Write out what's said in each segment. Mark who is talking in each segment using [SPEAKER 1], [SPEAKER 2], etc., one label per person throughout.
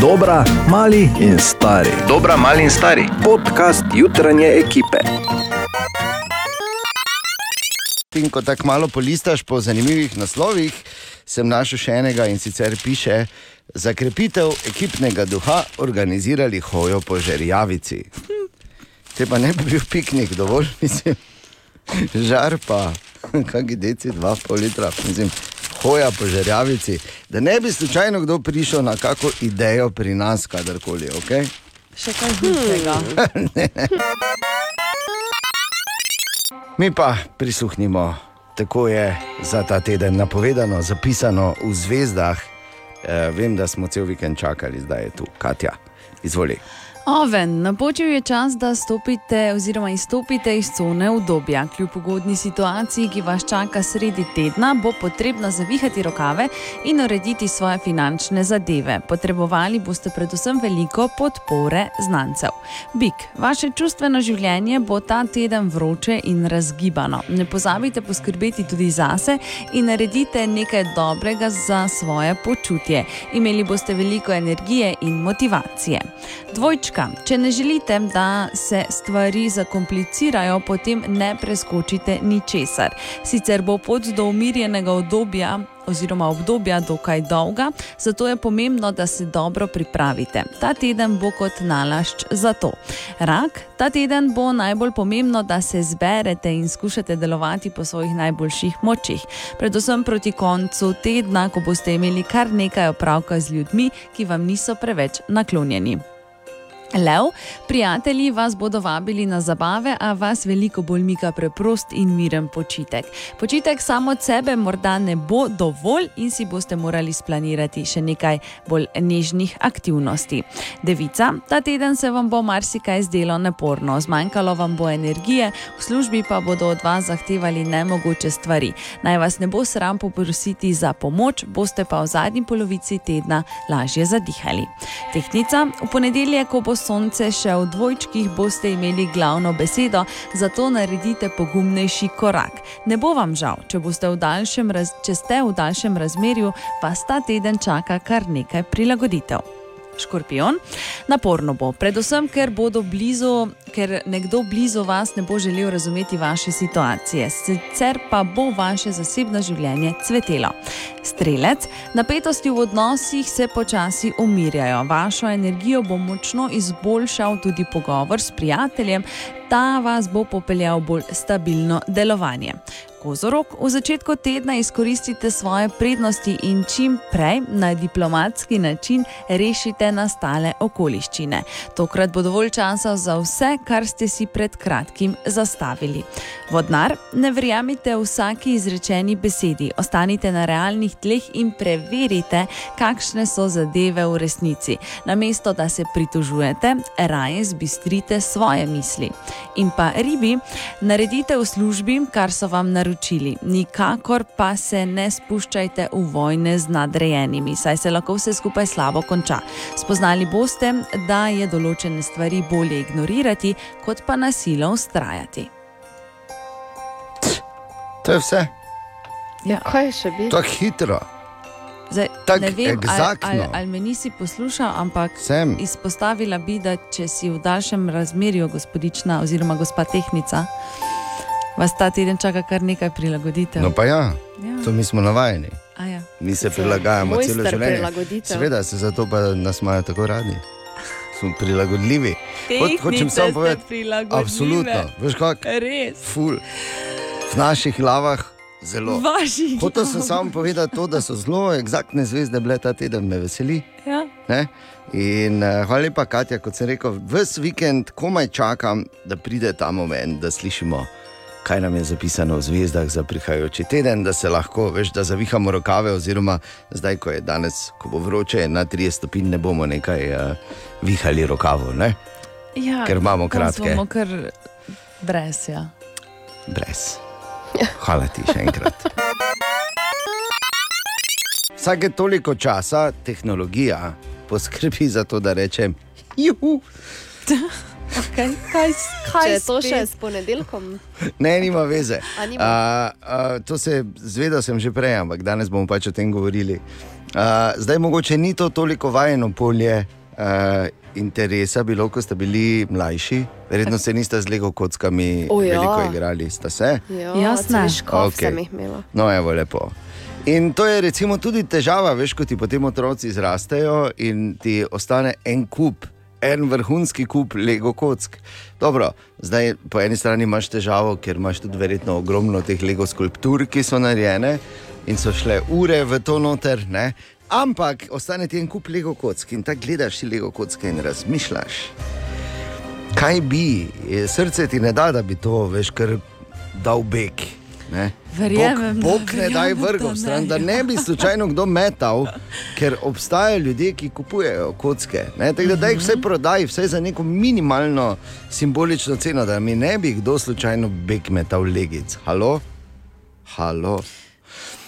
[SPEAKER 1] Dobra, mali in stari.
[SPEAKER 2] Dobra, mali in stari.
[SPEAKER 1] Podcast jutranje ekipe.
[SPEAKER 3] In ko tako malo polistaš po zanimivih naslovih, sem našel še enega in sicer piše: Za krepitev ekipnega duha organizirali hojo po žerjavici. Te pa ne bi bil piknik, dovolj mislim. Žar pa, kaki deci, dva pol litra, mislim, hoja po žerjavici. Da ne bi slučajno kdo prišel na kako idejo pri nas, kadarkoli, ok?
[SPEAKER 4] Še kaj hudega.
[SPEAKER 3] Mi pa prisluhnimo, tako je za ta teden napovedano, zapisano v zvezdah. E, vem, da smo cel vikend čakali, zdaj je tu Katja. Izvoli.
[SPEAKER 4] Oven, napočil je čas, da stopite oziroma izstopite iz cone obdobja. Kljub ugodni situaciji, ki vas čaka sredi tedna, bo potrebno zavihati rokave in urediti svoje finančne zadeve. Potrebovali boste predvsem veliko podpore znancev. Bik, vaše čustveno življenje bo ta teden vroče in razgibano. Ne pozabite poskrbeti tudi zase in naredite nekaj dobrega za svoje počutje. Imeli boste veliko energije in motivacije. Dvojčka, če ne želite, da se stvari zakomplicirajo, potem ne preskočite ničesar. Sicer bo pot do umirjenega obdobja oziroma obdobja dokaj dolga, zato je pomembno, da se dobro pripravite. Ta teden bo kot nalašč za to. Rak, ta teden bo najbolj pomembno, da se zberete in skušate delovati po svojih najboljših močeh. Predvsem proti koncu tedna, ko boste imeli kar nekaj opravka z ljudmi, ki vam niso preveč naklonjeni. Lev, prijatelji vas bodo vabili na zabave, a vas veliko bolj mika preprost in miren počitek. Počitek samo od sebe morda ne bo dovolj in si boste morali splanirati še nekaj bolj nežnih aktivnosti. Devica, ta teden se vam bo marsikaj zdelo naporno, zmanjkalo vam bo energije, v službi pa bodo od vas zahtevali nemogoče stvari. Naj vas ne bo sram poprositi za pomoč, boste pa v zadnji polovici tedna lažje zadihali. Tehnica, v ponedeljek, ko bo sonce še v dvojčkih, boste imeli glavno besedo, zato naredite pogumnejši korak. Ne bo vam žal, če, boste v daljšem raz, če ste v daljšem razmerju, vas ta teden čaka kar nekaj prilagoditev. Škorpion. Naporno bo, predvsem ker, bodo blizu, ker nekdo blizu vas ne bo želel razumeti vaše situacije, sicer pa bo vaše zasebno življenje cvetelo. Strelec, napetosti v odnosih se počasi umirjajo, vašo energijo bo močno izboljšal tudi pogovor s prijateljem, ta vas bo popeljal bolj stabilno delovanje. Kozorog, v začetku tedna izkoristite svoje prednosti in čim prej na diplomatski način rešite nastale okoliščine. Tokrat bo dovolj časa za vse, kar ste si pred kratkim zastavili. Vodnar, ne verjamite vsaki izrečeni besedi, ostanite na realnih tleh in preverite, kakšne so zadeve v resnici. Namesto da se pritožujete, raje zbistrite svoje misli. In pa ribi, naredite v službi, kar so vam naredili naročili. Nikakor pa se ne spuščajte v vojne z nadrejenimi, saj se lahko vse skupaj slabo konča. Spoznali boste, da je določene stvari bolje ignorirati, kot pa nasilno ustrajati.
[SPEAKER 3] To je vse,
[SPEAKER 4] Ja.
[SPEAKER 5] Kaj še bi?
[SPEAKER 3] tako hitro.
[SPEAKER 4] Zdaj,
[SPEAKER 3] Tako
[SPEAKER 4] ne vem, ali,
[SPEAKER 3] eksaktno.
[SPEAKER 4] ali, ali me nisi poslušal, ampak
[SPEAKER 3] Sem.
[SPEAKER 4] izpostavila bi, da če si v daljšem razmerju, gospodična oziroma gospa tehnica, vas ta teden čaka kar nekaj prilagoditev.
[SPEAKER 3] No pa ja, to
[SPEAKER 4] ja.
[SPEAKER 3] mi smo navajeni.
[SPEAKER 4] A ja.
[SPEAKER 3] Mi se prilagajamo
[SPEAKER 5] Mojster
[SPEAKER 3] celo življenje.
[SPEAKER 5] prilagoditev.
[SPEAKER 3] Seveda se zato pa nas imajo tako radi. Smo prilagodljivi. Ho- hočem samo povedati, absolutno. Veš kako?
[SPEAKER 4] Res.
[SPEAKER 3] Ful. V naših glavah zelo.
[SPEAKER 4] Vaših.
[SPEAKER 3] Hotel sem samo povedati to, da so zelo eksaktne zvezde bile ta teden, me veseli.
[SPEAKER 4] Ja.
[SPEAKER 3] Ne? In uh, hvala lepa, Katja, kot sem rekel, vse vikend komaj čakam, da pride ta moment, da slišimo, kaj nam je zapisano v zvezdah za prihajajoči teden, da se lahko, veš, da zavihamo rokave, oziroma zdaj, ko je danes, ko bo vroče, na 30 stopinj ne bomo nekaj uh, vihali rokavov, ne?
[SPEAKER 4] Ja,
[SPEAKER 3] Ker imamo
[SPEAKER 4] danes
[SPEAKER 3] kratke.
[SPEAKER 4] Bomo kar brez, ja.
[SPEAKER 3] brez. Hvala ti še enkrat. Vsake toliko časa tehnologija poskrbi za to, da rečem, juhu.
[SPEAKER 4] Kaj, kaj, kaj
[SPEAKER 2] Če je to
[SPEAKER 4] spet?
[SPEAKER 2] še s ponedeljkom,
[SPEAKER 3] Ne, nima veze.
[SPEAKER 2] A, nima?
[SPEAKER 3] A, a, to se zvedel sem že prej, ampak danes bomo pač o tem govorili. A, zdaj mogoče ni to toliko vajeno polje a, interesa bilo, ko ste bili mlajši. Verjetno se niste z lego kockami
[SPEAKER 2] O, ja.
[SPEAKER 3] veliko igrali, ste se.
[SPEAKER 2] jo,
[SPEAKER 4] Jasne.
[SPEAKER 2] Škof okay. sem
[SPEAKER 3] Okej.
[SPEAKER 2] jih imela.
[SPEAKER 3] No, evo lepo. In to je recimo tudi težava, veš, ko ti potem otroci zrastejo in ti ostane en kup, en vrhunski kup lego kock. Dobro, zdaj po eni strani imaš težavo, ker imaš tudi verjetno ogromno teh lego skulptur, ki so narejene in so šle ure v to noter, ne? ampak ostane ti en kup lego kock in tako gledaš ti lego kocke in razmišljaš kaj bi, Eh, srce ti ne da, da bi to veš, kar dal beg. Ne?
[SPEAKER 4] Verjamem, da-
[SPEAKER 3] Bog, Bog ne
[SPEAKER 4] verjamem,
[SPEAKER 3] daj
[SPEAKER 4] da
[SPEAKER 3] vrgov stran,
[SPEAKER 4] ne.
[SPEAKER 3] da ne bi slučajno kdo metal, ker obstajajo ljudje, ki kupujejo kocke. ne. Tako da daj
[SPEAKER 4] Mhm.
[SPEAKER 3] vse prodaj, vse za neko minimalno simbolično ceno, da mi ne bi kdo slučajno beg metal legic. Halo? Halo?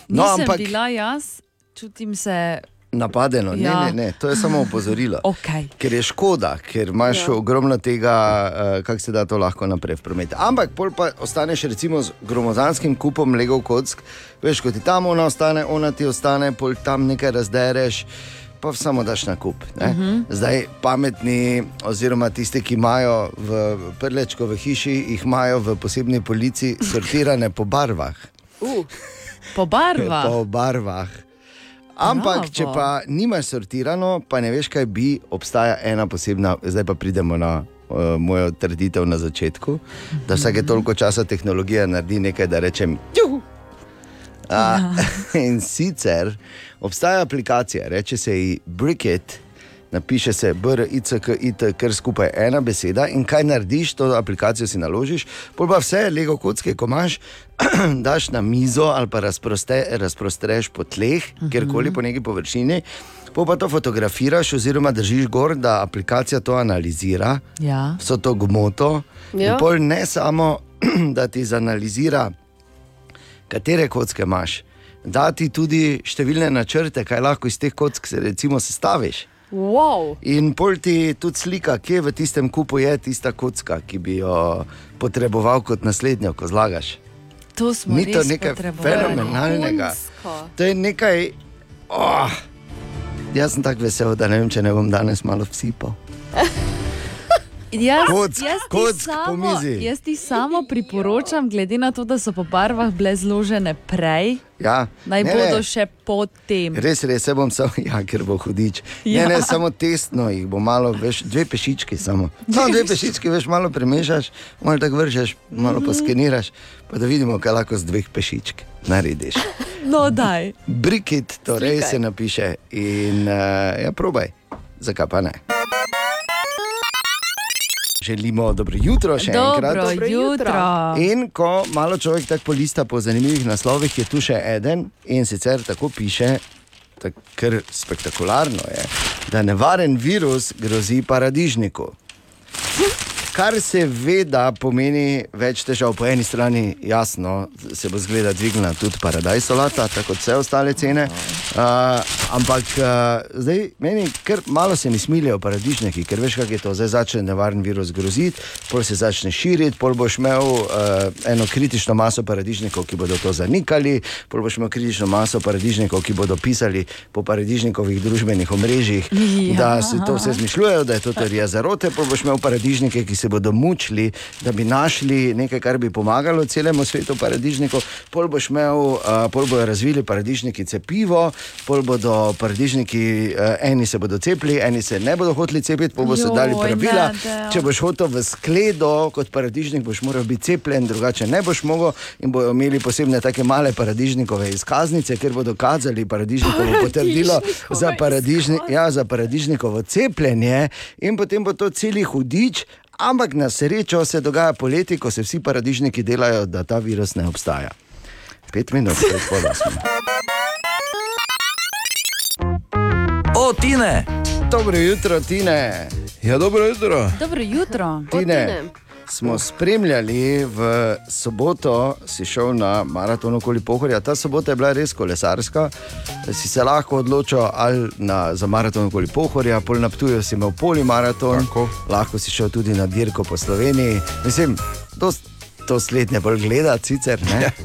[SPEAKER 3] No,
[SPEAKER 4] Nisem
[SPEAKER 3] ampak
[SPEAKER 4] bila jaz, čutim se
[SPEAKER 3] napadeno,
[SPEAKER 4] Ja.
[SPEAKER 3] ne, ne, ne, to je samo opozorilo.
[SPEAKER 4] ok.
[SPEAKER 3] Ker je škoda, ker imaš ja.
[SPEAKER 2] Ja.
[SPEAKER 3] ogromno tega, eh, kako se da to lahko naprej v prometu. Ampak pol pa ostaneš recimo z gromozanskim kupom legov kock, veš, ko ti tam ona ostane, ona ti ostane, pol tam nekaj razdereš. Pa samo daš na kup. Uh -huh. Zdaj pametni, oziroma tisti, ki imajo v prlečko v hiši, jih imajo v posebni polici sortirane po barvah.
[SPEAKER 2] Uh,
[SPEAKER 4] Po barvah.
[SPEAKER 3] Po barvah. Ampak,
[SPEAKER 4] Bravo.
[SPEAKER 3] Bravo. če pa nimaš sortirano, pa ne veš, kaj bi, obstaja ena posebna, zdaj pa pridemo na uh, mojo trditev na začetku, da vsake toliko časa tehnologija naredi nekaj, da rečem. "Juhu!" A, in sicer obstaja aplikacija, reče se ji Bricket, napiše se BRICKIT, ker skupaj je ena beseda. In kaj narediš, to aplikacijo si naložiš, pol pa vse lego kocke, ko imaš, daš na mizo ali pa razproste, razprostreš po tleh, kjerkoli po neki površini. Pol Pa to fotografiraš, oziroma držiš gor, da aplikacija to analizira,
[SPEAKER 4] Ja.
[SPEAKER 3] vso to gmoto.
[SPEAKER 2] Ja.
[SPEAKER 3] In pol ne samo, da ti zanalizira, katere kocke imaš, da ti tudi številne načrte, kaj lahko iz teh kock se recimo sestaviš.
[SPEAKER 2] wow.
[SPEAKER 3] In pol ti tudi slika, kje v tistem kupu je tista kocka, ki bi jo potreboval kot naslednjo, ko zlagaš.
[SPEAKER 4] To smo
[SPEAKER 3] Ni to
[SPEAKER 4] res
[SPEAKER 3] nekaj
[SPEAKER 4] potrebovali.
[SPEAKER 3] fenomenalnega. Nalnega.
[SPEAKER 2] Vrhunsko.
[SPEAKER 3] To je nekaj. Oh, jaz sem tako vesel, da ne vem, če ne bom danes malo psipal.
[SPEAKER 4] Jaz,
[SPEAKER 3] Kock,
[SPEAKER 4] jaz ti
[SPEAKER 3] kock po
[SPEAKER 4] samo,
[SPEAKER 3] mizi.
[SPEAKER 4] Jaz ti samo priporočam, glede na to, da so po barvah bile zložene prej,
[SPEAKER 3] Ja,
[SPEAKER 4] naj
[SPEAKER 3] ne,
[SPEAKER 4] bodo
[SPEAKER 3] ne.
[SPEAKER 4] še potem.
[SPEAKER 3] Res, res, se bom samo, ja, ker bo hudič. Ja.
[SPEAKER 4] Ja.
[SPEAKER 3] Ne, ne, samo testno jih bo malo, veš, dve pešički samo. No, dve pešički, Mhm. veš, malo premešaš, malo tako vržeš, malo poskeniraš, pa da vidimo, kaj lahko z dveh pešičk narediš.
[SPEAKER 4] No, daj.
[SPEAKER 3] Brikit, torej Slikaj. se napiše in uh, ja, probaj, zakaj pa ne. Želimo dobro jutro še enkrat.
[SPEAKER 4] Dobro,
[SPEAKER 2] Dobro
[SPEAKER 4] jutro.
[SPEAKER 2] jutro.
[SPEAKER 3] In ko malo človek tako polista po zanimivih naslovih, je tu še en in sicer tako piše, tak, kar spektakularno je, da nevaren virus grozi paradižniku. Kar seveda pomeni več težav. Po eni strani, jasno, se bo zgleda dvignila tudi paradajz solata, tako kot vse ostale cene. Uh, ampak uh, zdaj meni, ker malo se mi smilijo paradižniki, ker veš, kako je to. Zdaj začne nevaren virus groziti, pol se začne širiti, pol boš imel uh, eno kritično maso paradižnikov, ki bodo to zanikali, pol boš imel kritično maso paradižnikov, ki bodo pisali po paradižnikovih družbenih omrežjih,
[SPEAKER 4] Ja.
[SPEAKER 3] da si to vse zmišljujejo, da je to teorija zarote, pa boš imel paradižnike, ki se bodo mučili, da bi našli nekaj, kar bi pomagalo celemu svetu paradižnikov. Pol boš imel, uh, pol bojo razvili paradižniki cepivo, pol bodo paradižniki, uh, eni se bodo cepili, eni se ne bodo hoteli cepiti, pol bodo
[SPEAKER 4] Joj,
[SPEAKER 3] dali pravila.
[SPEAKER 4] Nadel.
[SPEAKER 3] Če boš hotel v skledo, kot paradižnik, boš moral biti cepljen, drugače ne boš mogel. In bojo imeli posebne take male paradižnikove izkaznice, kjer bodo kazali paradižnikovo potrdilo za, paradižni, ja, za paradižnikovo cepljenje, in potem bo to celi hudič. Ampak na srečo se dogaja poleti, ko se vsi paradižniki delajo, da ta virus ne obstaja. Pet minut, pred pol osmih.
[SPEAKER 1] O, Tine!
[SPEAKER 3] Dobro jutro, Tine.
[SPEAKER 5] Ja, dobro jutro.
[SPEAKER 3] E-
[SPEAKER 4] Dobro jutro.
[SPEAKER 3] Tine,
[SPEAKER 2] Tine.
[SPEAKER 3] smo spremljali v soboto, si šel na maraton okoli Pohorja. Ta sobota je bila res kolesarska, si se lahko odločil ali na, za maraton okoli Pohorja, pol na Ptuju si imel polimaraton,
[SPEAKER 5] Tako.
[SPEAKER 3] lahko si šel tudi na dirko po Sloveniji. Mislim, dost, to slednje bolj gledati, sicer ne.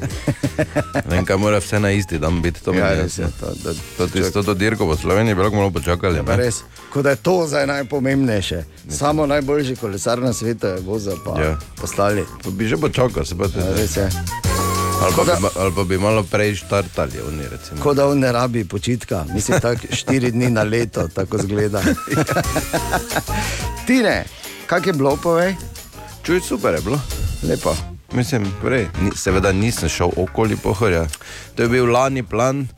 [SPEAKER 5] Ne vem, kaj mora vse na isti dan biti. Ja. To mi
[SPEAKER 3] Ja,
[SPEAKER 5] je
[SPEAKER 3] res je,
[SPEAKER 5] jasno.
[SPEAKER 3] to, da,
[SPEAKER 5] To tisto to dirko po Sloveniji, bi lahko malo počakali.
[SPEAKER 3] Pa
[SPEAKER 5] ne?
[SPEAKER 3] Res, kot da je to zdaj najpomembnejše. Samo najboljši kolesar na svetu je voza pa
[SPEAKER 5] Ja.
[SPEAKER 3] ja. poslali.
[SPEAKER 5] Pa Bi že počakal, se pa te
[SPEAKER 3] Ja, Res je.
[SPEAKER 5] Ali pa,
[SPEAKER 3] Tako da-
[SPEAKER 5] bi, ma- ali pa bi malo prej štartali, oni recimo.
[SPEAKER 3] Kot da on ne rabi počitka, mislim, tako štiri dni na leto, tako zgleda. Tine, kak je bilo, povej?
[SPEAKER 5] Čuj, super je bilo.
[SPEAKER 3] Lepo.
[SPEAKER 5] Mislim, prej. Ni, seveda nisem šel okoli pohorja. To je bil lani plan,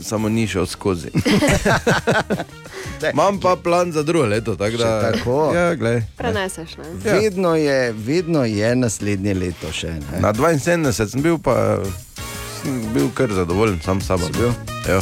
[SPEAKER 5] samo ni šel skozi.
[SPEAKER 3] Ne.
[SPEAKER 5] Imam pa plan za drugo leto, tako da.
[SPEAKER 3] Še tako?
[SPEAKER 5] Ja, glej.
[SPEAKER 2] Preneseš, ne?
[SPEAKER 3] Ja. Vedno, je, vedno je naslednje leto še. Ne?
[SPEAKER 5] Na 72 sem bil pa sem bil kar zadovoljen, sam sam.
[SPEAKER 3] Si bil?
[SPEAKER 5] Ja,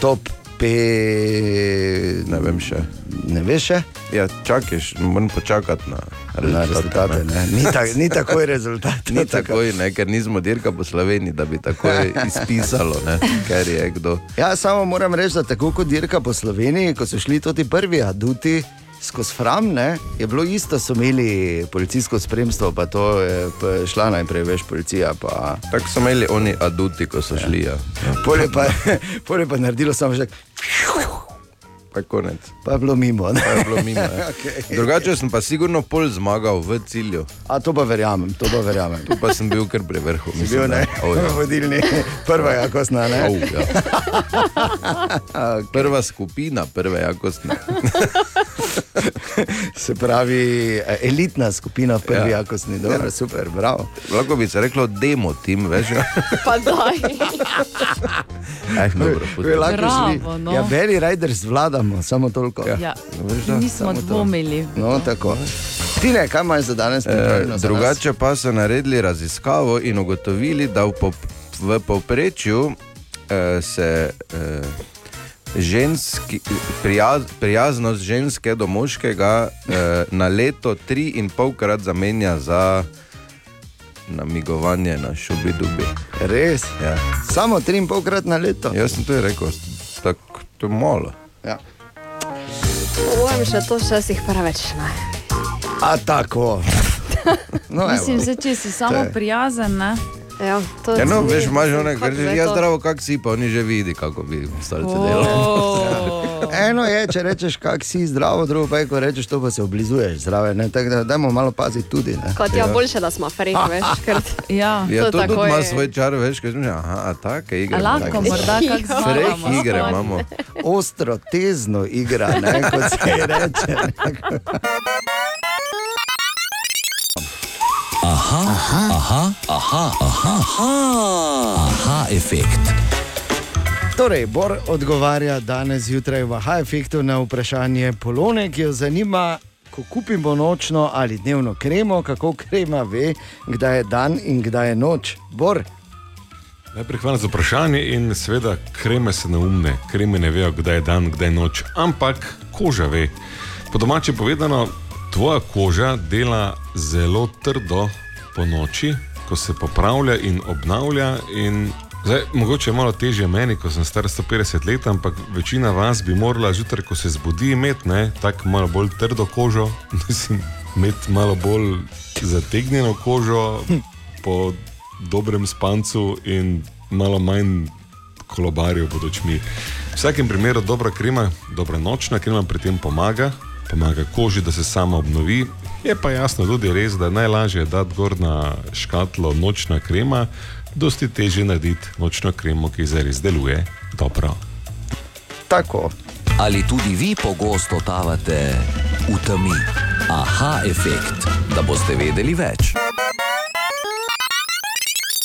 [SPEAKER 3] Top 5,
[SPEAKER 5] ne vem še.
[SPEAKER 3] ne veš še?
[SPEAKER 5] Ja, čakaš, moram počakati na
[SPEAKER 3] Na
[SPEAKER 5] rezultate.
[SPEAKER 3] rezultate.
[SPEAKER 5] ne.
[SPEAKER 3] ne. Ni, tak, ni takoj rezultat.
[SPEAKER 5] Ni takoj, ne, ker nismo dirka po Sloveniji, da bi takoj izpisalo, ne, ker je kdo.
[SPEAKER 3] Ja, samo moram reči, da tako kot dirka po Sloveniji, ko so šli tudi prvi aduti skozi Fram, ne, je bilo isto, so imeli policijsko spremstvo, pa to je pa šla najprej veš policija. Pa...
[SPEAKER 5] Tako so imeli oni aduti, ko so šli. Ja. Ja.
[SPEAKER 3] Polje pa, polje pa naredilo samo že,
[SPEAKER 5] Pa konec.
[SPEAKER 3] pa je bilo mimo.
[SPEAKER 5] Pa
[SPEAKER 3] Ne.
[SPEAKER 5] je bilo mimo. Ja. okay. Drugače sem pa sigurno pol zmagal v cilju.
[SPEAKER 3] A to pa verjamem, to pa verjamem.
[SPEAKER 5] Tu pa sem bil kar pri vrhu. mislim,
[SPEAKER 3] Bil ne,
[SPEAKER 5] O, ja.
[SPEAKER 3] vodilni, prva jakosna, ne.
[SPEAKER 5] O, ja. Prva skupina, prve jakostne.
[SPEAKER 3] Se pravi, eh, elitna skupina v prvi
[SPEAKER 5] Ja.
[SPEAKER 3] ja. jakosni, dobro, ja. super, bravo.
[SPEAKER 5] Lahko bi se reklo, demo tim, veš. ja.
[SPEAKER 2] Pa daj.
[SPEAKER 5] Eh, dobro,
[SPEAKER 3] To je
[SPEAKER 5] pusti.
[SPEAKER 3] lahko šli.
[SPEAKER 4] Bravo, no.
[SPEAKER 3] Ja, veri Raiders vladamo, samo toliko. Ja.
[SPEAKER 4] Ja.
[SPEAKER 5] Veš, da,
[SPEAKER 4] Nismo
[SPEAKER 3] samo to.
[SPEAKER 4] dvomili.
[SPEAKER 3] No, tako. Ti ne, kaj imaš za danes? pripravljeno
[SPEAKER 5] Eh,
[SPEAKER 3] za nas?
[SPEAKER 5] drugače pa so naredili raziskavo in ugotovili, da v, pop, v povprečju eh, se eh, ženski, prijaz, prijaznost ženske do moškega eh, na leto tri in polkrat zamenja za namigovanje na šubi dubi.
[SPEAKER 3] Res.
[SPEAKER 5] Ja.
[SPEAKER 3] Samo tri in polkrat na leto.
[SPEAKER 5] Jaz sem to rekel, tako to je malo.
[SPEAKER 3] Ja.
[SPEAKER 2] Povem še to, še si jih preveč. ne.
[SPEAKER 3] A tako. No, evo.
[SPEAKER 4] Mislim, se, če si samo
[SPEAKER 3] To je-
[SPEAKER 4] prijazen, ne?
[SPEAKER 2] Ja, to
[SPEAKER 5] Ja, no,
[SPEAKER 2] ni-
[SPEAKER 5] veš, imaš onega,
[SPEAKER 2] Kako
[SPEAKER 5] ki
[SPEAKER 2] zdaj
[SPEAKER 5] reče, jaz
[SPEAKER 2] to?
[SPEAKER 5] zdravo, kak si pa, oni že vidi, kako bi starci delali.
[SPEAKER 4] Oh.
[SPEAKER 3] Eno je, če rečeš, kak si zdravo, drugo pa je, ko rečeš, to pa se oblizuješ zdrave. Ne? Tako da dajmo malo paziti tudi. Ne?
[SPEAKER 2] Kot je ja. boljše, da smo frek, veš. Ker...
[SPEAKER 4] Ja.
[SPEAKER 5] Ja,
[SPEAKER 2] To
[SPEAKER 5] to tudi
[SPEAKER 2] takoj-
[SPEAKER 5] ima svoj čar, veš, kaj zmišlja. Aha, a take
[SPEAKER 3] Ja,
[SPEAKER 5] igre.
[SPEAKER 4] A lahko
[SPEAKER 5] imamo.
[SPEAKER 4] morda kak
[SPEAKER 2] Ja.
[SPEAKER 5] Freh
[SPEAKER 4] zmagamo.
[SPEAKER 5] igre imamo.
[SPEAKER 3] Ostro, tezno igra, ne? kot se ji reče.
[SPEAKER 1] Aha, efekt.
[SPEAKER 3] Torej, Bor odgovarja danes zjutraj v Aha efektu na vprašanje Polone, ki jo zanima, ko kupimo nočno ali dnevno kremo, kako krema ve, kdaj je dan in kdaj je noč. Bor,
[SPEAKER 6] Najprej hvala za vprašanje in seveda kreme se neumne, kreme ne vejo, kdaj je dan, kdaj je noč, ampak koža ve. Po domače povedano, tvoja koža dela zelo trdo po noči, ko se popravlja in obnavlja. In zdaj, mogoče je malo težje meni, ko sem star 150 let, ampak večina vas bi morala zjutraj, ko se zbudi, imeti ne, tako malo bolj trdo kožo, mislim, imeti malo bolj zategnjeno kožo. Po dobrem spancu in malo manj kolobarijo pod očmi. V vsakem primeru dobra krema, dobra nočna krema pri tem pomaga, pomaga koži, da se sama obnovi. Je pa jasno tudi res, da je najlažje dati gor na škatlo nočna krema, dosti teže narediti nočno kremo, ki zares deluje dobro.
[SPEAKER 3] tako.
[SPEAKER 1] Ali tudi vi pogosto totavate v temi? Aha, efekt, da boste vedeli več.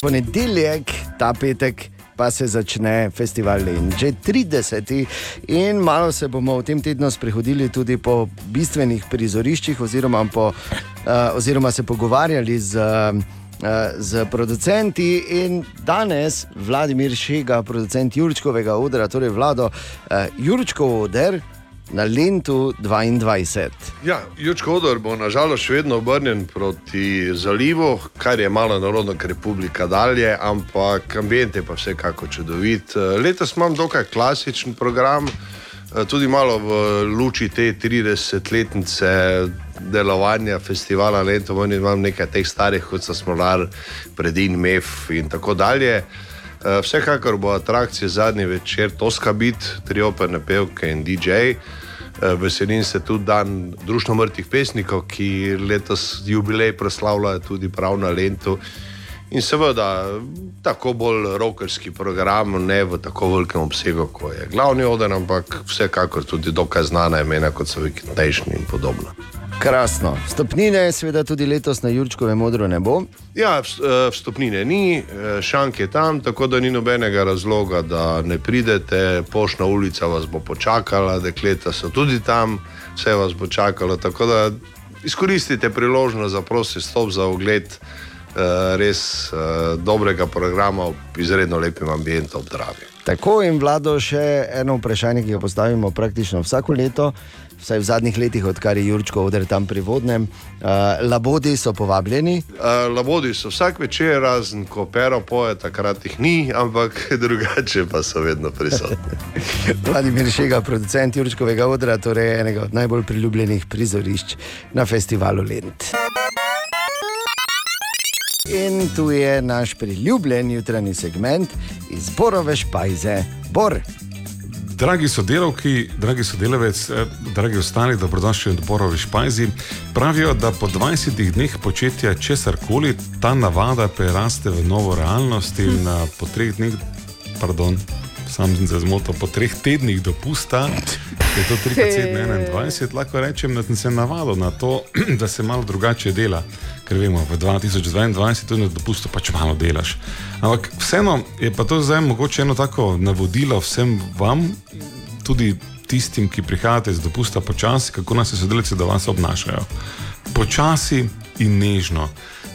[SPEAKER 3] Ponedeljek, ta petek. Pa se začne festival in že 30. In malo se bomo v tem tednu sprehodili tudi po bistvenih prizoriščih, oziroma, po, uh, oziroma se pogovarjali z, uh, z producenti. In danes Vladimir Šega, producent Jurčkovega odra, torej vlado uh, Jurčkov odr, eh, na Lendu 22.
[SPEAKER 7] Ja, Jučkodor bo nažalost še vedno obrnjen proti zalivu, kar je malo narodno, ker je publika dalje, ampak ambient je pa vsekako čudovit. Eh, Letos imam dokaj klasičen program, eh, tudi malo v luči te 30-letnice delovanja festivala Lento, Ven imam nekaj teh starih, kot so Smolar, Predin, Mef in tako dalje. Eh, Vsekakor bo atrakcija zadnji večer Toska Bit, tri operne pevke in DJ. Eh, Veselim se tudi dan Društva mrtvih pesnikov, ki letos jubilej proslavlja tudi prav na Lentu. In seveda tako bolj rokerski program, ne v tako velikem obsegu, kot je glavni oder, ampak vsekakor tudi dokaj znana imena, kot so Vikendajšnji in podobno.
[SPEAKER 3] Krasno. Stopnine, seveda, tudi letos na Jurčkovem modru ne bo.
[SPEAKER 7] Ja, vst- eh, vstopnine ni, eh, šank je tam, tako da ni nobenega razloga, da ne pridete. Poštna ulica vas bo počakala, dekleta so tudi tam, vse vas bo čakalo. Tako da izkoristite priložnost za prosti stop za ogled eh, res eh, dobrega programa ob izredno lepem ambientu ob Dravi.
[SPEAKER 3] Tako in vlado še eno vprašanje, ki ga postavimo praktično vsako leto, vsaj v zadnjih letih, odkar je Jurčko odr tam pri vodnem. Uh, labodi so povabljeni,
[SPEAKER 7] Uh, labodi so vsak večer, razen ko pero poje, takrat jih ni, ampak drugače pa so vedno prisotni.
[SPEAKER 3] Vladimir Šega, producent Jurčkovega odra, torej enega od najbolj priljubljenih prizorišč na festivalu Lent. In tu je naš priljubljen jutranji segment iz Borove špajze, Bor.
[SPEAKER 6] Dragi sodelavki, dragi sodelavec, eh, dragi ostali, dobrodošli v odborovi Špajzi. Pravijo, da po 20 dneh početja česar koli ta navada preraste v novo realnost in hm. po treh dneh, pardon, sam sem se zmotil, po treh tednih dopusta, je to 3,21, lahko rečem, da sem se navadil na to, da se malo drugače dela. Ker vemo, v 2022 tudi na dopustu pač malo delaš. Ampak vseeno je pa to zdaj mogoče eno tako navodilo vsem vam, tudi tistim, ki prihajate z dopusta počasi, kako nas sodelavci do vas obnašajo. Počasi in nežno.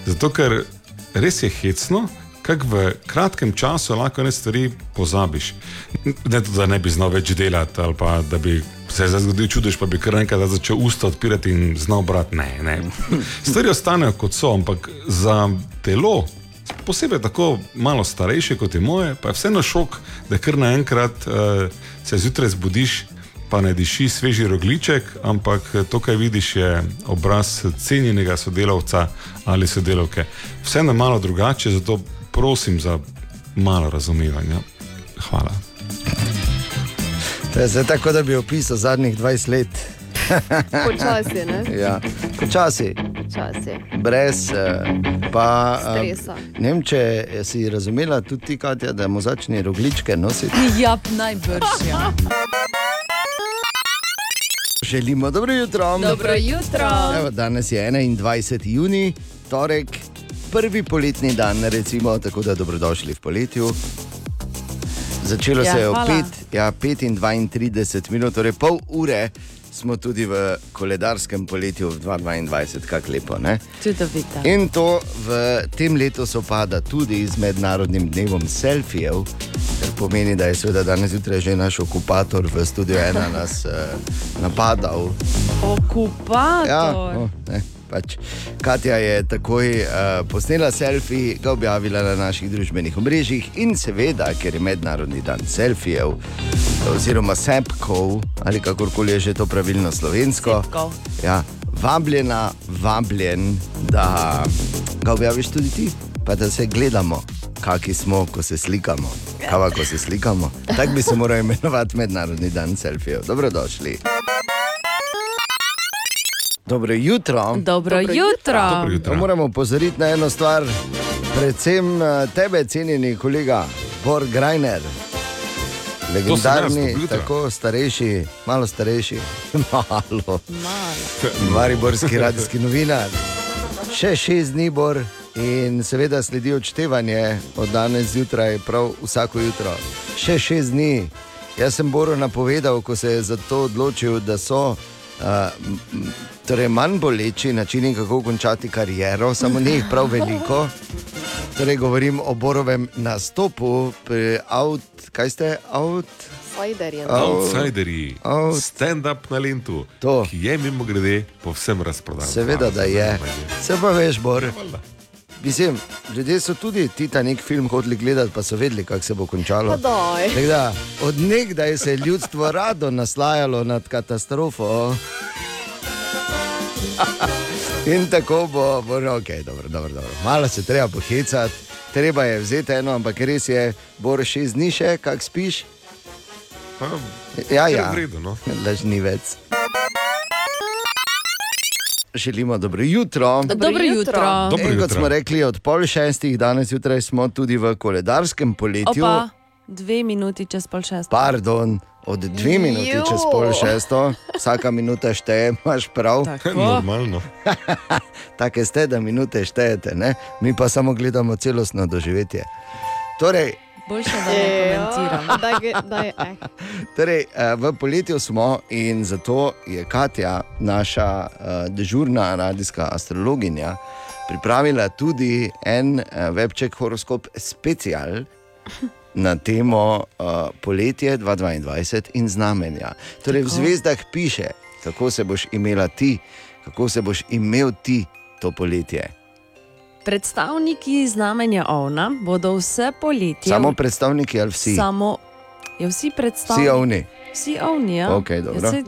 [SPEAKER 6] Zato, ker res je hecno, kako v kratkem času lahko ne stvari pozabiš. Ne to, da ne bi znal več delati, ali pa da bi se je zdaj zgodil čudež, pa bi kar enkrat začel usta odpirati in znal brati. Ne, ne. Stvari ostanejo kot so, ampak za telo posebej tako malo starejše kot je moje, pa je vseeno šok, da kar naenkrat uh, se zjutraj zbudiš, pa ne diši sveži rogliček, ampak eh, to, kar vidiš, je obraz cenjenega sodelavca ali sodelavke. Vseeno je malo drugače, zato prosim za malo razumevanja. Hvala.
[SPEAKER 3] To je zdaj tako, da bi opisal zadnjih 20 let.
[SPEAKER 2] Počasi, ne?
[SPEAKER 3] Ja. Počasi,
[SPEAKER 2] Počasi.
[SPEAKER 3] brez. eh, Pa, eh,
[SPEAKER 2] Stresa.
[SPEAKER 3] ne vem, če si razumela tudi ti, Katja, da mu začne rogličke nositi.
[SPEAKER 4] Ja, najbrž. Ja.
[SPEAKER 3] Želimo dobro jutro.
[SPEAKER 2] Dobro jutro.
[SPEAKER 3] Evo, danes je 21. juni, torek, prvi poletni dan, recimo, tako da dobrodošli v poletju. Začelo
[SPEAKER 4] Ja,
[SPEAKER 3] se je ob
[SPEAKER 4] hvala.
[SPEAKER 3] 5, ja, 5 in 32 minut, torej pol ure smo tudi v koledarskem poletju v 2022, kako lepo. Ne?
[SPEAKER 4] Čudovita.
[SPEAKER 3] In to v tem letu sopada tudi z mednarodnim dnevom selfijev, kar pomeni, da je seveda danes zjutraj že naš okupator v studiu ena nas eh, napadal. Ja,
[SPEAKER 4] Okupator.
[SPEAKER 3] no, ne, pač. Katja je takoj uh, posnela selfie, ga objavila na naših družbenih omrežjih in seveda, ker je mednarodni dan selfijev, oziroma sepkov, ali kakorkoli je že to pravilno slovensko.
[SPEAKER 4] Sepkov.
[SPEAKER 3] Ja, vabljena, vabljen, da ga objaviš tudi ti, pa da se gledamo. Kaki smo, ko se slikamo, kava, ko se slikamo. Tako bi se moral imenovati Mednarodni dan selfijev. Dobrodošli. Dobro jutro.
[SPEAKER 4] Dobro jutro.
[SPEAKER 6] Dobro jutro.
[SPEAKER 3] Ja. Moramo opozoriti na eno stvar, predvsem eh, tebe, cenjeni kolega Bor Grajner.
[SPEAKER 6] sem jaz,
[SPEAKER 3] Legendarni,
[SPEAKER 6] dobro jutro.
[SPEAKER 3] tako starejši, malo starejši, malo,
[SPEAKER 4] Malo.
[SPEAKER 3] mariborski radijski novinar. Še šest dni Bor in seveda sledi odštevanje od danes zjutraj, prav vsako jutro. Še šest dni. Jaz sem Boru napovedal, ko se je za to odločil, da so. Uh, torej, manj boleči načini, kako končati kariero, samo ne jih prav veliko. Torej, govorim o Borovem nastopu, pri out, kaj ste, out,
[SPEAKER 2] Slajderjem.
[SPEAKER 6] Outsiderji,
[SPEAKER 3] Out.
[SPEAKER 6] stand-up na Lintu,
[SPEAKER 3] To.
[SPEAKER 6] ki je mimo grede povsem razprodan.
[SPEAKER 3] seveda da je. Se pa veš, Bor. Mislim, ljudje so tudi Titanik film hodili gledati, pa so vedeli, kako se bo
[SPEAKER 2] Pa
[SPEAKER 3] končalo.
[SPEAKER 2] doj.
[SPEAKER 3] Tako Da, od nekdaj se je ljudstvo rado naslajalo nad katastrofo. In tako bo, bo okay, dobro, dobro, dobro. malo se treba pohecati, treba je vzeti eno, ampak res je, bo še z niše, kak spiš.
[SPEAKER 6] Pa,
[SPEAKER 3] Ja,
[SPEAKER 6] ja.
[SPEAKER 3] ja.
[SPEAKER 6] V redu, no.
[SPEAKER 3] Lažnivec. Želimo dobro jutro.
[SPEAKER 4] Dobro, Dobro jutro. jutro.
[SPEAKER 6] Dobro
[SPEAKER 3] In kot
[SPEAKER 6] jutro.
[SPEAKER 3] smo rekli, od pol šestih danes zjutraj smo tudi v koledarskem poletju.
[SPEAKER 4] Opa, dve minuti čez pol šest.
[SPEAKER 3] Pardon, od dve minuti
[SPEAKER 2] Jo.
[SPEAKER 3] čez pol šesto, vsaka minuta šteje, imaš prav.
[SPEAKER 4] Tako.
[SPEAKER 6] Normalno.
[SPEAKER 3] Take ste, da minute štejete, ne? mi pa samo gledamo celostno doživetje. Torej,
[SPEAKER 4] Boljše, da ne komentiram.
[SPEAKER 2] Daj, ge- daj, eh.
[SPEAKER 3] Torej, eh, v poletju smo in zato je Katja, naša eh, dežurna radijska astrologinja, pripravila tudi en eh, webček horoskop special. Na temo uh, poletje 2022 in znamenja. Torej, v zvezdah piše, kako se boš imela ti, kako se boš imel ti to poletje.
[SPEAKER 4] Predstavniki znamenja Ovna bodo vse poletje.
[SPEAKER 3] Samo predstavniki ali vsi,
[SPEAKER 4] Samo, je vsi
[SPEAKER 3] vsi
[SPEAKER 4] predstavniki.
[SPEAKER 3] ovni.
[SPEAKER 4] Vsi ovni, ja.
[SPEAKER 3] Okej, dobro.
[SPEAKER 4] Ja, saj-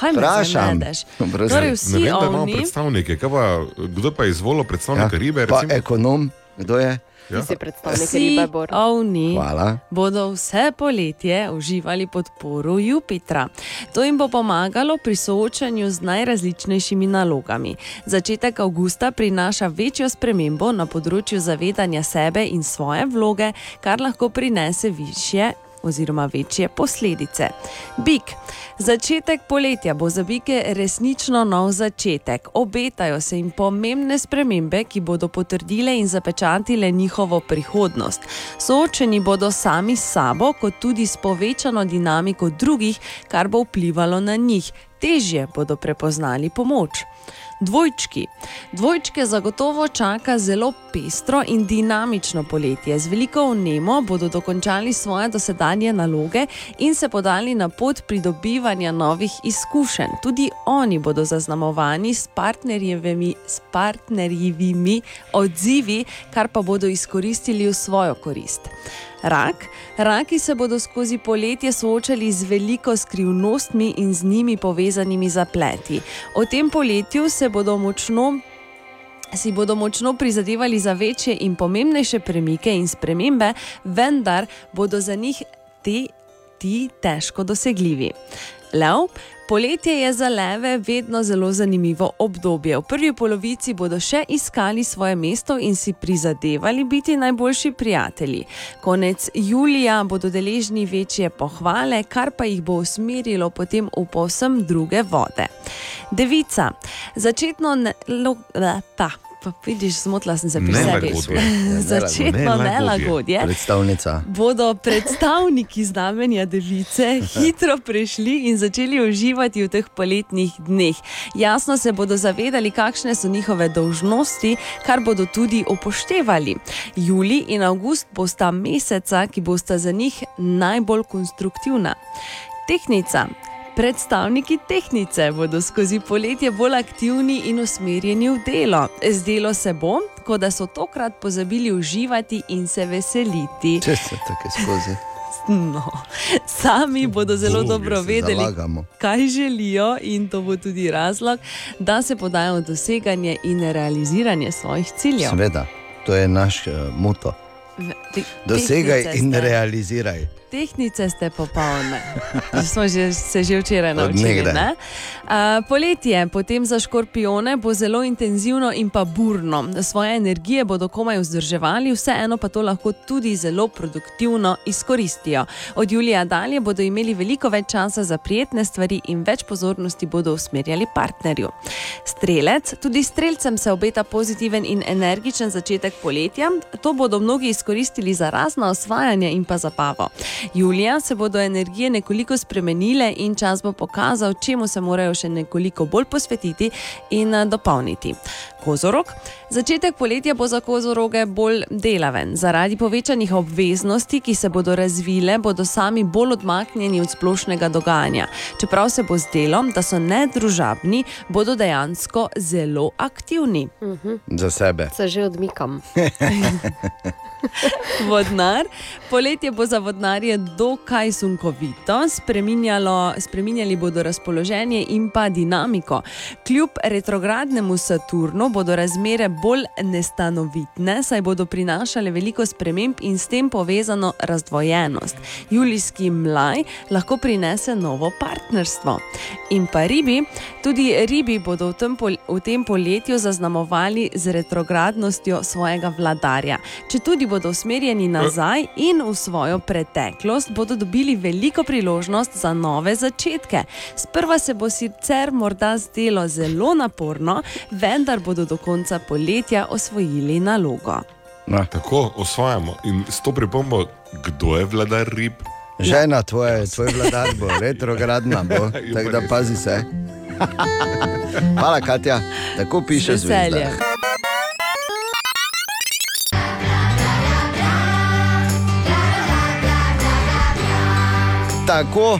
[SPEAKER 4] Kaj me
[SPEAKER 3] Vprašam.
[SPEAKER 4] znaš?
[SPEAKER 3] Oprosti.
[SPEAKER 4] Torej,
[SPEAKER 6] Ne
[SPEAKER 4] vsi
[SPEAKER 6] vem, da imamo
[SPEAKER 4] ovni.
[SPEAKER 6] predstavnike, kaj pa, kdo pa je izvolil predstavnika ja. ribe?
[SPEAKER 3] pa
[SPEAKER 6] recimo?
[SPEAKER 3] ekonom, kdo je?
[SPEAKER 2] Ti si predstavnik
[SPEAKER 4] Vsi
[SPEAKER 2] ribe, Bor.
[SPEAKER 4] ovni
[SPEAKER 3] Hvala.
[SPEAKER 4] bodo vse poletje uživali podporo Jupitra. To jim bo pomagalo pri soočanju z najrazličnejšimi nalogami. Začetek avgusta prinaša večjo spremembo na področju zavedanja sebe in svoje vloge, kar lahko prinese višje. Oziroma, večje posledice. Bik. Začetek poletja bo za bike resnično nov začetek. Obetajo se jim pomembne spremembe, ki bodo potrdile in zapečatile njihovo prihodnost. Soočeni bodo sami s sabo, kot tudi s povečano dinamiko drugih, kar bo vplivalo na njih. Težje bodo prepoznali pomoč. Dvojčki. Dvojčke zagotovo čaka zelo pestro in dinamično poletje. Z veliko vnemo bodo dokončali svoje dosedanje naloge in se podali na pot pridobivanja novih izkušenj. Tudi oni bodo zaznamovani s, partnerjevimi- s partnerjevimi odzivi, kar pa bodo izkoristili v svojo korist. Rak. Raki se bodo skozi poletje soočali z veliko skrivnostmi in z njimi povezanimi zapleti. O tem poletju se bodo močno si bodo močno prizadevali za večje in pomembnejše premike in spremembe, vendar bodo za njih te, ti težko dosegljivi. Lev, poletje je za leve vedno zelo zanimivo obdobje. V prvi polovici bodo še iskali svoje mesto in si prizadevali biti najboljši prijatelji. Konec julija bodo deležni večje pohvale, kar pa jih bo usmerilo potem v povsem druge vode. Devica, začetno ne, lo, eh, pa, pa vidiš, zmotila sem se pri sebi.
[SPEAKER 6] Nelagodje.
[SPEAKER 4] Začetno
[SPEAKER 6] Nelagodje.
[SPEAKER 4] nelagodje
[SPEAKER 3] ja. Predstavnica.
[SPEAKER 4] bodo predstavniki znamenja device hitro prešli in začeli uživati v teh poletnih dneh. Jasno se bodo zavedali, kakšne so njihove dolžnosti, kar bodo tudi upoštevali. Juli in avgust bosta meseca, ki bosta za njih najbolj konstruktivna. Tehnica. Predstavniki tehnice bodo skozi poletje bolj aktivni in usmerjeni v delo. Zdelo se bo, kot da so tokrat pozabili uživati in se veseliti.
[SPEAKER 3] Če se tako skozi.
[SPEAKER 4] No, sami bodo zelo
[SPEAKER 6] Bogu,
[SPEAKER 4] dobro
[SPEAKER 6] jaz se
[SPEAKER 4] vedeli,
[SPEAKER 3] zalagamo.
[SPEAKER 4] kaj želijo, in to bo tudi razlog, da se podajo v doseganje in realiziranje svojih ciljev.
[SPEAKER 3] Seveda, to je naš uh, moto.
[SPEAKER 4] V- te-
[SPEAKER 3] Dosegaj
[SPEAKER 4] tehnice
[SPEAKER 3] in
[SPEAKER 4] ste-
[SPEAKER 3] realiziraj.
[SPEAKER 4] Tehnice ste popolne. To smo že, se že včeraj
[SPEAKER 3] Od
[SPEAKER 4] naučili.
[SPEAKER 3] nekdaj.
[SPEAKER 4] ne? A, poletje, potem za škorpione, bo zelo intenzivno in pa burno. Svoje energije bodo komaj vzdrževali, vseeno pa to lahko tudi zelo produktivno izkoristijo. Od julija dalje bodo imeli veliko več časa za prijetne stvari in več pozornosti bodo usmerjali partnerju. Strelec, tudi strelcem se obeta pozitiven in energičen začetek poletja. To bodo mnogi izkoristili za razna osvajanja in pa zabavo. Julija se bodo energije nekoliko spremenile in čas bo pokazal, čemu se morajo še nekoliko bolj posvetiti in eh, dopolniti. Kozorog. Začetek poletja bo za kozoroge bolj delaven. Zaradi povečanih obveznosti, ki se bodo razvile, bodo sami bolj odmaknjeni od splošnega dogajanja. Čeprav se bo zdelo, da so nedružabni, bodo dejansko zelo aktivni.
[SPEAKER 3] za sebe.
[SPEAKER 2] Se že odmikam.
[SPEAKER 4] Vodnar. Poletje bo za vodnarje dokaj sunkovito, Spreminjalo- spreminjali bodo razpoloženje in pa dinamiko. Kljub retrogradnemu Saturnu bodo razmere bolj nestanovitne, saj bodo prinašale veliko sprememb in s tem povezano razdvojenost. Julijski mlaj lahko prinese novo partnerstvo. In pa ribi, tudi ribi bodo v tem, pol, v tem poletju zaznamovali z retrogradnostjo svojega vladarja. Če tudi bodo usmerjeni nazaj in v svojo preteklost, bodo dobili veliko priložnost za nove začetke. Sprva se bo sicer morda zdelo zelo naporno, vendar bodo do konca poletja osvojili nalogo.
[SPEAKER 3] No.
[SPEAKER 6] Tako osvajamo in s to pripombo, kdo je vladar rib.
[SPEAKER 3] Žena tvoja, tvoj vladar bo, retrogradna bo,
[SPEAKER 6] Jo,
[SPEAKER 3] tako da
[SPEAKER 6] res.
[SPEAKER 3] pazi se. Hvala, Katja, tako piše
[SPEAKER 4] Z veseljem.
[SPEAKER 3] zvezda. Tako.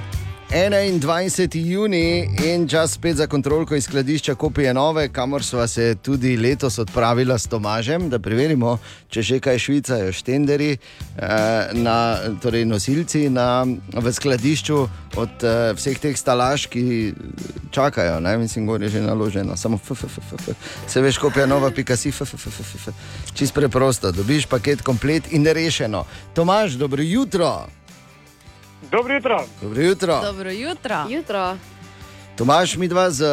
[SPEAKER 3] 21. juni in čas spet za kontrolko iz skladišča Kopije Nove, kamor sva se tudi letos odpravila s Tomažem, da preverimo, če že kaj švicajo štenderi, eh, na, torej nosilci na, v skladišču od eh, vseh teh stalaž, ki čakajo. Ne? Mislim, gor je že naloženo, samo FFF. Se veš, Kopija Nova, pika si FFF. Čist preprosto, dobiš paket komplet in rešeno. Tomaž, dobro jutro.
[SPEAKER 8] Dobro jutro.
[SPEAKER 3] Dobro jutro.
[SPEAKER 4] Dobro jutro.
[SPEAKER 2] Jutro.
[SPEAKER 3] Tomaž, mi dva z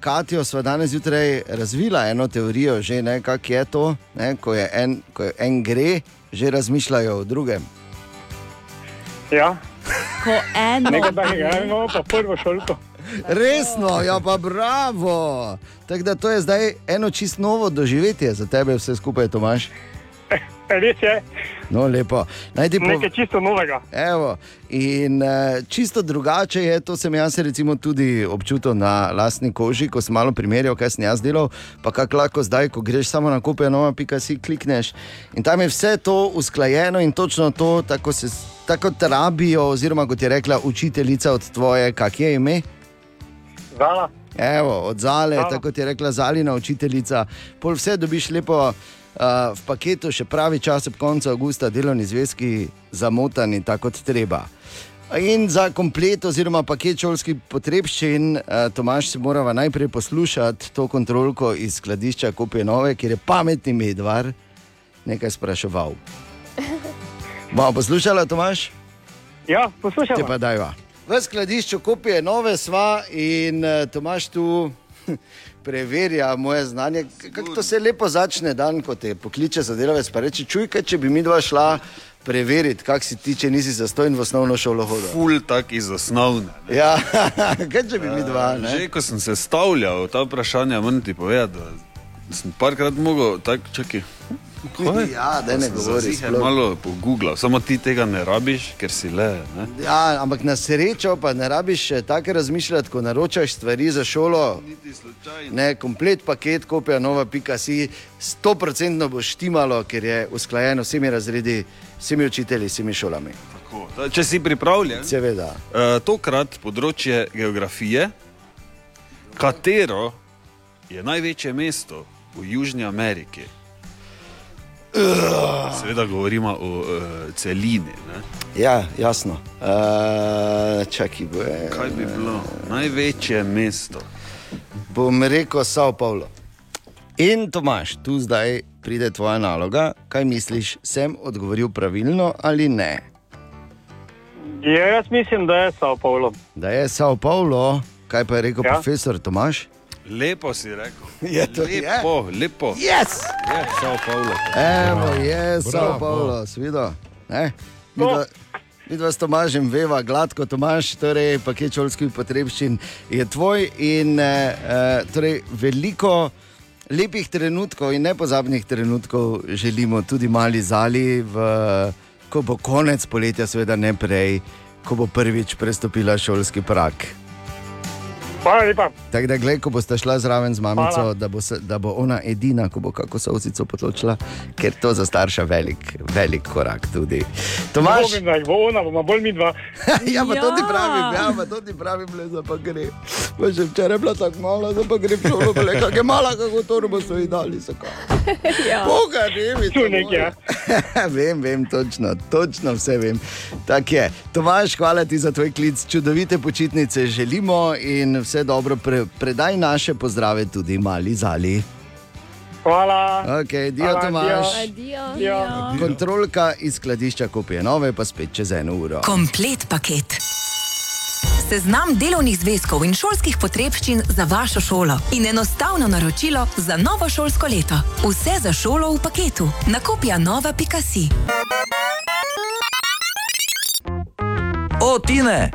[SPEAKER 3] Katijo sva danes zjutraj razvila eno teorijo, že ne, kako je to, ne, ko, je en, ko je en gre, že razmišljajo o drugem.
[SPEAKER 8] Ja,
[SPEAKER 4] Ko eno
[SPEAKER 8] nekaj takega, imamo pa prvo šolko.
[SPEAKER 3] Resno, ja pa bravo. Tako da to je zdaj eno čist novo doživetje za tebe, vse skupaj, Tomaž.
[SPEAKER 8] E, Res je,
[SPEAKER 3] No, lepo. Naj ti povem.
[SPEAKER 8] nekaj čisto novega.
[SPEAKER 3] Evo, in eh, čisto drugače je, to sem jaz recimo tudi občutil na lastni koži, ko sem malo primerjal, kaj sem jaz delal, pa kako lahko zdaj, ko greš samo na kupe, nova pika si klikneš. In tam je vse to usklajeno in točno to, tako se s- tako te rabijo, oziroma kot je rekla učiteljica od tvoje, kak je ime.
[SPEAKER 8] Zala,
[SPEAKER 3] Evo, od zale,
[SPEAKER 8] Hvala.
[SPEAKER 3] tako kot je rekla Zalina, učiteljica. Pol vse dobiš lepo uh, v paketu, še pravi čas ob koncu avgusta, delovni zvezki zamotani, tako kot treba. In za komplet oziroma paket šolskih potrebščin, eh, Tomaž, si morava najprej poslušati to kontrolko iz skladišča Kopje Nove, kjer je pametni medvar nekaj spraševal. Bomo poslušala, Tomaž?
[SPEAKER 8] ja,
[SPEAKER 3] Te
[SPEAKER 8] poslušaj.
[SPEAKER 3] pa dajva. V skladišču kopije nove sva in eh, Tomaš tu preverja moje znanje. K- Kako to se lepo začne dan, ko te pokliče za delavec, pa reče: Čujka, če bi mi dva šla preveriti, kak si ti, če nisi zastojen v osnovno šolo hodil.
[SPEAKER 9] ful tak iz osnovne. ne.
[SPEAKER 3] Ja, kaj če bi mi dva, ne?
[SPEAKER 9] Že ko sem se stavljal ta vprašanja, moram ti povedati, da sem parkrat mogel tako čakati.
[SPEAKER 3] Ja, daj ne govori sploh.
[SPEAKER 9] Malo pogooglal, samo ti tega ne rabiš, ker si le. Ne?
[SPEAKER 3] Ja, ampak na srečo pa ne rabiš še tako razmišljati, ko naročaš stvari za šolo. Ne, komplet paket, kopija nova, pika si, stoprocentno bo štimalo, ker je usklajeno s vsemi razredi, s vsemi učitelji, s vsemi šolami.
[SPEAKER 9] Tako, da, Če si pripravljen,
[SPEAKER 3] Seveda.
[SPEAKER 9] Eh, tokrat področje geografije, katero je največje mesto v Južni Ameriki. Seveda govorimo o eh, celini. Ne?
[SPEAKER 3] Ja, jasno. Uh, čakaj, bo,
[SPEAKER 9] Kaj bi bilo največje mesto?
[SPEAKER 3] bom rekel Sao Paulo. In Tomaš, tu zdaj pride tvoja naloga. Kaj misliš, sem odgovoril pravilno ali ne?
[SPEAKER 8] Ja, jaz mislim, da je Sao Paulo.
[SPEAKER 3] Da je Sao Paulo, kaj pa je rekel ja.
[SPEAKER 8] Ja.
[SPEAKER 3] profesor Tomaš?
[SPEAKER 9] Lepo si rekel.
[SPEAKER 3] Je to- je?
[SPEAKER 9] lepo, je. lepo.
[SPEAKER 3] Yes!
[SPEAKER 9] Je, Sao Paulo.
[SPEAKER 3] Evo, je Sao
[SPEAKER 6] Bravo.
[SPEAKER 3] Paulo, svido. Ne? Midva- Midva s Tomažem veva, gladko Tomaž, torej paket šolskih potrebščin je tvoj in eh, eh, torej veliko. Lepih trenutkov in nepozabnih trenutkov želimo tudi mali zali, v, ko bo konec poletja, seveda ne prej, ko bo prvič prestopila šolski prak.
[SPEAKER 8] Hvala lepa.
[SPEAKER 3] Tako da, gled, ko boste šla zraven z mamico,
[SPEAKER 8] Hvala.
[SPEAKER 3] da bo, se, da bo ona edina, ko bo kako sovcico potočila, ker to za starša velik, velik korak tudi. Tomaš,
[SPEAKER 8] Bogim, da jih bo ona, bomo bolj mi dva.
[SPEAKER 3] ja, pa to ti
[SPEAKER 4] Ja.
[SPEAKER 3] pravim, ja, pa to ti pravim, le za pa gre. Pa že včeraj je bila tako mala, zdaj pa gre šolo, le kako je mala, kako torbo so ji dali. Ja. Boga, ne mi to.
[SPEAKER 8] Tu nekje,
[SPEAKER 3] mora. vem, vem, točno, točno vse vem. Tako je. Tomaš, hvala ti za tvoj klic, čudovite počitnice želimo in vse dobro. Pre, predaj naše pozdrave tudi mali zali.
[SPEAKER 8] Hvala.
[SPEAKER 3] Okay, dio,
[SPEAKER 8] Hvala,
[SPEAKER 3] Tomaš.
[SPEAKER 8] dio.
[SPEAKER 2] Adijo.
[SPEAKER 8] Ja.
[SPEAKER 3] Kontrolka iz skladišča kopije nove, pa spet čez eno uro.
[SPEAKER 10] Komplet paket. Seznam delovnih zvezkov in šolskih potrebščin za vašo šolo in enostavno naročilo za novo šolsko leto. Vse za šolo v paketu. Nakopja nova.si.
[SPEAKER 1] O, Tine!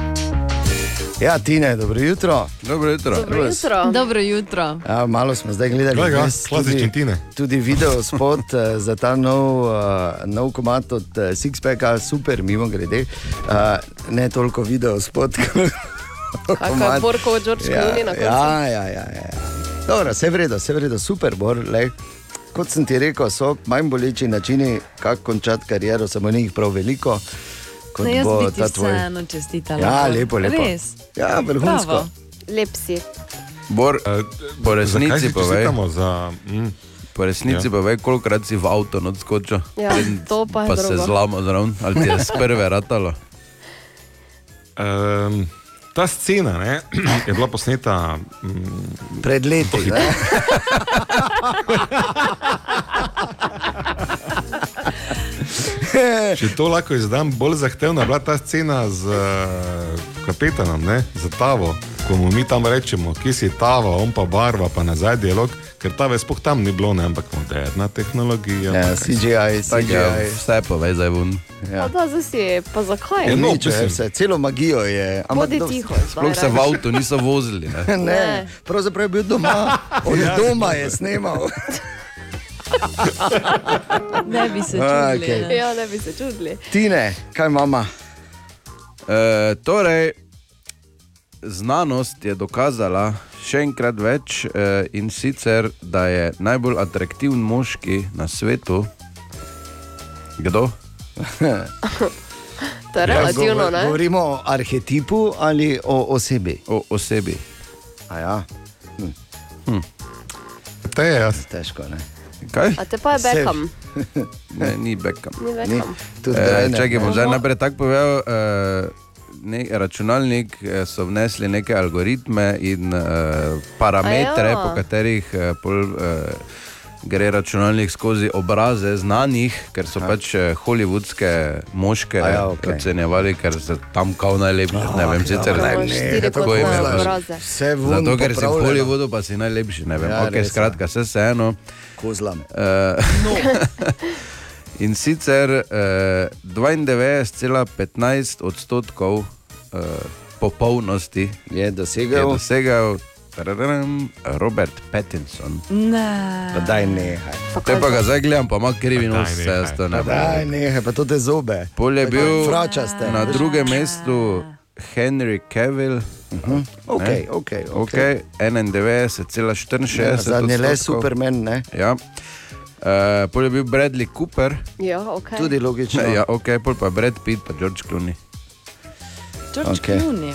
[SPEAKER 3] Ja, Tine, dobro jutro.
[SPEAKER 5] Dobro jutro.
[SPEAKER 2] Dobro jutro.
[SPEAKER 4] Dobro jutro.
[SPEAKER 3] Ja, malo smo zdaj gledali,
[SPEAKER 6] Glej ga,
[SPEAKER 3] vmes
[SPEAKER 6] klasičen Tine.
[SPEAKER 3] Tudi video spot eh, za ta nov, uh, nov komat od uh, Sixpacka, super, mimo grede. Uh, ne toliko video spot, kot
[SPEAKER 2] Kako je Borko od George
[SPEAKER 3] Ja,
[SPEAKER 2] Clooney na koncu?
[SPEAKER 3] ja, ja, ja, ja. Dobro, vse vredno, vse vredno, super, bor. Lej. Kot sem ti rekel, so manj boleči načini, kako končati kariero, samo ni jih prav veliko. Kot
[SPEAKER 4] Ne, No, jaz
[SPEAKER 3] bo
[SPEAKER 4] bi ti
[SPEAKER 3] ta tvoj.
[SPEAKER 4] vseeno čestitala.
[SPEAKER 3] Ja, lepo, lepo.
[SPEAKER 4] Res.
[SPEAKER 3] Ja, vrhunsko.
[SPEAKER 4] Bravo.
[SPEAKER 2] Lep si.
[SPEAKER 5] Bor,
[SPEAKER 6] E,
[SPEAKER 3] Eh,
[SPEAKER 5] po resnici povej,
[SPEAKER 6] Čestitamo za, mm,
[SPEAKER 5] po resnici
[SPEAKER 6] Ja.
[SPEAKER 5] povej, kolikrat si v avto odskočil.
[SPEAKER 2] Ja, to pa je
[SPEAKER 5] pa se
[SPEAKER 2] drugo.
[SPEAKER 5] zlama zraven, ali ti je s prve ratalo.
[SPEAKER 6] um, ta scena ne, je bila posneta mm,
[SPEAKER 3] Pred leti. ne?
[SPEAKER 6] Če to lahko izdam, bolj zahtevna je bila ta scena z eh, kapetanom, ne? z Tavo. Ko mu mi tam rečemo, ki si Tava, on pa barva, pa nazaj dialog, ker Tave spoh tam ni bilo, ne? ampak moderna tehnologija.
[SPEAKER 3] Ja,
[SPEAKER 6] ampak-
[SPEAKER 3] CGI,
[SPEAKER 5] Tako je, ja,
[SPEAKER 3] CGI.
[SPEAKER 5] vse povej zdaj ven.
[SPEAKER 2] Ja. Pa da zdaj si, pa zakaj?
[SPEAKER 6] Ja, no,
[SPEAKER 3] Uničil je
[SPEAKER 6] mislim.
[SPEAKER 3] vse, celo magijo je. ampak
[SPEAKER 2] Bodi
[SPEAKER 3] do-
[SPEAKER 2] tiho.
[SPEAKER 5] Sploh se v avtu niso vozili. Ne?
[SPEAKER 3] Ne,
[SPEAKER 2] Ne.
[SPEAKER 3] pravzaprav je bil doma, od
[SPEAKER 5] Ja.
[SPEAKER 3] doma je snimal.
[SPEAKER 4] Ne bi se
[SPEAKER 3] A,
[SPEAKER 4] čudili.
[SPEAKER 3] okej.
[SPEAKER 4] ne.
[SPEAKER 2] Ja, ne bi se čudili.
[SPEAKER 3] Tine, kaj mama?
[SPEAKER 5] E, torej, znanost je dokazala še enkrat več e, in sicer, da je najbolj atraktiven moški na svetu. Kdo?
[SPEAKER 2] To je relativno,
[SPEAKER 3] Ja, Govor-
[SPEAKER 2] ne?
[SPEAKER 3] Govorimo o arhetipu ali o osebi?
[SPEAKER 5] O osebi.
[SPEAKER 3] A ja,
[SPEAKER 6] Te je jaz.
[SPEAKER 3] težko ne.
[SPEAKER 5] Kaj?
[SPEAKER 2] A te pa je
[SPEAKER 3] Sef.
[SPEAKER 2] Beckham.
[SPEAKER 5] Ne, ni Beckham.
[SPEAKER 2] Ni
[SPEAKER 3] Ni,
[SPEAKER 2] Beckham.
[SPEAKER 5] E,
[SPEAKER 3] tudi Brejne.
[SPEAKER 5] Čakaj, bom zdaj najprej tako povedal. E, Ne, računalnik eh, so vnesli neke algoritme in uh, parametre,
[SPEAKER 2] Aja.
[SPEAKER 5] po katerih uh, pol, uh, gre računalnik skozi obraze znanih, ker so pač eh, holivudske moške
[SPEAKER 3] Aja,
[SPEAKER 5] ja,
[SPEAKER 3] okej.
[SPEAKER 5] okay. ocenjevali, ker so tam kao najlepši. ne vem, sicer
[SPEAKER 2] dobro.
[SPEAKER 5] No, ne,
[SPEAKER 2] Imaš štiri
[SPEAKER 5] kako
[SPEAKER 2] kot
[SPEAKER 5] jim je
[SPEAKER 2] na
[SPEAKER 5] bilo.
[SPEAKER 2] obraze.
[SPEAKER 3] Vse v
[SPEAKER 5] Zato, ker si v Hollywoodu, pa si najlepši. Ne vem,
[SPEAKER 3] Ja,
[SPEAKER 5] ja, okay,
[SPEAKER 3] res je.
[SPEAKER 5] skratka, vse vseeno.
[SPEAKER 3] Kozlam.
[SPEAKER 5] Eh, in sicer eh, 92,15 odstotkov eh, popolnosti
[SPEAKER 3] Je
[SPEAKER 5] je
[SPEAKER 3] dosegel,
[SPEAKER 5] dosegel tararam, Robert Pattinson.
[SPEAKER 4] Ne.
[SPEAKER 3] pa daj nehaj.
[SPEAKER 5] Te pa ga zdaj gledam, pa ima krivi
[SPEAKER 6] Pa daj,
[SPEAKER 5] nos, vse
[SPEAKER 6] nehaj.
[SPEAKER 5] jaz to
[SPEAKER 3] Pa
[SPEAKER 5] ne
[SPEAKER 3] daj
[SPEAKER 5] vem.
[SPEAKER 3] nehaj, pa tudi zobe.
[SPEAKER 5] Ah. Pol je bil
[SPEAKER 3] Vračaste.
[SPEAKER 5] na drugem mestu Henry Cavill.
[SPEAKER 3] Mhm. Ok, ok, ok.
[SPEAKER 5] Okay, 91,64.
[SPEAKER 3] Ja, Zadnji le
[SPEAKER 5] odstotkov.
[SPEAKER 3] Superman, ne?
[SPEAKER 5] Ja. Uh, pol je bil Bradley Cooper,
[SPEAKER 2] Ja, ok.
[SPEAKER 3] Tudi logično.
[SPEAKER 5] ja, okay, pol pa Brad Pitt, pa George Clooney.
[SPEAKER 4] George
[SPEAKER 3] Okej.
[SPEAKER 4] Clooney.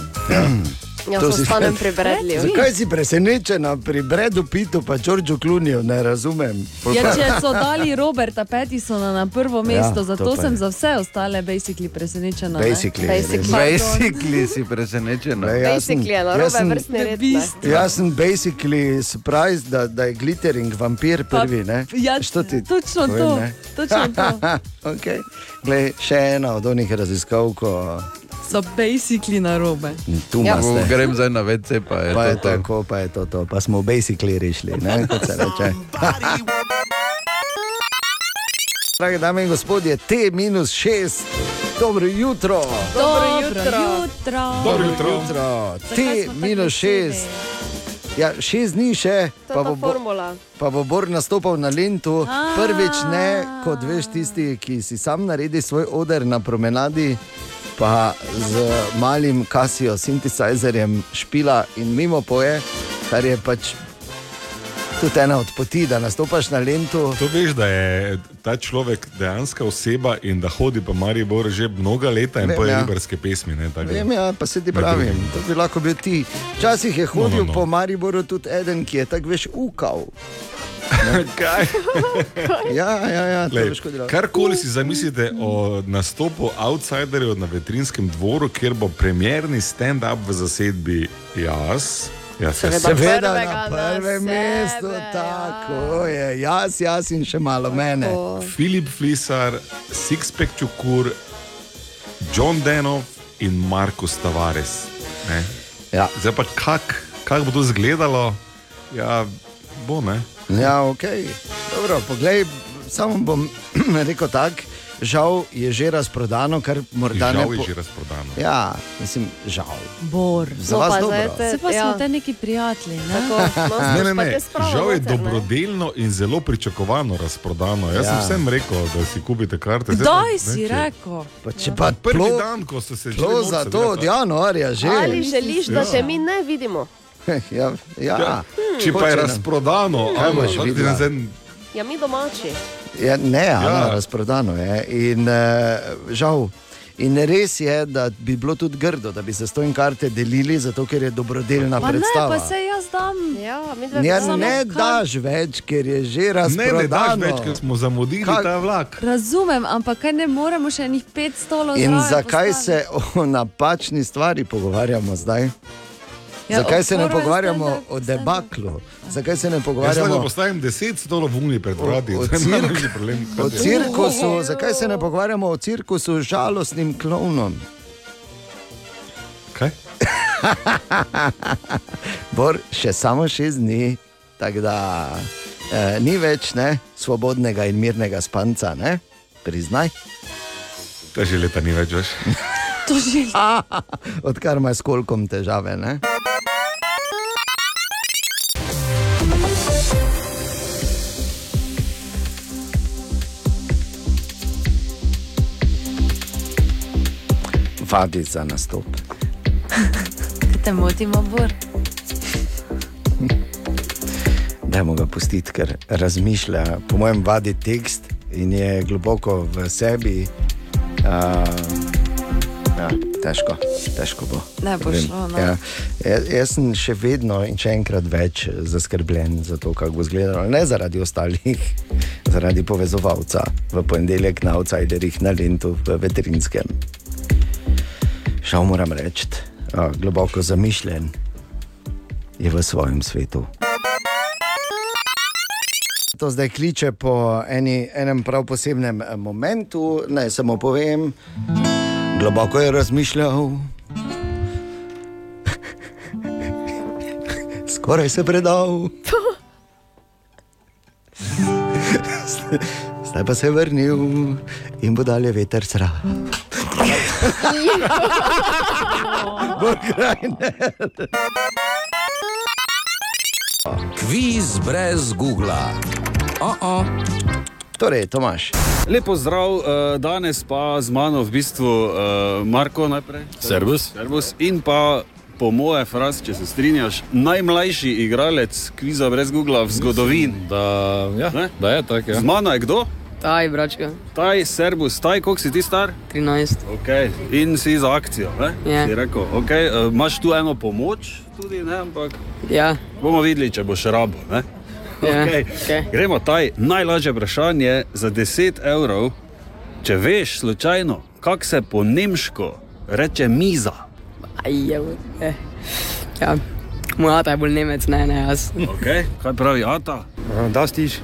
[SPEAKER 2] Ja,
[SPEAKER 3] To
[SPEAKER 2] sem
[SPEAKER 3] si-
[SPEAKER 2] stanem prebredljiv.
[SPEAKER 3] Zakaj si presenečena pri Bredu Pitu pa Đorđu Kluniju, ne razumem.
[SPEAKER 4] Ja, če so dali Roberta Pattisona na prvo mesto,
[SPEAKER 3] to
[SPEAKER 4] ja, zato
[SPEAKER 3] pa je.
[SPEAKER 4] sem za vse ostale basically presenečena. No, ne.
[SPEAKER 3] Basically.
[SPEAKER 2] Basic
[SPEAKER 3] res.
[SPEAKER 2] Pardon.
[SPEAKER 5] Basically si presenečen.
[SPEAKER 3] Ne, jaz sem-
[SPEAKER 2] Basically je
[SPEAKER 3] jaz
[SPEAKER 2] narobe
[SPEAKER 3] sem-
[SPEAKER 2] vrstni red. ne.
[SPEAKER 4] Bist.
[SPEAKER 3] Jaz sem basically surprised, da, da je glittering vampir prvi. Ne?
[SPEAKER 4] ja,
[SPEAKER 3] Što ti
[SPEAKER 4] točno
[SPEAKER 3] povem,
[SPEAKER 4] to,
[SPEAKER 3] ne?
[SPEAKER 4] točno to.
[SPEAKER 3] okay. Glej, še ena od onih raziskav, ko
[SPEAKER 4] So basically na robe.
[SPEAKER 3] tu ja.
[SPEAKER 5] Ko
[SPEAKER 3] imamo.
[SPEAKER 5] grem zdaj na WC, pa je
[SPEAKER 3] Pa
[SPEAKER 5] to
[SPEAKER 3] je
[SPEAKER 5] to.
[SPEAKER 3] tako, pa je to to, pa smo basically rešili, ne, kot se reče. Drage dame in gospodje, T-6, dobro jutro.
[SPEAKER 4] Dobro jutro. jutro.
[SPEAKER 6] Dobro jutro.
[SPEAKER 3] jutro.
[SPEAKER 4] Zakaj smo tako
[SPEAKER 3] T-6,
[SPEAKER 4] veseli?
[SPEAKER 3] ja, šest dni še,
[SPEAKER 2] To
[SPEAKER 3] pa
[SPEAKER 2] je
[SPEAKER 3] bo,
[SPEAKER 2] ta
[SPEAKER 3] bo,
[SPEAKER 2] formula.
[SPEAKER 3] Pa bo Bor nastopal na Lendu, prvič ne, kot veš, tisti, ki si sam naredi svoj oder na promenadi, pa z malim Casio sintetizerjem špila in mimo poje, kar je pač tudi ena od poti, da nastopaš na lentu.
[SPEAKER 6] To veš, da je ta človek dejanska oseba in da hodi po Mariboru že mnoga leta in
[SPEAKER 3] Vem,
[SPEAKER 6] poje
[SPEAKER 3] ja.
[SPEAKER 6] liberske pesmi. Ne, tako da-
[SPEAKER 3] Vem, ja, pa se ti
[SPEAKER 6] Med
[SPEAKER 3] pravim,
[SPEAKER 6] drugim.
[SPEAKER 3] to bi lahko bil ti. Včasih je hodil no, no, no.
[SPEAKER 6] no.
[SPEAKER 3] po Mariboru tudi eden, ki je tako veš ukal.
[SPEAKER 6] Kaj?
[SPEAKER 3] Ja, ja, ja, to
[SPEAKER 6] Glej,
[SPEAKER 3] je škodilo.
[SPEAKER 6] Karkoli si zamislite o nastopu outsiderjev na veterinskem dvoru, kjer bo premjerni stand-up v zasedbi jaz. ja, jaz
[SPEAKER 2] Seveda.
[SPEAKER 6] jaz.
[SPEAKER 3] Seveda,
[SPEAKER 2] Prvega
[SPEAKER 3] na
[SPEAKER 2] na
[SPEAKER 3] prvem
[SPEAKER 2] sebe,
[SPEAKER 3] mestu,
[SPEAKER 2] ja.
[SPEAKER 3] tako je, jaz, jaz in še malo mene.
[SPEAKER 2] O,
[SPEAKER 6] Filip Flisar, Sixpack Čukur, John Denov in Marko Tavares. Ne?
[SPEAKER 3] Ja.
[SPEAKER 6] Zdaj pa kako kak bo to izgledalo, ja, bo ne.
[SPEAKER 3] Ja, ok. Dobro, poglej, samo bom rekel tako, žal je že razprodano, kar morda
[SPEAKER 6] Žal
[SPEAKER 3] ne
[SPEAKER 6] je
[SPEAKER 3] po-
[SPEAKER 6] že razprodano.
[SPEAKER 3] Ja, mislim, žal.
[SPEAKER 4] Bor.
[SPEAKER 3] Za
[SPEAKER 2] No,
[SPEAKER 3] vas
[SPEAKER 2] pa
[SPEAKER 3] dobro.
[SPEAKER 2] zdaj te-
[SPEAKER 4] Se pa ja.
[SPEAKER 2] ja.
[SPEAKER 4] smo te neki prijatelji. Ne?
[SPEAKER 2] Tako, no,
[SPEAKER 6] Ne,
[SPEAKER 2] pa
[SPEAKER 6] ne,
[SPEAKER 2] te
[SPEAKER 6] ne.
[SPEAKER 2] spravil
[SPEAKER 6] Žal je
[SPEAKER 2] noter, ne.
[SPEAKER 6] dobrodelno in zelo pričakovano razprodano. Jaz
[SPEAKER 3] Ja.
[SPEAKER 6] sem vsem rekel, da si kupite karte. Zdaj pa
[SPEAKER 4] Kdaj
[SPEAKER 6] ne,
[SPEAKER 4] si
[SPEAKER 6] če-
[SPEAKER 4] rekel?
[SPEAKER 3] Pa če
[SPEAKER 2] no.
[SPEAKER 3] pa
[SPEAKER 6] Prvi
[SPEAKER 3] plo,
[SPEAKER 6] dan, ko so se že
[SPEAKER 3] plo
[SPEAKER 6] norca
[SPEAKER 3] za to ja.
[SPEAKER 6] delala.
[SPEAKER 3] od januarja že.
[SPEAKER 2] Ali želiš, da
[SPEAKER 6] Ja.
[SPEAKER 2] te mi ne vidimo?
[SPEAKER 3] Ja, ja.
[SPEAKER 6] Ja. Če pa
[SPEAKER 3] Hoče
[SPEAKER 6] je
[SPEAKER 3] nam.
[SPEAKER 6] razprodano,
[SPEAKER 3] Kaj
[SPEAKER 6] ajmo,
[SPEAKER 3] boš
[SPEAKER 6] lahko ti
[SPEAKER 3] videla?
[SPEAKER 6] nazaj-
[SPEAKER 2] Ja, mi domači.
[SPEAKER 3] Ja, ne, ja.
[SPEAKER 6] Ja.
[SPEAKER 3] Ana, razprodano je. In, uh, žal. In res je, da bi bilo tudi grdo, da bi se s to in karte delili, zato ker je dobrodelna
[SPEAKER 4] Ma ne,
[SPEAKER 3] predstava.
[SPEAKER 4] pa se jaz dam.
[SPEAKER 2] Ja, mi dva
[SPEAKER 3] Ja,
[SPEAKER 2] bi samo-
[SPEAKER 3] ne daš več, ker je že
[SPEAKER 6] Ne, ne daš
[SPEAKER 3] razprodano.
[SPEAKER 6] več, ker smo zamudili
[SPEAKER 3] Kaj-
[SPEAKER 6] ta vlak.
[SPEAKER 4] Razumem, ampak kaj ne moremo še enih pet stolov
[SPEAKER 3] In
[SPEAKER 4] zraven
[SPEAKER 3] zakaj
[SPEAKER 4] postaviti?
[SPEAKER 3] se o napačni stvari pogovarjamo zdaj? Ja, zakaj
[SPEAKER 4] ob
[SPEAKER 3] se ne
[SPEAKER 4] prvem
[SPEAKER 3] pogovarjamo
[SPEAKER 4] stand-up-
[SPEAKER 3] o
[SPEAKER 4] stand-up.
[SPEAKER 3] debaklu? Zakaj se ne
[SPEAKER 6] Jaz lahko
[SPEAKER 3] pogovarjamo
[SPEAKER 6] postavim 10 stolov v Uniji pred vrati.
[SPEAKER 3] O- o
[SPEAKER 6] To je
[SPEAKER 3] cirk-
[SPEAKER 6] najmanjši problem.
[SPEAKER 3] o cirkusu? Zakaj se ne pogovarjamo o cirkusu z žalostnim klovnom?
[SPEAKER 6] Kaj?
[SPEAKER 3] Bor še samo šest dni, tako da eh, ni več ne, svobodnega in mirnega spanca, ne? priznaj.
[SPEAKER 6] To že leta ni več, veš.
[SPEAKER 4] To že
[SPEAKER 3] Odkar imaš s kolkom težave. Ne? Vabi za nastop.
[SPEAKER 4] te motimo, Bor.
[SPEAKER 3] Dajmo ga pustiti, ker razmišlja, po mojem, vadi tekst in je globoko v sebi. Uh, ja, težko, težko bo.
[SPEAKER 4] Ne bo
[SPEAKER 3] Vem.
[SPEAKER 4] šlo, no.
[SPEAKER 3] Ja, jaz, jaz sem še vedno in še enkrat več zaskrbljen za to, kako bo izgledalo. Ne zaradi ostalih, zaradi povezovalca v ponedeljek na outsiderjih na Lendu v veterinskem. Žal moram reči, a, globoko zamišljen je v svojem svetu. To zdaj kliče po eni, enem prav posebnem eh, momentu, naj samo povem, globoko je razmišljal. Skoraj se predal. Zdaj pa se je vrnil in bo dalje veter sra.
[SPEAKER 1] Kviz brez Google. O-o.
[SPEAKER 3] Torej, Tomaš,
[SPEAKER 9] Lepo zdrav, uh, danes pa z mano v bistvu uh, Marko najprej. Servus. Servus. In pa po moje, Fras, če se strinjaš, najmlajši igralec kviza brez Google v zgodovini.
[SPEAKER 11] Da, ja,
[SPEAKER 9] Ne?
[SPEAKER 11] da je tako. Ja.
[SPEAKER 9] Z mano je kdo?
[SPEAKER 12] Taj, bračka,
[SPEAKER 9] Taj, Servus, taj, koliko si ti star?
[SPEAKER 12] 13.
[SPEAKER 9] Okay. In si za akcijo. Ne?
[SPEAKER 12] Ja.
[SPEAKER 9] Si rekel, okay, uh, imaš tu eno pomoč, tudi ne, ampak
[SPEAKER 12] Ja,
[SPEAKER 9] bomo videli, če boš rabo. Ne?
[SPEAKER 12] ja.
[SPEAKER 9] Okej.
[SPEAKER 12] okej.
[SPEAKER 9] Gremo taj najlažje vprašanje za 10 evrov. Če veš slučajno, kako se po nemško reče miza.
[SPEAKER 12] Aj, ja, eh. ja. Moj ata je bolj nemec, ne, ne, jaz.
[SPEAKER 9] Okay. Kaj pravi Ata? Da stiš.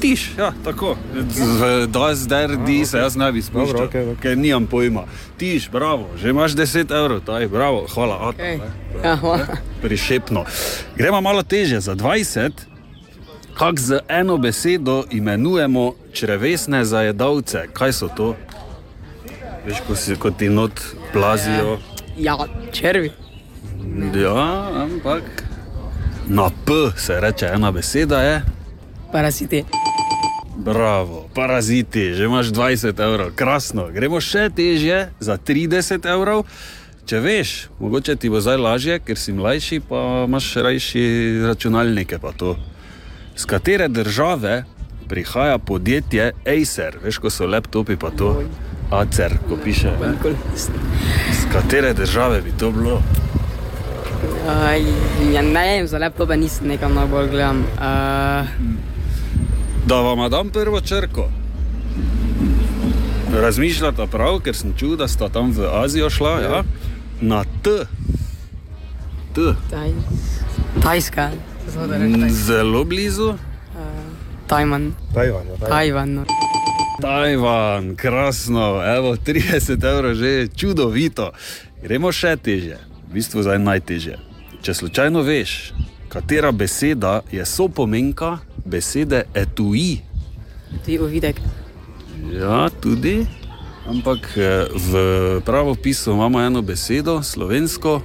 [SPEAKER 9] Tiš, ja, tako. Z- Da zdaj di se jaz ne bi spuščal,
[SPEAKER 11] Dobro, okej, okej.
[SPEAKER 9] ker nimam pojma. Tiš, bravo, že imaš 10 evrov, taj, bravo, hvala Ata.
[SPEAKER 12] Okej.
[SPEAKER 9] ne.
[SPEAKER 12] Ja, hvala.
[SPEAKER 9] Prišepno. Gremo malo teže za 20. Kako z eno besedo imenujemo črevesne zajedavce? Kaj so to? Veš, ko, si, ko ti not plazijo.
[SPEAKER 12] ja črvi.
[SPEAKER 9] Ja, ampak. Na P se reče ena beseda je.
[SPEAKER 12] Parasiti.
[SPEAKER 9] Bravo, paraziti, že imaš 20 evrov, krasno. Gremo še težje za 30 evrov. Če veš, mogoče ti bo zdaj lažje, ker si mlajši, pa imaš rajši računalnike. pa to. Z katere države prihaja podjetje Acer, veš, ko so laptopi, pa to Acer, ko piše. ne? Z katere države bi to bilo?
[SPEAKER 12] Aj, ja ne vem, za laptope nisem nekam najbolj gledam. Uh,
[SPEAKER 9] Da vam dam prvo črko. Razmišljate prav, ker sem čutil, da sta tam v Azijo šla. Ja? Na T. T.
[SPEAKER 12] taj, tajska, zato da rečem.
[SPEAKER 9] N- Zelo blizu.
[SPEAKER 12] Tajman.
[SPEAKER 9] Tajvan.
[SPEAKER 12] Tajvan. no.
[SPEAKER 9] Tajvan, krasno, evo 30 evrov že je čudovito. Gremo še teže, v bistvu zdaj najteže. Če slučajno veš, katera beseda je sopomenka besede etui.
[SPEAKER 12] Ti uvidek.
[SPEAKER 9] Ja, tudi. Ampak eh, v pravopisu imamo eno besedo, slovensko,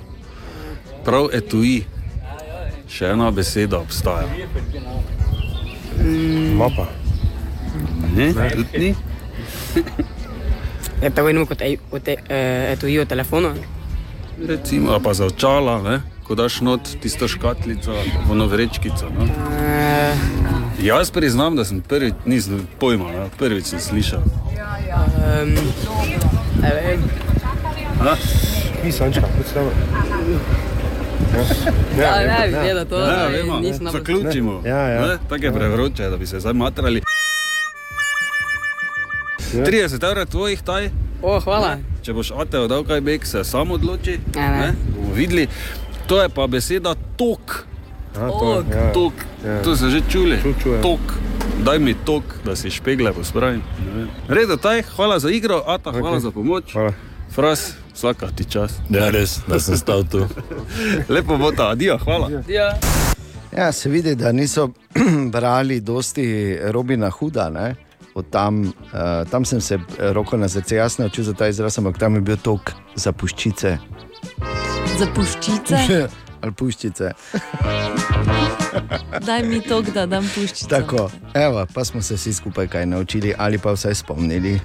[SPEAKER 9] prav etui. Še ena beseda obstaja. Mapa. Ne, tudi ni.
[SPEAKER 12] Je Ja, tako imenujemo kot ej- kot ej- eh, etui v telefonu.
[SPEAKER 9] Recimo, ali pa za očala, ne? ko daš not tisto škatlico, ono vrečkico. No?
[SPEAKER 12] Eh,
[SPEAKER 9] Jaz priznam, da sem prvič, nisem pojma, ne? prvič sem slišal.
[SPEAKER 12] em, ne vem.
[SPEAKER 11] Pisančka, kot ste
[SPEAKER 12] Ja, ne bi vedel to,
[SPEAKER 9] Ja,
[SPEAKER 12] da
[SPEAKER 9] vemo,
[SPEAKER 12] nisem na
[SPEAKER 9] zaključimo. Ja, ja. Tako je prevroče, da bi se zdaj matrali. 30 evrov tvojih taj.
[SPEAKER 12] O, hvala.
[SPEAKER 9] Če boš ateo dal kaj bek, se sam odloči.
[SPEAKER 12] Ja, ne.
[SPEAKER 9] Bomo videli. To je pa beseda tok.
[SPEAKER 12] to, Tok. ja.
[SPEAKER 9] tok.
[SPEAKER 12] Ja.
[SPEAKER 9] To se že čuli. Tok. Daj mi tok, da si špegle pospravim. Redo taj, hvala za igro, Ata, okay. hvala za pomoč. Hvala. Fras, vsaka ti čas.
[SPEAKER 13] Ja, res, da sem stal tu.
[SPEAKER 9] Lepo bo ta, adijo, hvala.
[SPEAKER 12] Ja.
[SPEAKER 3] Ja, se vidi, da niso brali dosti Robina Huda. Ne? Od Tam, uh, tam sem se eh, roko na srce jaz naučil za ta izraz, ampak tam je bil tok za puščice.
[SPEAKER 4] Za puščice,
[SPEAKER 3] Ali puščice.
[SPEAKER 4] daj mi to, da dam puščice.
[SPEAKER 3] Tako, evo, pa smo se vsi skupaj kaj naučili ali pa vsaj spomnili.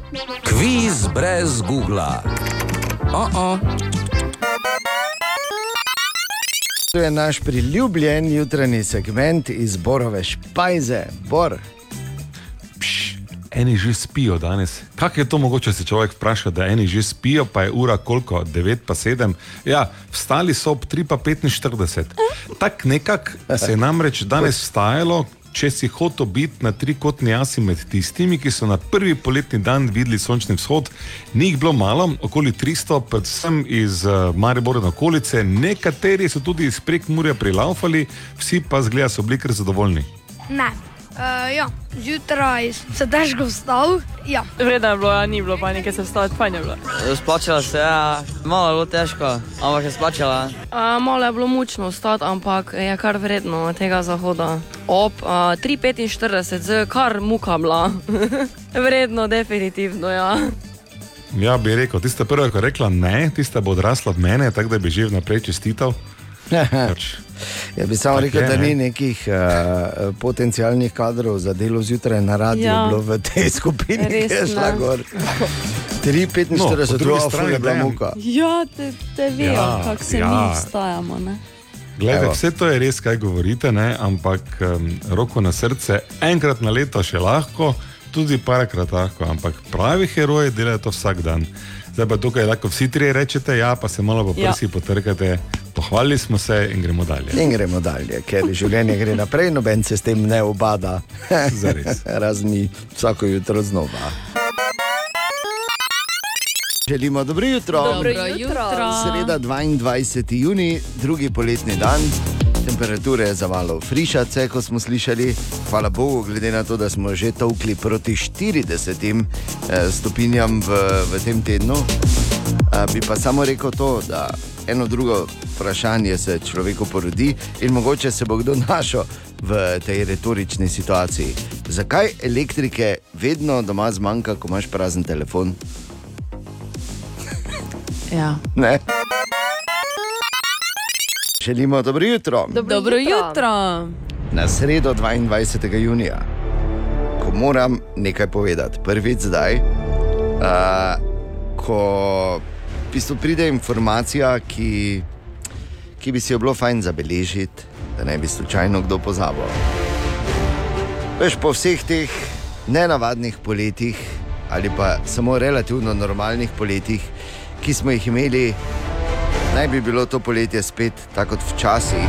[SPEAKER 1] Kviz brez Google.
[SPEAKER 3] Oh -oh. To je naš priljubljen jutranji segment iz Borove špajze, Bor.
[SPEAKER 6] Eni že spijo danes. Kako je to mogoče, se človek vpraša, da eni že spijo, pa je ura koliko, 9 pa 7. Ja, vstali so ob 3 pa 45. Tako nekako se je namreč danes vstajalo. Če si hotel biti na trikotni jasi med tistimi, ki so na prvi poletni dan videli sončni vzhod, ni jih bilo malo, okoli 300, predvsem iz eh, Maribora in okolice, nekateri so tudi iz prek Murja prilaufali, vsi pa zgleda so bili kar zadovoljni.
[SPEAKER 14] Ne. Uh, ja, zjutraj se daš go vstal. Ja.
[SPEAKER 15] Vredno je bilo, ja, ni bilo panike, se vstati pa ni bilo.
[SPEAKER 16] Splačala se je, ja. malo je bilo težko, ampak je splačala.
[SPEAKER 15] A, malo je bilo mučno vstati, ampak je kar vredno tega zahoda. Ob a, 3:45 z kar muka bila. vredno, definitivno, ja.
[SPEAKER 6] Ja, bi rekel, tiste prve, ki je rekla ne, tiste bo odrasla od mene, tako da bi že vnaprej čestital. Pač,
[SPEAKER 3] Jaz Ja, bi samo
[SPEAKER 6] Tako
[SPEAKER 3] rekel,
[SPEAKER 6] je,
[SPEAKER 3] da
[SPEAKER 6] ne.
[SPEAKER 3] ni nekih uh, potencijalnih kadrov za delo zjutraj na radiju,
[SPEAKER 6] Ja.
[SPEAKER 3] ja. bilo v tej skupini,
[SPEAKER 15] Res
[SPEAKER 3] ki je šla
[SPEAKER 15] ne.
[SPEAKER 3] gor.
[SPEAKER 6] No, po
[SPEAKER 3] 3,45
[SPEAKER 6] drugi
[SPEAKER 3] druga
[SPEAKER 6] strani,
[SPEAKER 3] strani je bila
[SPEAKER 6] Dejan.
[SPEAKER 3] muka.
[SPEAKER 4] Ja, te, te
[SPEAKER 6] Ja,
[SPEAKER 4] vejo, ja, kako se
[SPEAKER 6] ja.
[SPEAKER 4] ja. mi vstajamo. Ne?
[SPEAKER 6] Glede,
[SPEAKER 4] Evo.
[SPEAKER 6] vse to je res, kaj govorite, ne? ampak um, roko na srce, enkrat na leto še lahko, tudi parkrat lahko, ampak pravi heroji delajo to vsak dan. Zdaj pa tukaj lahko vsi trije rečete, ja, pa se malo po
[SPEAKER 3] Ja.
[SPEAKER 6] prsi potrkate, pohvalili smo se in gremo dalje.
[SPEAKER 3] In gremo dalje, ker življenje gre naprej, noben se s tem ne obada.
[SPEAKER 4] Ja.
[SPEAKER 6] Zares.
[SPEAKER 3] Razni vsako jutro znova. Želimo dobro jutro.
[SPEAKER 2] Dobro Dobro jutro. jutro.
[SPEAKER 3] Sreda 22. juni, drugi poletni dan. Temperature je zavalo frišace, kot smo slišali. Hvala Bogu, glede na to, da smo že tovkli proti 40 eh, stopinjam v, v tem tednu. Eh, bi pa samo rekel to, da eno drugo vprašanje se človeku porodi in mogoče se bo kdo našel v tej retorični situaciji. Zakaj elektrike vedno doma zmanjka, ko imaš prazen telefon?
[SPEAKER 4] Ja.
[SPEAKER 3] Ne. Želimo dobro jutro.
[SPEAKER 4] Dobro jutro.
[SPEAKER 3] Na sredo 22. junija, ko ko moram nekaj povedati. Prvič zdaj, uh, ko v bistvu pride informacija, ki, ki bi si jo bilo fajn zabeležiti, da ne bi slučajno kdo pozabil. Veš, po vseh teh nenavadnih poletjih ali pa samo relativno normalnih poletjih, ki smo jih imeli, naj bi bilo to poletje spet tako kot včasih,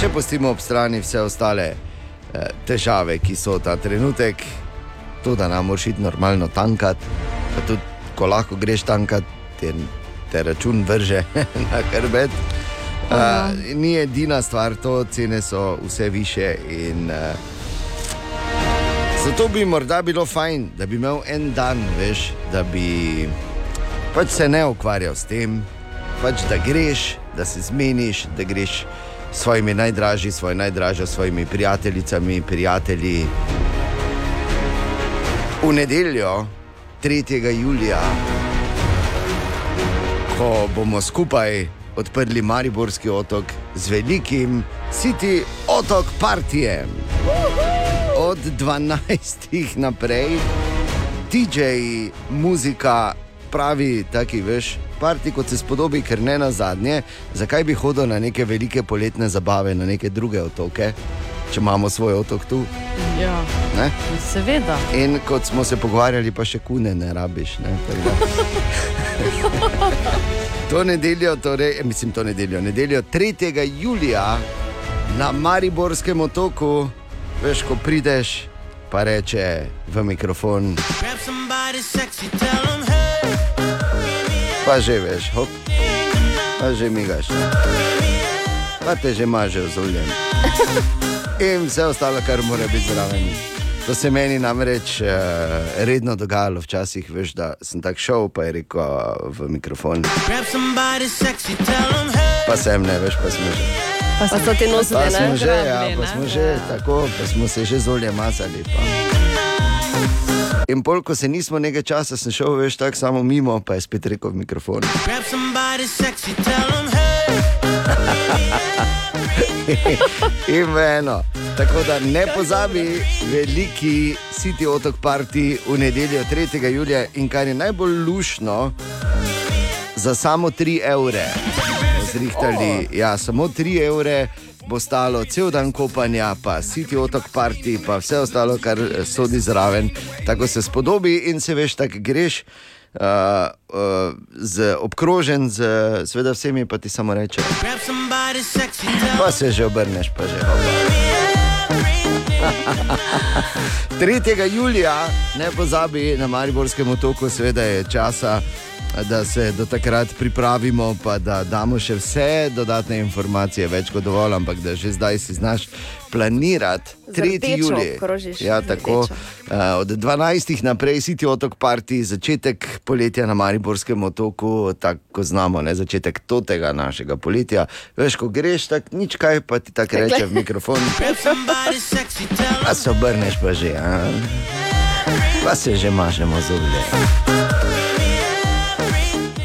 [SPEAKER 3] če pustimo ob strani vse ostale eh, težave, ki so ta trenutek, to da nam moraš iti normalno tankati, pa tudi ko lahko greš tankati, te, te račun vrže na hrbet.
[SPEAKER 11] Aha.
[SPEAKER 3] Uh, ni edina stvar, to cene so vse više. In, uh, zato bi morda bilo fajn, da bi imel en dan, veš, da bi pač se ne ukvarjal s tem, pač da greš, da se zmeniš, da greš s svojimi najdražji, svojo najdražjo, s svojimi prijateljicami, prijatelji. V nedeljo, 3. julija, ko bomo skupaj odprli Mariborski otok z velikim City Otok Partijem. Od 12. naprej, DJ, muzika, pravi, taki veš, parti kot se spodobi, ker ne na zadnje, zakaj bi hodil na neke velike poletne zabave, na neke druge otoke, če imamo svoj otok tu.
[SPEAKER 4] Ja,
[SPEAKER 3] Ne?
[SPEAKER 4] seveda.
[SPEAKER 3] In kot smo se pogovarjali, pa še kune ne rabiš. Ne? Tako da. To nedeljo, torej, eh, mislim, to nedeljo, nedeljo 3. julija na Mariborskem otoku, veš, ko prideš, pa reče v mikrofon, pa že veš, hop, pa že migaš, pa te že maže zoljen. In vse ostalo, kar mora biti zraven. To se meni namreč uh, redno dogajalo, včasih veš, da sem tako šel, pa je rekel eh, v mikrofon. Pa sem ne veš, pa smo že.
[SPEAKER 2] Pa so ti nosili,
[SPEAKER 3] Pa smo
[SPEAKER 2] ne?
[SPEAKER 3] že, ja, pa smo že tako, pa smo se že zolje mazali. Pa. In pol, ko se nismo nekaj časa, sem šel, veš, tako samo mimo, pa je spet rekel v mikrofon. In v eno. Tako da ne pozabi, veliki City Otok Party v nedeljo 3. julija in kar je najbolj lušno, za samo 3 evre. Zrihtali, oh. ja, samo 3 evre bo stalo cel dan kopanja, pa City Otok Party, pa vse ostalo, kar eh, sodi zraven. Tako se spodobi in se veš, tako greš. Uh, uh, z, obkrožen z eh, seveda, vsemi, pa ti samo reče. Pa se že obrneš, pa že. Oba. 3. julija, ne pozabi na Mariborskem otoku, seveda je časa, da se do takrat pripravimo, pa da damo še vse dodatne informacije, več kot dovolj, ampak da že zdaj si znaš planirati.
[SPEAKER 2] Z
[SPEAKER 3] 3.
[SPEAKER 2] rdečo
[SPEAKER 3] julij.
[SPEAKER 2] obkrožiš,
[SPEAKER 3] Ja,
[SPEAKER 2] z
[SPEAKER 3] tako,
[SPEAKER 2] rdečo.
[SPEAKER 3] eh, od 12. naprej si ti otok parti, začetek poletja na Mariborskem otoku, tako znamo, ne, začetek tega našega poletja. Veš, ko greš, tako nič kaj, pa ti tako reče v mikrofon. Pa se obrneš pa že, a? pa se že mažemo zublje.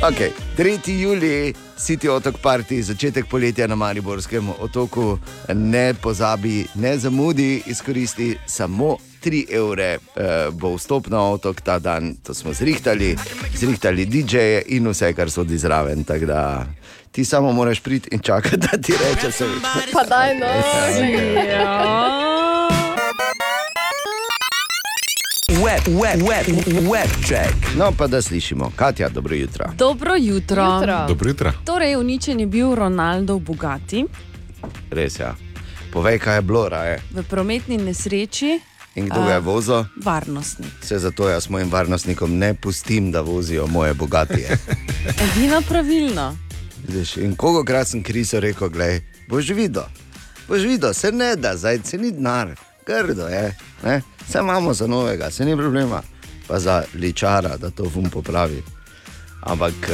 [SPEAKER 3] Okay. 3. julij, City Otok Party, začetek poletja na Mariborskem otoku. Ne pozabi, ne zamudi, izkoristi samo 3 evre. Eh, bo vstop na otok ta dan, to smo zrihtali, zrihtali DJ-je in vse, kar sodi zraven. tako Da, ti samo moraš priti in čakati, da ti reče se več.
[SPEAKER 2] Pa daj no.
[SPEAKER 1] Web, web, web, web check.
[SPEAKER 3] No, pa da slišimo, Katja, dobro jutro.
[SPEAKER 4] Dobro jutro.
[SPEAKER 3] Dobro jutro.
[SPEAKER 4] Torej, uničen je bil Ronaldo Bugatti
[SPEAKER 3] Res je. Ja. Povej, kaj je bilo, raje.
[SPEAKER 4] v prometni nesreči,
[SPEAKER 3] In kdo ga je
[SPEAKER 4] A.
[SPEAKER 3] vozil?
[SPEAKER 4] varnostni.
[SPEAKER 3] Vse zato jaz mojim varnostnikom ne pustim, da vozijo moje bogatije.
[SPEAKER 4] Edino pravilno.
[SPEAKER 3] Vidiš, in koliko krat sem krizo rekel, glej, boš videl, boš videl, se ne da, zdaj se ni denar, grdo je, ne? vse imamo za novega, se ni problema, pa za ličara, da to vum popravi. Ampak uh,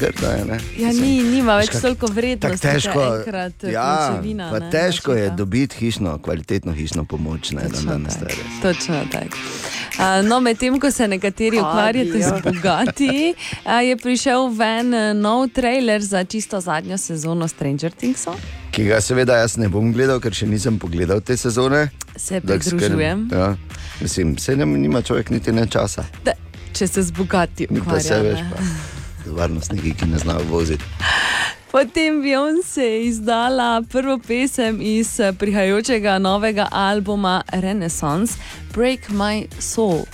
[SPEAKER 3] grdo je, ne.
[SPEAKER 4] Ja,
[SPEAKER 3] Mislim,
[SPEAKER 4] ni, nima več
[SPEAKER 3] veš, kak-
[SPEAKER 4] toliko
[SPEAKER 3] Tako
[SPEAKER 4] vrednosti.
[SPEAKER 3] težko,
[SPEAKER 4] ja,
[SPEAKER 3] ja, pa težko je dobiti hišno, kvalitetno hišno pomoč. Ne, dan danes, to je res.
[SPEAKER 4] Točno tako. A, No, medtem ko se nekateri ukvarjate z bogati, a, je prišel ven eh, nov trailer za čisto zadnjo sezono Stranger Thingsov.
[SPEAKER 3] Ki ga seveda jaz ne bom gledal, ker še nisem pogledal te sezone.
[SPEAKER 4] Se
[SPEAKER 3] Tako skrb-
[SPEAKER 4] pridružujem.
[SPEAKER 3] Ja. Mislim, sedem nima človek niti ne časa.
[SPEAKER 4] Da, če se zbogati,
[SPEAKER 3] Ni pa se veš,
[SPEAKER 4] ukvarja. ne.
[SPEAKER 3] pa varnostniki, ki ne znajo voziti.
[SPEAKER 4] Potem Beyoncé je izdala prvo pesem iz eh, prihajajočega novega albuma Renaissance, Break My Soul.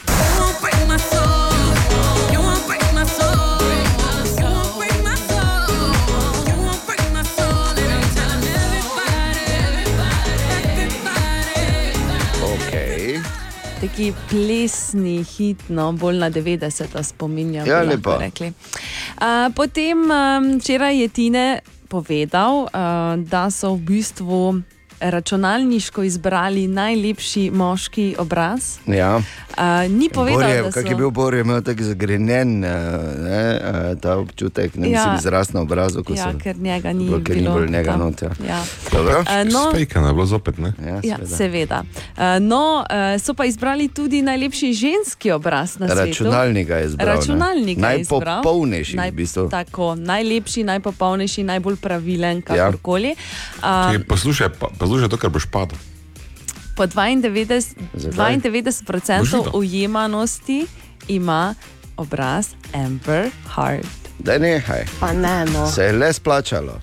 [SPEAKER 3] Okay.
[SPEAKER 4] Taki plesni hit, no, bolj na 90-ta spominja.
[SPEAKER 3] Ja,
[SPEAKER 4] bi lahko
[SPEAKER 3] lepa.
[SPEAKER 4] rekli. A, potem um, včeraj je Tine povedal, a, da so v bistvu računalniško izbrali najlepši moški obraz.
[SPEAKER 3] Ja.
[SPEAKER 4] A, ni povedal, da
[SPEAKER 3] Borje,
[SPEAKER 4] so...
[SPEAKER 3] kak je bil Borje, imel tako zagrenjen eh, ne, eh, ta občutek, ne
[SPEAKER 4] Ja.
[SPEAKER 3] mislim, izraz na obrazu, ko
[SPEAKER 4] Ja,
[SPEAKER 3] so.
[SPEAKER 4] ker njega ni
[SPEAKER 3] Ker ni
[SPEAKER 4] bilo
[SPEAKER 3] bolj njega
[SPEAKER 4] tam.
[SPEAKER 3] not, ja.
[SPEAKER 4] Ja.
[SPEAKER 3] Dobro.
[SPEAKER 4] Eh, no-
[SPEAKER 6] Spejkana je bilo zopet, ne?
[SPEAKER 4] Ja, seveda. Eh, No, eh, so pa izbrali tudi najlepši ženski obraz na svetu.
[SPEAKER 3] Računalnika je izbral. ne.
[SPEAKER 4] Računalnik je izbral.
[SPEAKER 3] Najpopolnejši v
[SPEAKER 4] Naj-
[SPEAKER 3] bistvu.
[SPEAKER 4] Tako, najlepši, najpopolnejši, najbolj pravilen, kakorkoli. Ja.
[SPEAKER 6] Če poslušaj, pa, poslušaj to, kar boš padel.
[SPEAKER 4] Po 92,
[SPEAKER 6] Zakaj?
[SPEAKER 4] 92%
[SPEAKER 6] Božido.
[SPEAKER 4] ujemanosti ima obraz Amber Heart.
[SPEAKER 3] Da nehaj.
[SPEAKER 4] Pa ne, no.
[SPEAKER 3] Se je le splačalo.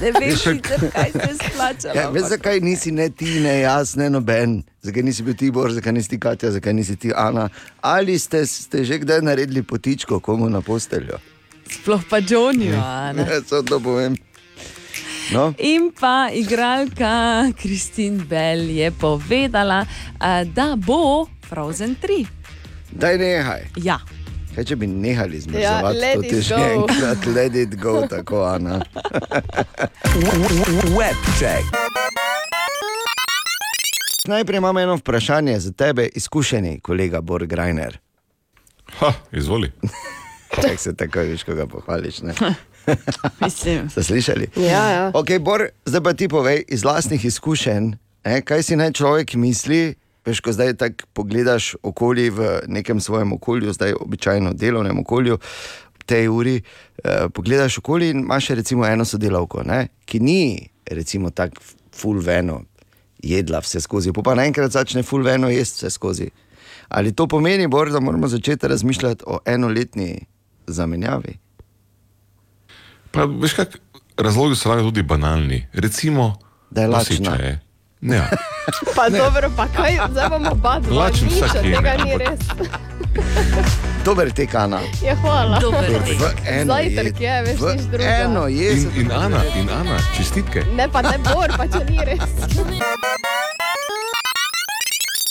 [SPEAKER 4] Ne veš,
[SPEAKER 3] Veš,
[SPEAKER 4] sicer, kaj se je splačalo.
[SPEAKER 3] Ja, veš,
[SPEAKER 4] ampak-
[SPEAKER 3] zakaj nisi ne ti, ne jaz, ne noben, zakaj nisi bil ti Bor, zakaj nisi ti Katja, zakaj nisi ti Ana. Ali ste, ste že kdaj naredili potičko komu na posteljo?
[SPEAKER 4] Sploh pa Johnny. a ne?
[SPEAKER 3] Ne, samo to povem. No?
[SPEAKER 4] In pa igralka Kristin Bell je povedala, eh, da bo Frozen 3.
[SPEAKER 3] Daj nehaj.
[SPEAKER 4] Ja.
[SPEAKER 3] Kaj, če bi nehali zmrzovati,
[SPEAKER 4] Ja, let
[SPEAKER 3] to
[SPEAKER 4] it
[SPEAKER 3] ti že
[SPEAKER 4] go.
[SPEAKER 3] enkrat, let it go, tako Ana. Web check. Najprej imam eno vprašanje za tebe, izkušeni kolega Borgrajner.
[SPEAKER 6] Ha, izvoli.
[SPEAKER 3] Kaj se tako veš, ko ga pohvališ? ne?
[SPEAKER 4] Mislim.
[SPEAKER 3] Ste slišali?
[SPEAKER 2] Ja, ja.
[SPEAKER 3] Okay, Bor, zdaj pa ti povej iz vlastnih izkušenj, eh, kaj si naj človek misli. Veš, ko zdaj tako pogledaš okolje v nekem svojem okolju, zdaj običajno delovnem okolju, ob tej uri, eh, pogledaš okolje in imaš recimo eno sodelavko, ne, ki ni recimo tako fulveno jedla vse skozi, pa, pa naenkrat začne fulveno jesti vse skozi. Ali to pomeni, Bor, da moramo začeti razmišljati o enoletni zamenjavi?
[SPEAKER 6] Pa, veš, kak, razlogi so lahko tudi banalni. Recimo,
[SPEAKER 3] da je
[SPEAKER 6] lačna. Ja.
[SPEAKER 2] Pa ne. dobro, pa kaj, zdaj bomo oba dva.
[SPEAKER 6] Lačen
[SPEAKER 2] Nič od
[SPEAKER 6] vsak je,
[SPEAKER 2] tega
[SPEAKER 6] ne,
[SPEAKER 2] ni
[SPEAKER 6] ampak-
[SPEAKER 2] res.
[SPEAKER 3] Dober tek, Ana.
[SPEAKER 2] Ja, hvala.
[SPEAKER 3] V eno jed-
[SPEAKER 2] Zajtrk je, veš,
[SPEAKER 3] v
[SPEAKER 2] nič drugega.
[SPEAKER 3] Eno je.
[SPEAKER 6] In, in Ana, in Ana, čestitke.
[SPEAKER 2] Ne, pa ne bor, pa če ni res.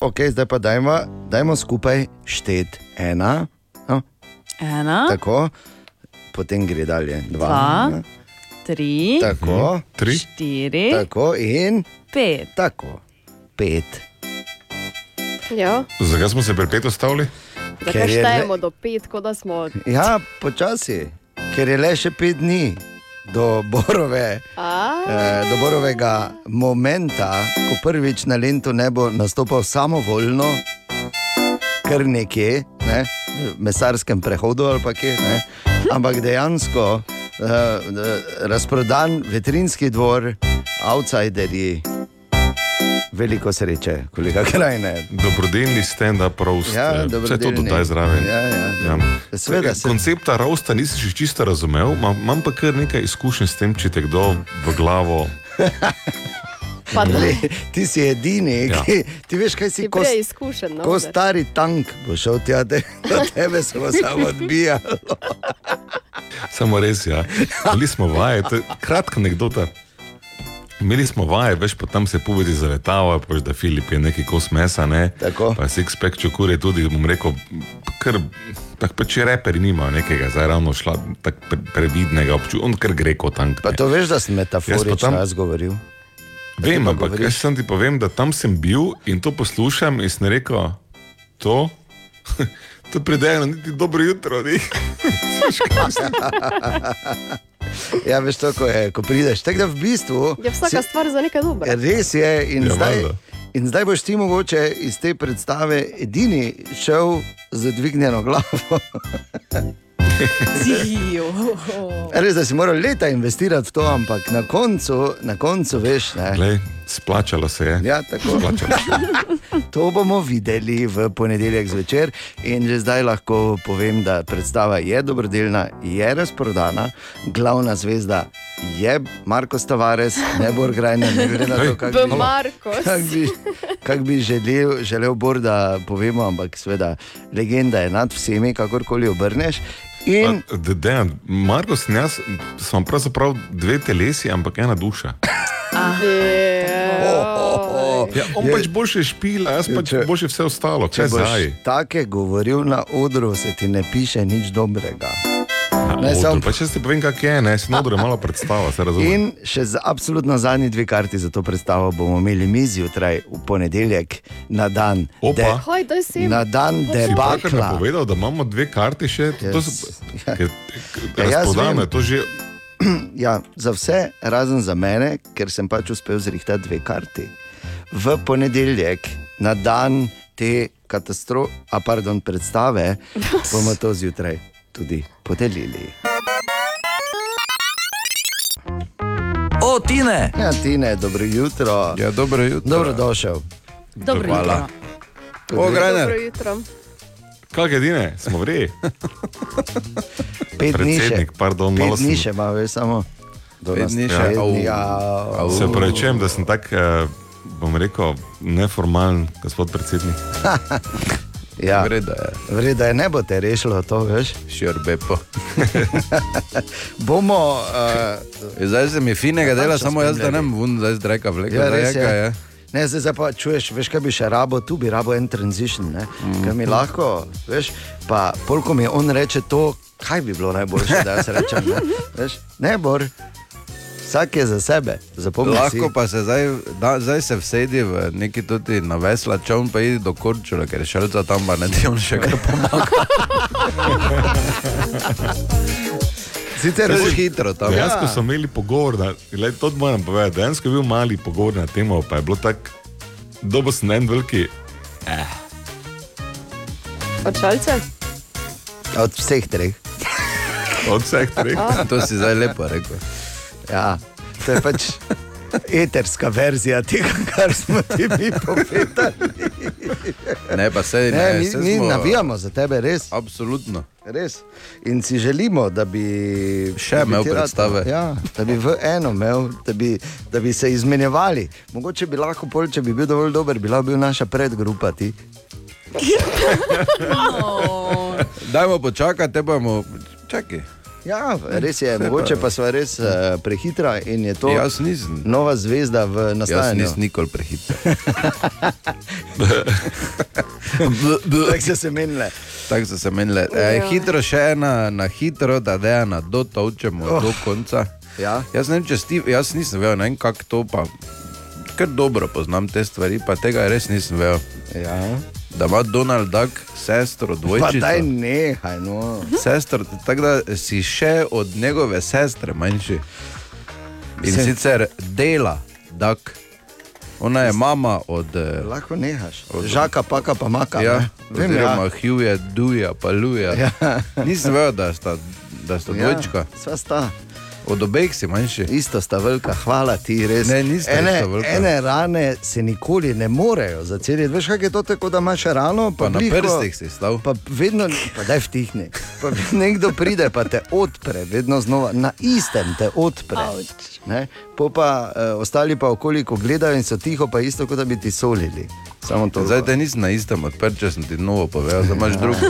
[SPEAKER 3] Okay, zdaj pa dajmo, dajmo skupaj šteti ena, no,
[SPEAKER 4] Ena,
[SPEAKER 3] tako, potem gre dalje. Dva,
[SPEAKER 4] dva, tri,
[SPEAKER 3] tako, E.
[SPEAKER 6] tri,
[SPEAKER 4] štiri,
[SPEAKER 3] tako in
[SPEAKER 4] pet.
[SPEAKER 3] Tako. pet.
[SPEAKER 2] Ja,
[SPEAKER 6] Zakaj smo se pri petu stavili?
[SPEAKER 2] da
[SPEAKER 3] Ker je le-
[SPEAKER 2] štejemo do pet, kot da smo.
[SPEAKER 3] Ja, počasi, ker je le še pet dni do Borove.
[SPEAKER 2] A,
[SPEAKER 3] eh, Do borovega momenta, ko prvič na Lendu ne bo nastopal samovoljno, kar nekje, ne, v mesarskem prehodu ali pa kje, ne, ampak dejansko eh, eh, razprodan veterinski dvor, outsiderji, veliko sreče, kolega Krajne.
[SPEAKER 6] Dobrodelni stand-up roast.
[SPEAKER 3] Ja,
[SPEAKER 6] eh, vse to
[SPEAKER 3] dobrodelni.
[SPEAKER 6] dodaj zraven.
[SPEAKER 3] Ja, ja. Seveda,
[SPEAKER 6] Eh,
[SPEAKER 3] se-
[SPEAKER 6] Koncepta roasta nisi še čisto razumel, ma- imam pa kar nekaj izkušenj s tem, če te kdo v glavo.
[SPEAKER 2] pa ne.
[SPEAKER 3] Ti si edini,
[SPEAKER 6] Ja.
[SPEAKER 3] ja. ki, ti veš, kaj si
[SPEAKER 2] Si
[SPEAKER 3] kot.
[SPEAKER 2] prej izkušen. No,
[SPEAKER 3] Ko
[SPEAKER 2] da-
[SPEAKER 3] stari tank bo šel tja, te, od tebe se bo samo odbijal.
[SPEAKER 6] Samo res, ja. Bili smo vaje, to je kratka anekdota. Imeli smo vaje, veš, pa tam se povedi zaletava, paš da Filip je neki kos mesa, ne?
[SPEAKER 3] Tako.
[SPEAKER 6] Pa six pack čokur je tudi, bom rekel, kar, tak pa če reperi nimajo nekega, zdaj ravno šla, tak pre- previdnega občutka, on kar gre kot tank.
[SPEAKER 3] Pa to veš, da sem
[SPEAKER 6] Jaz pa
[SPEAKER 3] metaforično
[SPEAKER 6] tam-
[SPEAKER 3] jaz govoril.
[SPEAKER 6] Vem,
[SPEAKER 3] pa
[SPEAKER 6] ampak
[SPEAKER 3] govoriš.
[SPEAKER 6] jaz sem ti povem, da tam sem bil in to poslušam in sem rekel, to, to pridejo, niti dobro jutro, ni.
[SPEAKER 3] Ja, veš, to, ko, je, ko prideš. Tako da v bistvu.
[SPEAKER 2] Je Ja, vsaka
[SPEAKER 3] si-
[SPEAKER 2] stvar za nekaj dobrega.
[SPEAKER 3] Res je in
[SPEAKER 6] Ja,
[SPEAKER 3] zdaj.
[SPEAKER 6] valjda.
[SPEAKER 3] In zdaj boš ti mogoče iz te predstave edini šel z dvignjeno glavo. Res, da si moral leta investirati v to, ampak na koncu, na koncu veš, ne.
[SPEAKER 6] Glej, splačalo se je.
[SPEAKER 3] Ja, tako.
[SPEAKER 6] Splačalo.
[SPEAKER 3] To bomo videli v ponedeljek zvečer in že zdaj lahko povem, da predstava je dobrodelna, je razprodana, glavna zvezda je Marko Stavares, ne bo grajna, ne glede na to, kako bi,
[SPEAKER 11] Markos.
[SPEAKER 3] kako bi, kak bi želel, želel Bor, da povemo, ampak seveda legenda je nad vsemi, kakorkoli obrneš. In...
[SPEAKER 6] Dejan, Marko, sem jaz, sem pravzaprav dve telesi, ampak ena duša. Ja, on pač boljše špil, a jaz pač boljše vse ostalo.
[SPEAKER 3] Če
[SPEAKER 6] Kaj
[SPEAKER 3] boš
[SPEAKER 6] zdaj?
[SPEAKER 3] take govoril na odru, se ti ne piše nič dobrega. Ne, samo-
[SPEAKER 6] Pa če ti povem, kak je, ne, snodro je malo predstava, se razumeš.
[SPEAKER 3] In še za absolutno zadnji dve karti za to predstavo bomo imeli mi zjutraj v ponedeljek na dan. De,
[SPEAKER 11] Hoj, daj si.
[SPEAKER 3] na dan
[SPEAKER 6] Si pravkar
[SPEAKER 3] debakla.
[SPEAKER 6] napovedal, da imamo dve karti še, to so
[SPEAKER 3] Ja, jaz
[SPEAKER 6] razprodane,
[SPEAKER 3] vem.
[SPEAKER 6] to že
[SPEAKER 3] Ja, za vse, razen za mene, ker sem pač uspel zrihtati dve karti. V ponedeljek, na dan te katastrofe, a pardon, predstave, bomo to zjutraj tudi podelili.
[SPEAKER 1] O, Tine!
[SPEAKER 3] Ja, Tine, dobro jutro.
[SPEAKER 5] Ja, dobro jutro.
[SPEAKER 3] Dobrodošel.
[SPEAKER 11] Dobro jutro.
[SPEAKER 5] O,
[SPEAKER 11] Dobro
[SPEAKER 5] Grajner,
[SPEAKER 11] jutro.
[SPEAKER 6] Kaj je dine, smo vri.
[SPEAKER 3] Pet dni še.
[SPEAKER 6] Predsednik, pardon, malo
[SPEAKER 3] Pet dni
[SPEAKER 6] sem-
[SPEAKER 3] še ima, veš, samo do
[SPEAKER 6] Pet
[SPEAKER 3] nas
[SPEAKER 6] dni še,
[SPEAKER 3] pet
[SPEAKER 6] au.
[SPEAKER 3] dni, ja. au.
[SPEAKER 6] Se pravičujem, da sem tak, eh, bom rekel, neformalen, gospod predsednik.
[SPEAKER 3] Ja.
[SPEAKER 5] Vreda je.
[SPEAKER 3] Vreda je, ne bo te rešilo to, veš.
[SPEAKER 5] Šerbepo.
[SPEAKER 3] Bomo. eh,
[SPEAKER 5] Uh, zdaj se mi finega dela,
[SPEAKER 3] Natančno
[SPEAKER 5] samo jaz, da ne
[SPEAKER 3] spremljali.
[SPEAKER 5] bom vun, zdaj zdrajka vleka.
[SPEAKER 3] Ja, res
[SPEAKER 5] zdaj, kaj
[SPEAKER 3] je. Ne, zdaj, zdaj pa čuješ, veš, kaj bi še rabo, tu bi rabo en transition, ne,
[SPEAKER 5] Mhm.
[SPEAKER 3] mm. kaj mi lahko, veš, pa polko mi on reče to, kaj bi bilo najboljše, da jaz rečem, ne, veš, ne bor, vsak je za sebe, zapomni si.
[SPEAKER 5] Lahko pa se zdaj, da, zdaj se vsedi v neki tudi na vesla, če on pa idi do Korčula, ker je šelca tam pa ne ti on še kar pomaga.
[SPEAKER 3] Sicer
[SPEAKER 5] res hitro tam.
[SPEAKER 6] Dejansko smo imeli pogovor, da, le, to moram povedati, dejansko je bil mali pogovor na temo, pa je bilo tako, dobo sem en veliki, eh,
[SPEAKER 11] Od šalce?
[SPEAKER 3] Od vseh treh.
[SPEAKER 6] od vseh treh.
[SPEAKER 5] to si zdaj lepo rekel.
[SPEAKER 3] Ja, to je pač eterska verzija tega, kar smo ti mi povedali.
[SPEAKER 5] Ne, pa sej ne.
[SPEAKER 3] Ne, mi,
[SPEAKER 5] saj
[SPEAKER 3] mi
[SPEAKER 5] smo-
[SPEAKER 3] navijamo za tebe, res.
[SPEAKER 5] Absolutno.
[SPEAKER 3] Res. In si želimo, da bi
[SPEAKER 5] Še
[SPEAKER 3] da bi
[SPEAKER 5] imel
[SPEAKER 3] ti rad-
[SPEAKER 5] predstave.
[SPEAKER 3] Ja, da bi v eno imel, da bi, da bi se izmenjevali. Mogoče bi lahko, pol, če bi bil dovolj dober, bila bi naša predgrupa. Ti.
[SPEAKER 5] Dajmo počakati, te bomo. Čakaj.
[SPEAKER 3] Ja, res je, mogoče pa smo res uh, prehitra in je to No,
[SPEAKER 5] Jaz nisem.
[SPEAKER 3] nova zvezda v
[SPEAKER 5] Jaz
[SPEAKER 3] nastajanju.
[SPEAKER 5] nisem nikoli prehiter.
[SPEAKER 3] Tako so se menile.
[SPEAKER 5] Tako so se menile. E, hitro še ena, na hitro, da dejana dotovčemo oh. do konca.
[SPEAKER 3] Ja.
[SPEAKER 5] Jaz, ne vem, če sti, jaz nisem vedel, ne vem, kako to pa. Ker dobro poznam te stvari, pa tega res nisem vedel.
[SPEAKER 3] Ja.
[SPEAKER 5] Da ima Donald Duck sestro
[SPEAKER 3] Pa daj
[SPEAKER 5] dvojčico.
[SPEAKER 3] nehaj, no.
[SPEAKER 5] Sestro, tako da si še od njegove sestre manjši. In
[SPEAKER 3] Se-
[SPEAKER 5] Se... sicer dela Duck. Ona je mama od. eh,
[SPEAKER 3] Lahko nehaš. Žaka, paka, pa maka.
[SPEAKER 5] Ja,
[SPEAKER 3] ne? Vem,
[SPEAKER 5] oziroma
[SPEAKER 3] ja.
[SPEAKER 5] ja. Hugh, Duja, pa Luja.
[SPEAKER 3] Ja.
[SPEAKER 5] Nisem vedel, da sta, da sta
[SPEAKER 3] Ja,
[SPEAKER 5] dvojčka.
[SPEAKER 3] Sva sta.
[SPEAKER 5] Od obeh si manjši.
[SPEAKER 3] Isto sta velika, hvala ti, res.
[SPEAKER 5] Ne, nista
[SPEAKER 3] ene,
[SPEAKER 5] ista velika.
[SPEAKER 3] ene rane se nikoli ne morejo zaceliti. Veš, kaj je to tako, da imaš rano, pa,
[SPEAKER 5] Pa na
[SPEAKER 3] glih ko-
[SPEAKER 5] prstih si stal.
[SPEAKER 3] Pa vedno, pa daj vtihni. Pa nekdo pride, pa te odpre, vedno znova, na istem te odpre. Ne? Pol Pa, eh, ostali pa okoliko gledajo in so tiho, pa isto, kot da bi ti solili. Samo to. Ja.
[SPEAKER 5] Zdaj te nisem na istem odprt, če sem ti novo povedal, zdaj imaš drugo.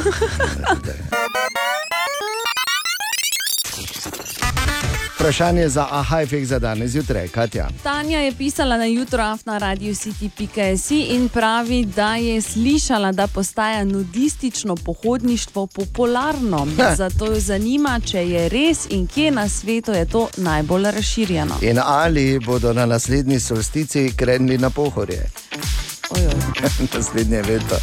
[SPEAKER 3] Vprašanje za aha, efekt za danes zjutraj, Katja.
[SPEAKER 4] Tanja je pisala na jutro na radiju city.js in pravi, da je slišala, da postaja nudistično pohodništvo popularno. Zato jo zanima, če je res in kje na svetu je to najbolj razširjeno.
[SPEAKER 3] In ali bodo na naslednji solstici krenili na pohorje? Naslednje leto.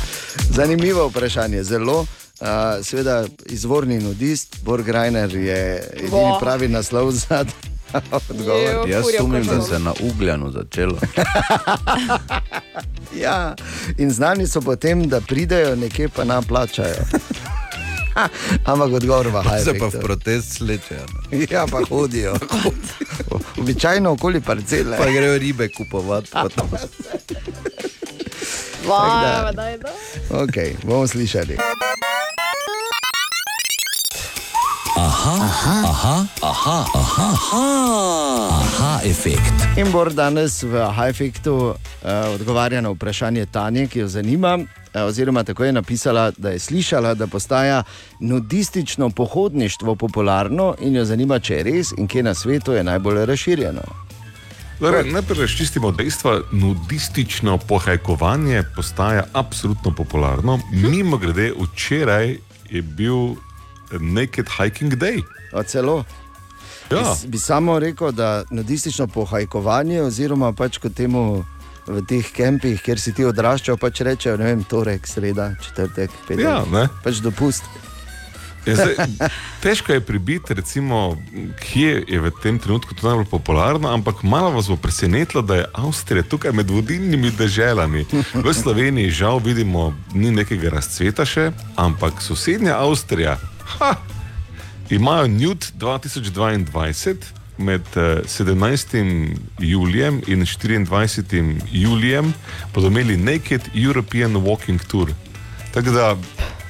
[SPEAKER 3] Zanimivo vprašanje, zelo. Uh, seveda, izvorni nudist, Borg Reiner je edini
[SPEAKER 11] Vo.
[SPEAKER 3] pravi naslov za ta odgovor.
[SPEAKER 5] Jaz sumim, da se je na ugljanu začelo.
[SPEAKER 3] Ja. In znani so potem, da pridejo nekje pa nam plačajo. Ampak odgovor ima
[SPEAKER 5] Pa
[SPEAKER 3] hajde.
[SPEAKER 5] se pa v protest slečejo.
[SPEAKER 3] Ja, pa hodijo. Običajno okoli parcele.
[SPEAKER 5] Pa grejo ribe kupovati. Pa tam.
[SPEAKER 3] Tako da, ok, bomo slišali.
[SPEAKER 1] Aha, aha, aha, aha, aha, aha, aha efekt.
[SPEAKER 3] In Bor danes v Hajfektu eh, odgovarja na vprašanje Tanje, ki jo zanima. eh, Oziroma, tako je napisala, da je slišala, da postaja nudistično pohodništvo popularno in jo zanima, če je res in kje na svetu je najbolj razširjeno.
[SPEAKER 6] Torej, najprej razčistimo dejstva. Nudistično pohajkovanje postaja absolutno popularno. Mimo grede, včeraj je bil Naked Hiking Day.
[SPEAKER 3] A celo?
[SPEAKER 6] Ja.
[SPEAKER 3] Bi, bi samo rekel, da nudistično pohajkovanje, oziroma pač kot temu v teh kampih, kjer si ti odraščal, pač rečejo, ne vem, torek, sreda, četrtek, petek.
[SPEAKER 6] Ja, ne.
[SPEAKER 3] pač dopust.
[SPEAKER 6] Ja, Zdaj, težko je pribiti, recimo, kje je v tem trenutku to najbolj popularno, ampak malo vas bo presenetilo, da je Avstrija tukaj med vodilnimi državami. V Sloveniji žal vidimo, ni nekega razcveta še, ampak sosednja Avstrija ha, imajo Newt 2022 med eh, 17. julijem in 24. julijem, bodo imeli Naked European Walking Tour. Tako da,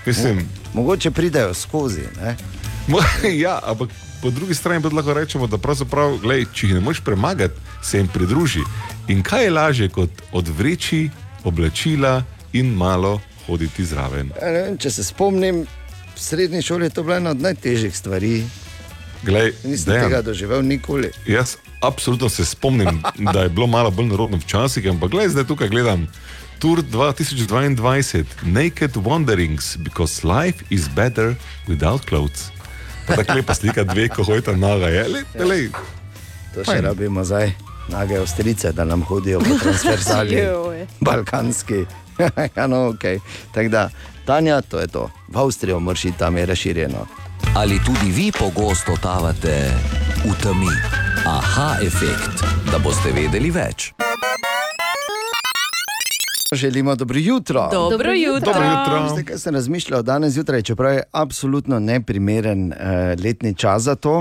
[SPEAKER 6] mislim.
[SPEAKER 3] Mogoče pridejo skozi. Ne?
[SPEAKER 6] ja, ampak po drugi strani pa lahko rečemo, da pravzaprav, glej, če jih ne moreš premagati, se jim pridruži. In kaj je lažje kot odvreči oblačila in malo hoditi zraven?
[SPEAKER 3] Ja, ne Vem, če se spomnim, v srednji šoli je to bila ena od najtežjih stvari.
[SPEAKER 6] Glej,
[SPEAKER 3] Nisem
[SPEAKER 6] Dejan,
[SPEAKER 3] tega doživel nikoli.
[SPEAKER 6] Jaz absolutno se spomnim, da je bilo malo bolj nerodno včasih, ampak gledaj, zdaj tukaj gledam. Tour 2022, Naked Wanderings, because life is better without clothes. Pa tako lepa slika dve, ko hojta naga. Je. Le, le,
[SPEAKER 3] To še rabimo zdaj, nage avstrice, da nam hodijo po transverzali,
[SPEAKER 2] Joj.
[SPEAKER 3] balkanski. ja, no, okay. Tako da, Tanja, to je to. V Avstrijo moraš iti, tam je razširjeno.
[SPEAKER 1] Ali tudi vi pogosto totavate v temi? Aha efekt, da boste vedeli več.
[SPEAKER 3] Želimo dobro jutro.
[SPEAKER 4] Dobro Dobro jutro. jutro.
[SPEAKER 3] Veste, kaj sem razmišljal danes zjutraj, čeprav je absolutno neprimeren eh, letni čas za to,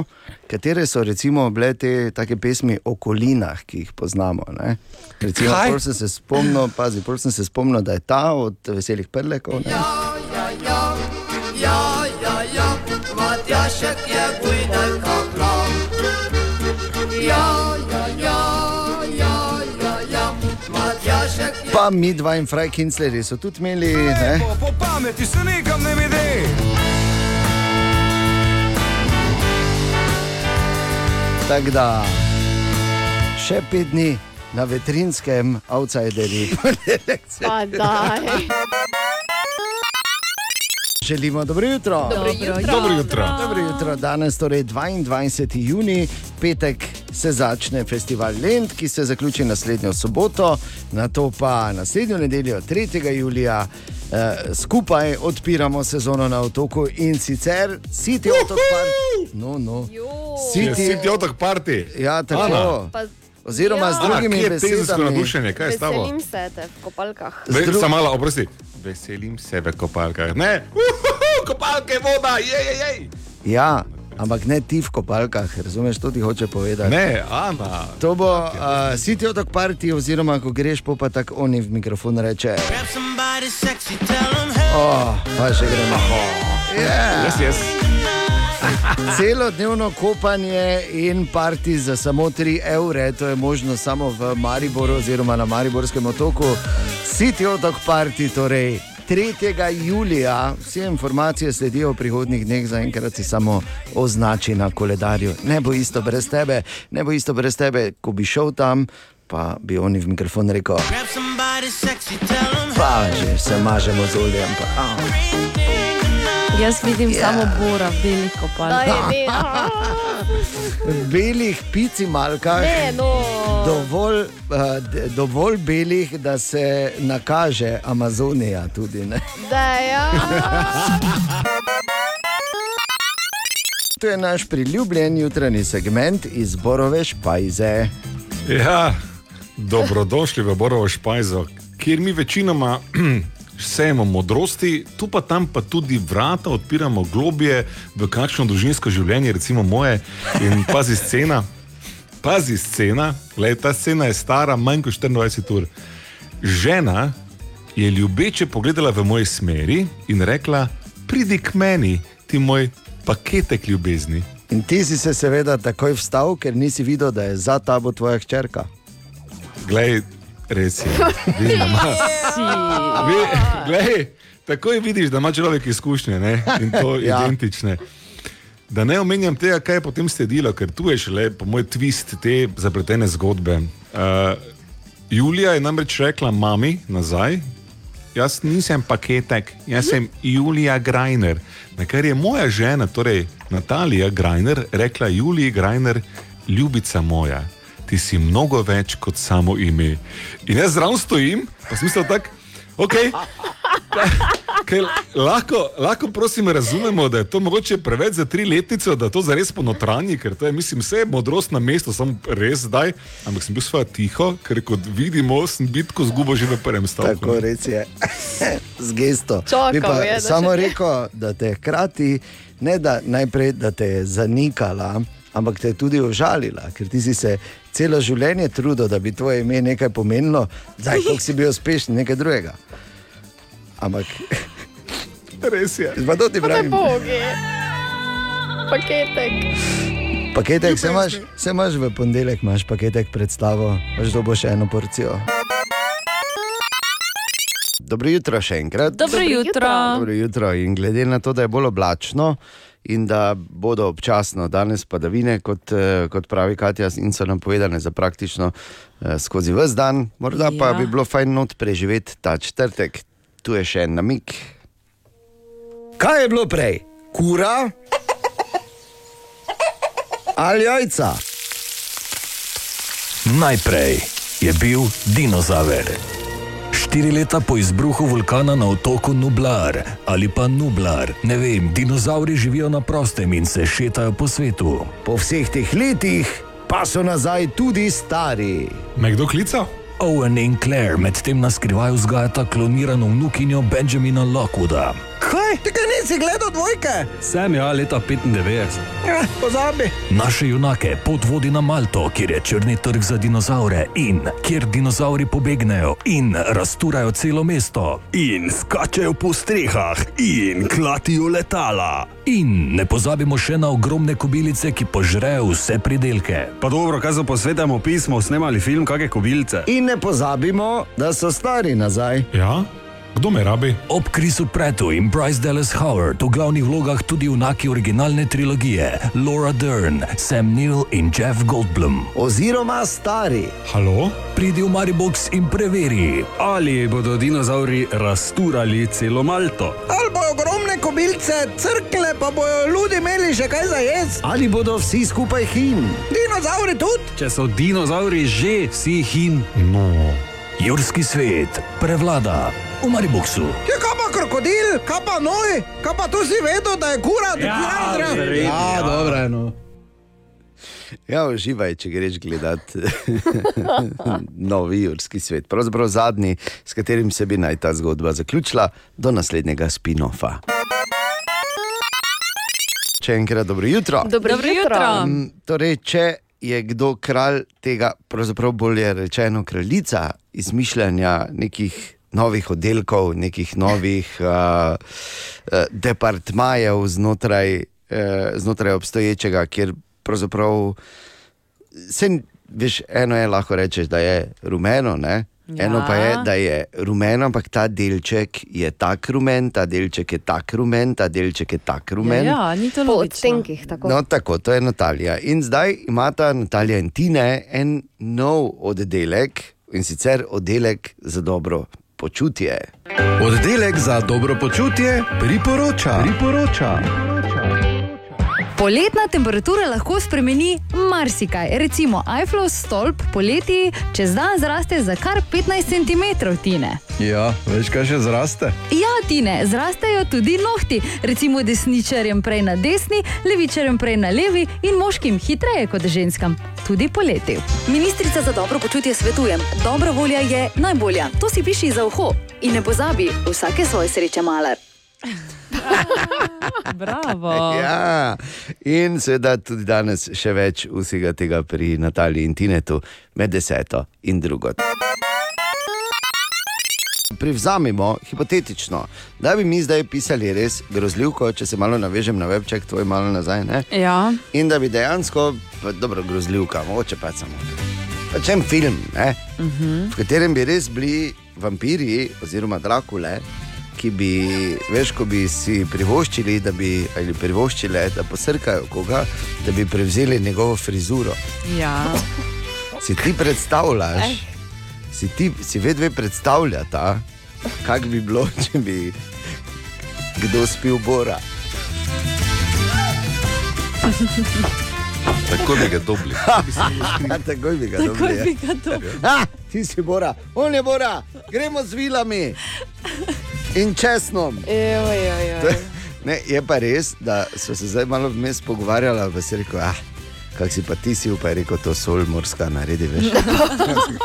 [SPEAKER 3] katere so recimo bile te take pesmi o kolinah, ki jih poznamo. ne? Recimo,
[SPEAKER 11] Kaj?
[SPEAKER 3] prvo sem se spomnil, pazi, prvo sem se spomnil, da je ta od veselih prlekov. Ne?
[SPEAKER 11] Ja, ja, ja, Matjašek je gujdalka prav. Ja, ja, ja, ja, ja, ja, Matjašek
[SPEAKER 3] Pa mi dva in Fraj Kincleri so tudi imeli. Ne?
[SPEAKER 11] Po pameti se nikam ne vidi.
[SPEAKER 3] Tako da še pet dni na veterinskem outsideri.
[SPEAKER 11] Pa daj.
[SPEAKER 3] Želimo dobro jutro.
[SPEAKER 11] Dobro jutro. Dobro jutro.
[SPEAKER 3] Dobro jutro. Danes, torej 22. juni, petek se začne festival Lent, ki se zaključi naslednjo soboto, na to pa naslednjo nedeljo, 3. julija. Eh, skupaj odpiramo sezono na otoku in sicer City Otok Park. No, no.
[SPEAKER 6] Je Ja, City Otok Party.
[SPEAKER 3] Ja, tako.
[SPEAKER 6] Ana.
[SPEAKER 2] Pa, ja,
[SPEAKER 3] Oziroma z drugimi
[SPEAKER 6] Kje je tezensko
[SPEAKER 3] besedami.
[SPEAKER 6] navdušenje, kaj je s tabo?
[SPEAKER 2] Veselim se te v kopalkah.
[SPEAKER 6] Zdru... Samo malo, oprosti. Veselim se v kopalkah. Ne, uhuhu, kopalke voda, je, je, je.
[SPEAKER 3] Ja, ampak ne ti v kopalkah, razumeš, to ti hoče povedati.
[SPEAKER 6] Ne, Ana.
[SPEAKER 3] To bo uh, City Otok Party, oziroma ko greš, pol pa tako oni v mikrofon reče. Oh, pa še gremo. Yeah.
[SPEAKER 6] Yes, yes.
[SPEAKER 3] Celodnevno kopanje in parti za samo 3 evre, to je možno samo v Mariboru oziroma na Mariborskem otoku. City Otok Party, torej 3. julija, vse informacije sledijo v prihodnih dneh, zaenkrat si samo označi na koledarju. Ne bo isto brez tebe, ne bo isto brez tebe, ko bi šel tam, pa bi oni v mikrofon rekel. Pa že se mažemo z oljem, pa. Ah.
[SPEAKER 4] Jaz vidim yeah. samo Bora, veliko pa.
[SPEAKER 2] Da je ne, a.
[SPEAKER 3] belih picimalkah.
[SPEAKER 2] Ne, no.
[SPEAKER 3] Dovolj, uh, dovolj belih, da se nakaže Amazonija tudi. Ne?
[SPEAKER 2] Da ja.
[SPEAKER 3] To je naš priljubljen jutranji segment iz Borove špajze.
[SPEAKER 6] Ja, dobrodošli v Borovo Špajzo, kjer mi večinoma sejemo modrosti, tu pa tam pa tudi vrata odpiramo globje v kakšno družinsko življenje, recimo moje. In pazi scena, pazi scena, le ta scena je stara manj kot 24 ur. Žena je ljubeče pogledala v moj smeri in rekla: Pridi k meni, ti moj paketek ljubezni.
[SPEAKER 3] In ti si se seveda takoj vstal, ker nisi videl, da je za tabo tvoja hčerka.
[SPEAKER 6] Glej, res je. Vidim, da ima- Vi- Glej, takoj vidiš, da ima človek izkušnje ne? in to
[SPEAKER 3] Ja.
[SPEAKER 6] ja. identične. Da ne omenjam tega, kaj je potem sledilo, ker tu je šele, po mojem, twist te zapletene zgodbe. Uh, Julija je namreč rekla mami nazaj, jaz nisem paketek, jaz sem Julija Grajner. Na kar je moja žena, torej Natalija Grajner, rekla: Julija Grajner, ljubica moja, ti si mnogo več kot samo ime. In jaz zraven stojim, pa smisel tak, ok. Kaj, lahko, lahko, prosim, razumemo, da je to mogoče preveč za tri letnice, da to zares ponotranji, ker to je, mislim, vse je modrost na mestu, sem res zdaj, ampak sem bil svoje tiho, ker kot vidimo, sem bitko zgubo že v prvem stavku.
[SPEAKER 3] Tako res je. Z gesto.
[SPEAKER 2] Čakal
[SPEAKER 3] Bi pa
[SPEAKER 2] je, da še
[SPEAKER 3] samo
[SPEAKER 2] ne.
[SPEAKER 3] rekel, da te je hkrati, ne da najprej, da te je zanikala, ampak te je tudi užalila, ker ti si se celo življenje trudil, da bi tvoje ime nekaj pomenilo, zdaj koliko si bil uspešen, nekaj drugega. Ampak
[SPEAKER 6] res je.
[SPEAKER 3] Pa to ti pravim.
[SPEAKER 11] Bogi. Paketek.
[SPEAKER 3] Paketek se imaš, se imaš v ponedeljek, imaš paketek predstavo, veš, da boš eno porcijo. Dobro jutro še enkrat.
[SPEAKER 4] Dobro Dobro jutro. jutro.
[SPEAKER 3] Dobro jutro. In glede na to, da je bolj oblačno in da bodo občasno danes padavine, kot, eh, kot pravi Katja, in so nam povedane za praktično eh, skozi vse dan, morda ja. pa
[SPEAKER 4] Ja.
[SPEAKER 3] bi bilo fajn not preživeti ta četrtek. Tu je še en namik. Kaj je bilo prej? Kura ali jajca?
[SPEAKER 13] Najprej je bil dinozaver. Štiri leta po izbruhu vulkana na otoku Nublar ali pa Nublar, ne vem, dinozauri živijo na prostem in se šetajo po svetu.
[SPEAKER 3] Po vseh teh letih pa so nazaj tudi stari.
[SPEAKER 6] Me kdo klica?
[SPEAKER 13] Owen in Claire medtem na skrivaj vzgajata klonirano vnukinjo Benjamina Lockwooda.
[SPEAKER 17] Kaj? Tega nisi gledal dvojke?
[SPEAKER 13] Sem ja leta 95.
[SPEAKER 17] Eh, pozabi.
[SPEAKER 13] Naše junake pot vodi na Malto, kjer je črni trg za dinozaure in kjer dinozauri pobegnejo in rasturajo celo mesto in skačejo po strehah in klatijo letala. In ne pozabimo še na ogromne kobilice, ki požrejo vse pridelke.
[SPEAKER 9] Pa dobro, kaj za posvetamo pismo, snemali film, kakšne kobilce.
[SPEAKER 3] In ne pozabimo, da so stari nazaj.
[SPEAKER 6] Ja, kdo me rabi?
[SPEAKER 13] Ob Krisu Pretu in Bryce Dallas Howard v glavnih vlogah tudi junaki originalne trilogije Laura Dern, Sam Neill in Jeff Goldblum.
[SPEAKER 3] Oziroma stari.
[SPEAKER 6] Halo?
[SPEAKER 13] Pridi v Maribox in preveri.
[SPEAKER 9] Ali bodo dinozauri rasturali celo Malto?
[SPEAKER 17] Ali bojo ogromne kobilce, crkle, pa bojo ljudi imeli še kaj za jesti.
[SPEAKER 3] Ali bodo vsi skupaj hin?
[SPEAKER 17] Dinozauri tudi?
[SPEAKER 9] Če so dinozauri že vsi hin.
[SPEAKER 6] No.
[SPEAKER 13] Jurski svet prevlada v Mariboxu.
[SPEAKER 17] Ja, kaj pa krokodil, kaj pa noj, kaj pa tu si vedel, da je kura, da je kura.
[SPEAKER 3] ja,
[SPEAKER 17] dobro
[SPEAKER 3] je. No. Ja, uživaj, če greš gledat novi jurski svet, pravzaprav zadnji, s katerim se bi naj ta zgodba zaključila, do naslednjega spinofa. Še enkrat dobro jutro.
[SPEAKER 2] Dobro Dobro jutro. jutro.
[SPEAKER 3] Mm, Torej, če je kdo kralj tega, pravzaprav bolje rečeno kraljica izmišljanja nekih novih oddelkov, nekih novih uh, departmajev znotraj, uh, znotraj obstoječega, kjer pravzaprav se, veš, eno je lahko rečeš, da je rumeno, ne?
[SPEAKER 1] Ja.
[SPEAKER 3] Eno pa je, da je rumeno, ampak ta delček je tak rumen, ta delček je tak rumen, ta delček je tak
[SPEAKER 4] Ja,
[SPEAKER 3] rumen.
[SPEAKER 2] ni to logično. Po odtenkih tako.
[SPEAKER 3] No, tako, to je Natalija. In zdaj imata Natalija in Tine en nov oddelek in sicer oddelek za dobro počutje.
[SPEAKER 5] Oddelek za dobro počutje priporoča. priporoča.
[SPEAKER 18] Poletna temperatura lahko spremeni marsikaj. Recimo Eiffelov stolp poleti čez dan zraste za kar 15 cm, tine.
[SPEAKER 5] Ja, veš, kaj še zraste?
[SPEAKER 18] Ja, tine, zrastejo tudi nohti, recimo desničarjem prej na desni, levičarjem prej na levi in moškim hitreje kot ženskam, tudi poleti.
[SPEAKER 19] Ministrica za dobro počutje svetujem, dobra volja je najbolja. To si piši za uho in ne pozabi, vsake svoje sreče malar.
[SPEAKER 4] Bravo.
[SPEAKER 3] Ja, in seveda tudi danes še več vsega tega pri Nataliji in Tinetu med deseto in drugo. Privzamimo hipotetično, da bi mi zdaj pisali res grozljivko, če se malo navežem na webček, tvoj malo nazaj. Ne?
[SPEAKER 4] Ja.
[SPEAKER 3] In da bi dejansko, pa dobro, grozljivka, mogoče pa samo. Pač en film, ne?
[SPEAKER 4] Mhm.
[SPEAKER 3] v katerem bi res bili vampiri oziroma drakule. Ki bi, veš, ko bi si privoščili, da bi, ali privoščile, da posrkajo koga, da bi prevzeli njegovo frizuro.
[SPEAKER 4] Ja.
[SPEAKER 3] Si ti predstavljaš,
[SPEAKER 4] Ej.
[SPEAKER 3] si ti, si vedve predstavljata, kak bi bilo, če bi kdo spil Bora.
[SPEAKER 6] Tako bi ga dobili.
[SPEAKER 3] Takoj bi ga
[SPEAKER 11] Takoj
[SPEAKER 3] dobili. ja.
[SPEAKER 11] bi ga dobili.
[SPEAKER 3] Ah, ti si Bora, on je Bora, gremo z vilami in česnom. To je- Ne, je pa res, da so se zdaj malo vmes pogovarjala, pa si rekel, ah, kak si pa ti si, pa je rekel, to sol morska naredi, veš.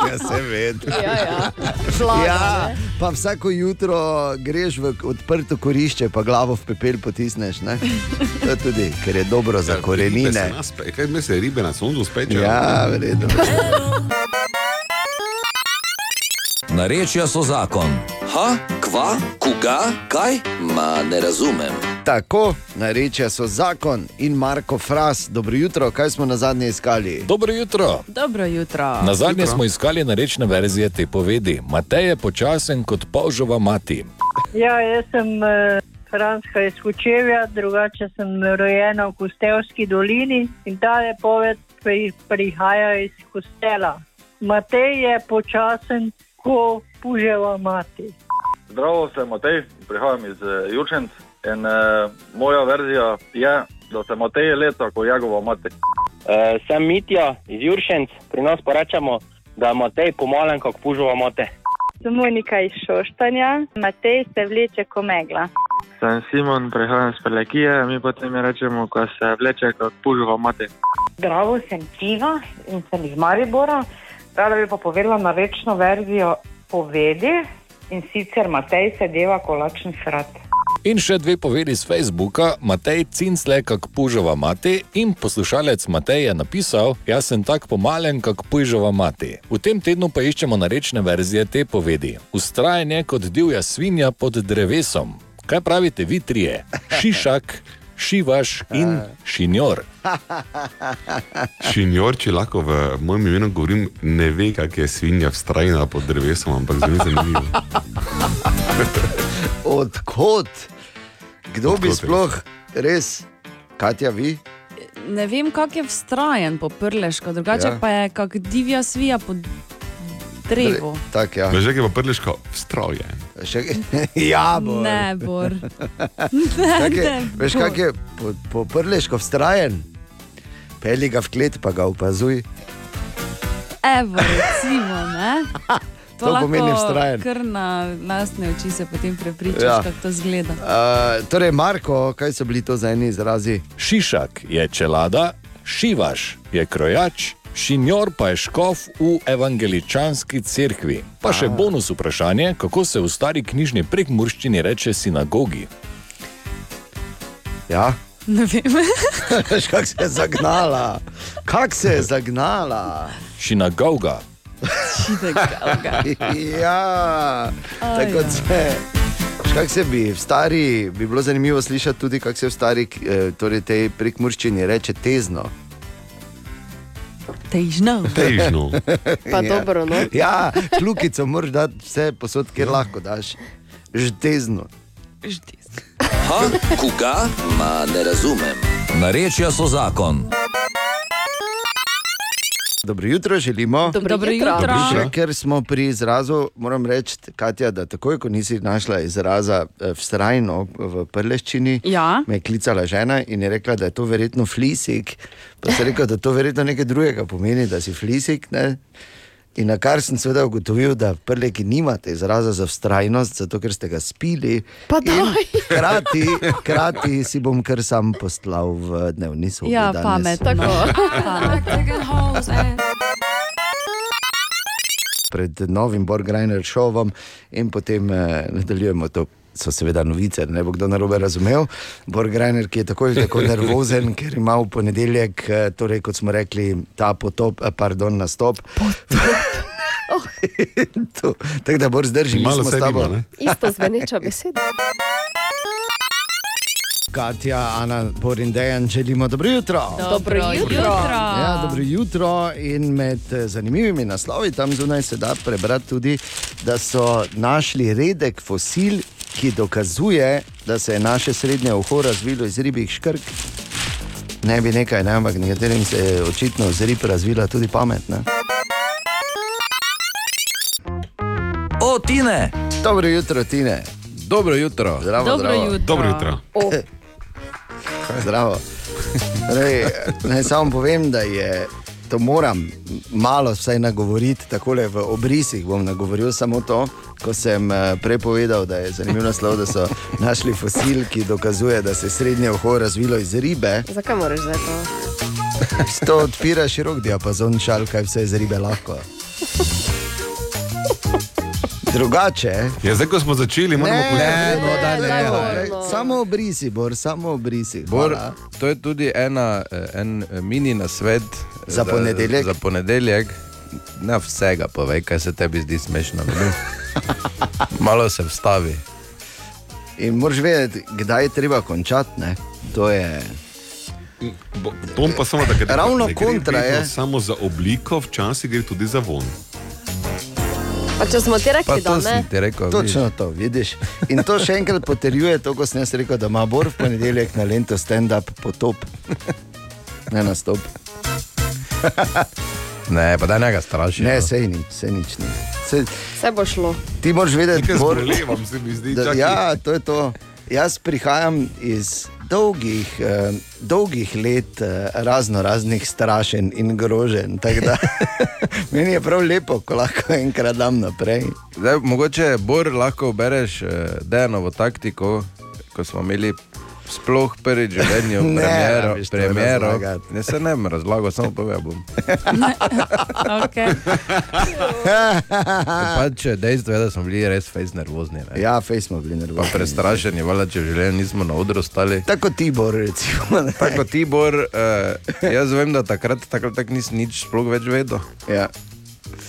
[SPEAKER 3] ja, seveda.
[SPEAKER 11] Ja, ja.
[SPEAKER 3] Vlada, ja, pa vsako jutro greš v odprto korišče, pa glavo v pepel potisneš. Ne? To je tudi, ker je dobro
[SPEAKER 6] Ja,
[SPEAKER 3] za korenine.
[SPEAKER 6] Kaj misliš, ribe na soncu spečejo?
[SPEAKER 3] Ja, verjetno.
[SPEAKER 1] Narečja so zakon. Ha, kva, koga, kaj? Ma ne razumem.
[SPEAKER 3] Tako, narečja so zakon in Marko Fras. Dobro jutro, kaj smo na zadnje iskali?
[SPEAKER 20] Dobro jutro.
[SPEAKER 4] Dobro jutro.
[SPEAKER 20] Na zadnje smo iskali narečne verzije te povedi. Matej je počasen kot polžova mati.
[SPEAKER 21] Ja, jaz sem eh, Franska iz Kučevja, drugače sem rojena v Kostevski dolini in ta lepoved pri, prihaja iz Kostela. Matej je počasen, ko puževa mati.
[SPEAKER 22] Zdravo, sem Matej, prihajam iz eh, Jurčenc in uh, moja verzija je, da se Matej leta, ko jagova mati.
[SPEAKER 23] Uh, sem Mitja iz Juršenc, pri nas pa rečemo, da Matej pomalen, kako pužova mote.
[SPEAKER 24] Sem Monika iz Šoštanja, Matej se vleče komegla.
[SPEAKER 25] Sem Simon, prihajam iz Pelekije, mi potem mi rečemo, ko se vleče kot pužova mati.
[SPEAKER 26] Zdravo, sem Tina in sem iz Maribora. Rada bi pa povedala na rečno verzijo povedi in sicer Matej se deva kolačen srat.
[SPEAKER 20] In še dve povedi z Facebooka, Matej Cincle, kako pužova mati, in poslušalec Matej je napisal: Jaz sem tak pomalen, kako pužova mati. V tem tednu pa iščemo narečne verzije te povedi. Ustrajanje kot divja svinja pod drevesom. Kaj pravite vi trije? Šišak, šivaš in šinjor.
[SPEAKER 6] Šinjor, če lahko v mojem imenu govorim, ne ve, kak je svinja vstrajena pod drevesom, ampak zelo zanimivo.
[SPEAKER 3] Odkot? Kdo bi sploh res, Katja, vi?
[SPEAKER 4] Ne vem, kako je vztrajen po prleško, drugače
[SPEAKER 3] Ja.
[SPEAKER 4] ja. pa je kak divja svija po drevu.
[SPEAKER 3] Tak, ja.
[SPEAKER 6] Veš, kaj je pa prleško? Vstroje.
[SPEAKER 3] Še... ja, bo.
[SPEAKER 4] Ne, Bor.
[SPEAKER 3] Kak je,
[SPEAKER 4] Ne,
[SPEAKER 3] veš,
[SPEAKER 4] Bor.
[SPEAKER 3] kak je po, po prleško vztrajen? Peli ga v klet, pa ga opazuj.
[SPEAKER 4] Evo, recimo, ne?
[SPEAKER 3] To pomeni vztrajen.
[SPEAKER 4] Ker na lastne oči se potem prepričaš,
[SPEAKER 3] Ja.
[SPEAKER 4] ja. kako to zgleda.
[SPEAKER 3] Uh, torej, Marko, kaj so bili to za eni izrazi?
[SPEAKER 20] Šišak je čelada, šivaš je krojač, šinjor pa je škof v evangeličanski cerkvi. Pa še bonus vprašanje, kako se v stari knjižni prekmurščini reče sinagogi.
[SPEAKER 3] Ja.
[SPEAKER 4] Ne vem.
[SPEAKER 3] Veš, kako se je zagnala. Kako se je zagnala.
[SPEAKER 20] Šinagoga.
[SPEAKER 3] ja, tako kot se. Veš, Kako se bi v stari, bi bilo zanimivo slišati tudi, kako se v stari, eh, torej tej prekmurščini reče tezno.
[SPEAKER 4] Težno.
[SPEAKER 6] Težno.
[SPEAKER 2] Pa dobro, no.
[SPEAKER 3] Ja, kljukico moraš dati vse posod, kjer lahko daš. Žtezno.
[SPEAKER 1] Ha, koga? Ma ne razumem. Narečja so zakon.
[SPEAKER 3] Dobro jutro želimo.
[SPEAKER 4] Dobro Dobro jutro. jutro.
[SPEAKER 3] Še ker smo pri izrazu, moram reči, Katja, da takoj, ko nisi našla izraza eh, vztrajno v prleščini,
[SPEAKER 4] Ja.
[SPEAKER 3] me je klicala žena in je rekla, da je to verjetno flisik. Pa sem rekel, da to verjetno nekaj drugega pomeni, da si flisik. Ne? In na kar sem seveda ugotovil, da prleki nimate izraza za vztrajnost, zato ker ste ga spili.
[SPEAKER 2] Pa
[SPEAKER 3] In Hkrati, hkrati si bom kar sam poslal v dnevni sobi.
[SPEAKER 4] Ja,
[SPEAKER 3] danes.
[SPEAKER 4] pametno. eh.
[SPEAKER 3] pred novim Borgrajner šovom in potem eh, nadaljujemo to. So seveda novice, da ne bo kdo narobe razumel. Borgrajner, ki je tako in tako nervozen, ker ima v ponedeljek, eh, torej, kot smo rekli, ta potop, eh, pardon, nastop. To- Tako da bo zdržal,
[SPEAKER 2] Malo
[SPEAKER 3] malo s
[SPEAKER 2] se
[SPEAKER 3] tabo. Ja.
[SPEAKER 2] nima, Isto zveneča beseda.
[SPEAKER 3] Katja, Ana, Borin, Dejan, želimo dobro jutro.
[SPEAKER 2] Dobro jutro.
[SPEAKER 3] Ja, dobro jutro. In med eh, zanimivimi naslovi tam zunaj se da prebrati tudi, da so našli redek fosil, ki dokazuje, da se je naše srednje uho razvilo iz ribjih škrk. Ne bi nekaj, ne, ampak nekaterim se je očitno iz rib razvila tudi pametna.
[SPEAKER 1] O, Tine!
[SPEAKER 3] Dobro jutro, Tine.
[SPEAKER 5] Dobro jutro.
[SPEAKER 3] Zdravo, zdravo.
[SPEAKER 2] O,
[SPEAKER 3] Zdravo. Torej, naj samo povem, da je. To moram malo vsaj nagovoriti, tako v obrisih bom nagovoril samo to, ko sem eh, prej povedal, da je zanimiv naslov, da so našli fosil, ki dokazuje, da se je srednje uho razvilo iz ribe.
[SPEAKER 2] zakaj moraš zdaj to?
[SPEAKER 3] S to odpira širok diapazon šal, kaj vse je iz ribe lahko. Drugače,
[SPEAKER 6] Ja, zdaj, ko smo začeli, moramo
[SPEAKER 3] ne, no. ne, ne, ne. Samo obrisi, Bor, samo obrisi.
[SPEAKER 5] Bor,
[SPEAKER 3] Hvala.
[SPEAKER 5] to je tudi ena, eh, en eh, mini nasvet eh,
[SPEAKER 3] Za ponedeljek?
[SPEAKER 5] Za ponedeljek. Ne vsega, povej, kaj se tebi zdi smešno. ne vem. Malo se vstavi.
[SPEAKER 3] In moraš vedeti, kdaj je treba končati. Ne? To je.
[SPEAKER 6] Bo- Bom pa samo tako, da
[SPEAKER 3] Ravno
[SPEAKER 6] ne gre
[SPEAKER 3] kontra
[SPEAKER 6] vedno
[SPEAKER 3] je.
[SPEAKER 6] Samo za obliko, včasih gre tudi za von.
[SPEAKER 2] Pa če smo ti rekli, da ne.
[SPEAKER 5] rekel.
[SPEAKER 3] Točno vidiš. to, vidiš. In to še enkrat potrjuje to, ko sem jaz rekel, da ima Bor v ponedeljek na lento stand-up potop. Ne nastop.
[SPEAKER 5] Ne, pa da ne ga straši. no.
[SPEAKER 3] Ne, sej ni, sej nič ni. Sej,
[SPEAKER 2] Vse bo šlo.
[SPEAKER 3] ti moraš vedeti,
[SPEAKER 6] Nekaj
[SPEAKER 3] Bor,
[SPEAKER 6] zbolevam, se mi zdi,
[SPEAKER 3] da,
[SPEAKER 6] čakaj.
[SPEAKER 3] ja, to je to. Jaz prihajam iz dolgih, eh, dolgih let eh, razno raznih strašenj in groženj. tako da Meni je prav lepo, ko lahko enkrat dam naprej.
[SPEAKER 5] Zdaj, mogoče Bor lahko bereš Dejanovo taktiko, ko smo imeli sploh prvič v življenju
[SPEAKER 3] Ne,
[SPEAKER 5] premiero.
[SPEAKER 3] rabiš to
[SPEAKER 5] premiero.
[SPEAKER 3] razlagati.
[SPEAKER 5] Ne, se ne bom razlagal, samo povedal bom.
[SPEAKER 4] Okay.
[SPEAKER 5] Pač dejstvo je, da smo bili res fejs nervozni. Ne?
[SPEAKER 3] Ja, fejs smo bili nervozni.
[SPEAKER 5] Pa prestrašeni, valjda, če v življenju nismo na odru stali.
[SPEAKER 3] Tako ti, Bor, recimo. ne.
[SPEAKER 5] Tako ti, Bor, eh, jaz vem, da takrat takrat tak nisem nič sploh več vedel.
[SPEAKER 3] Ja.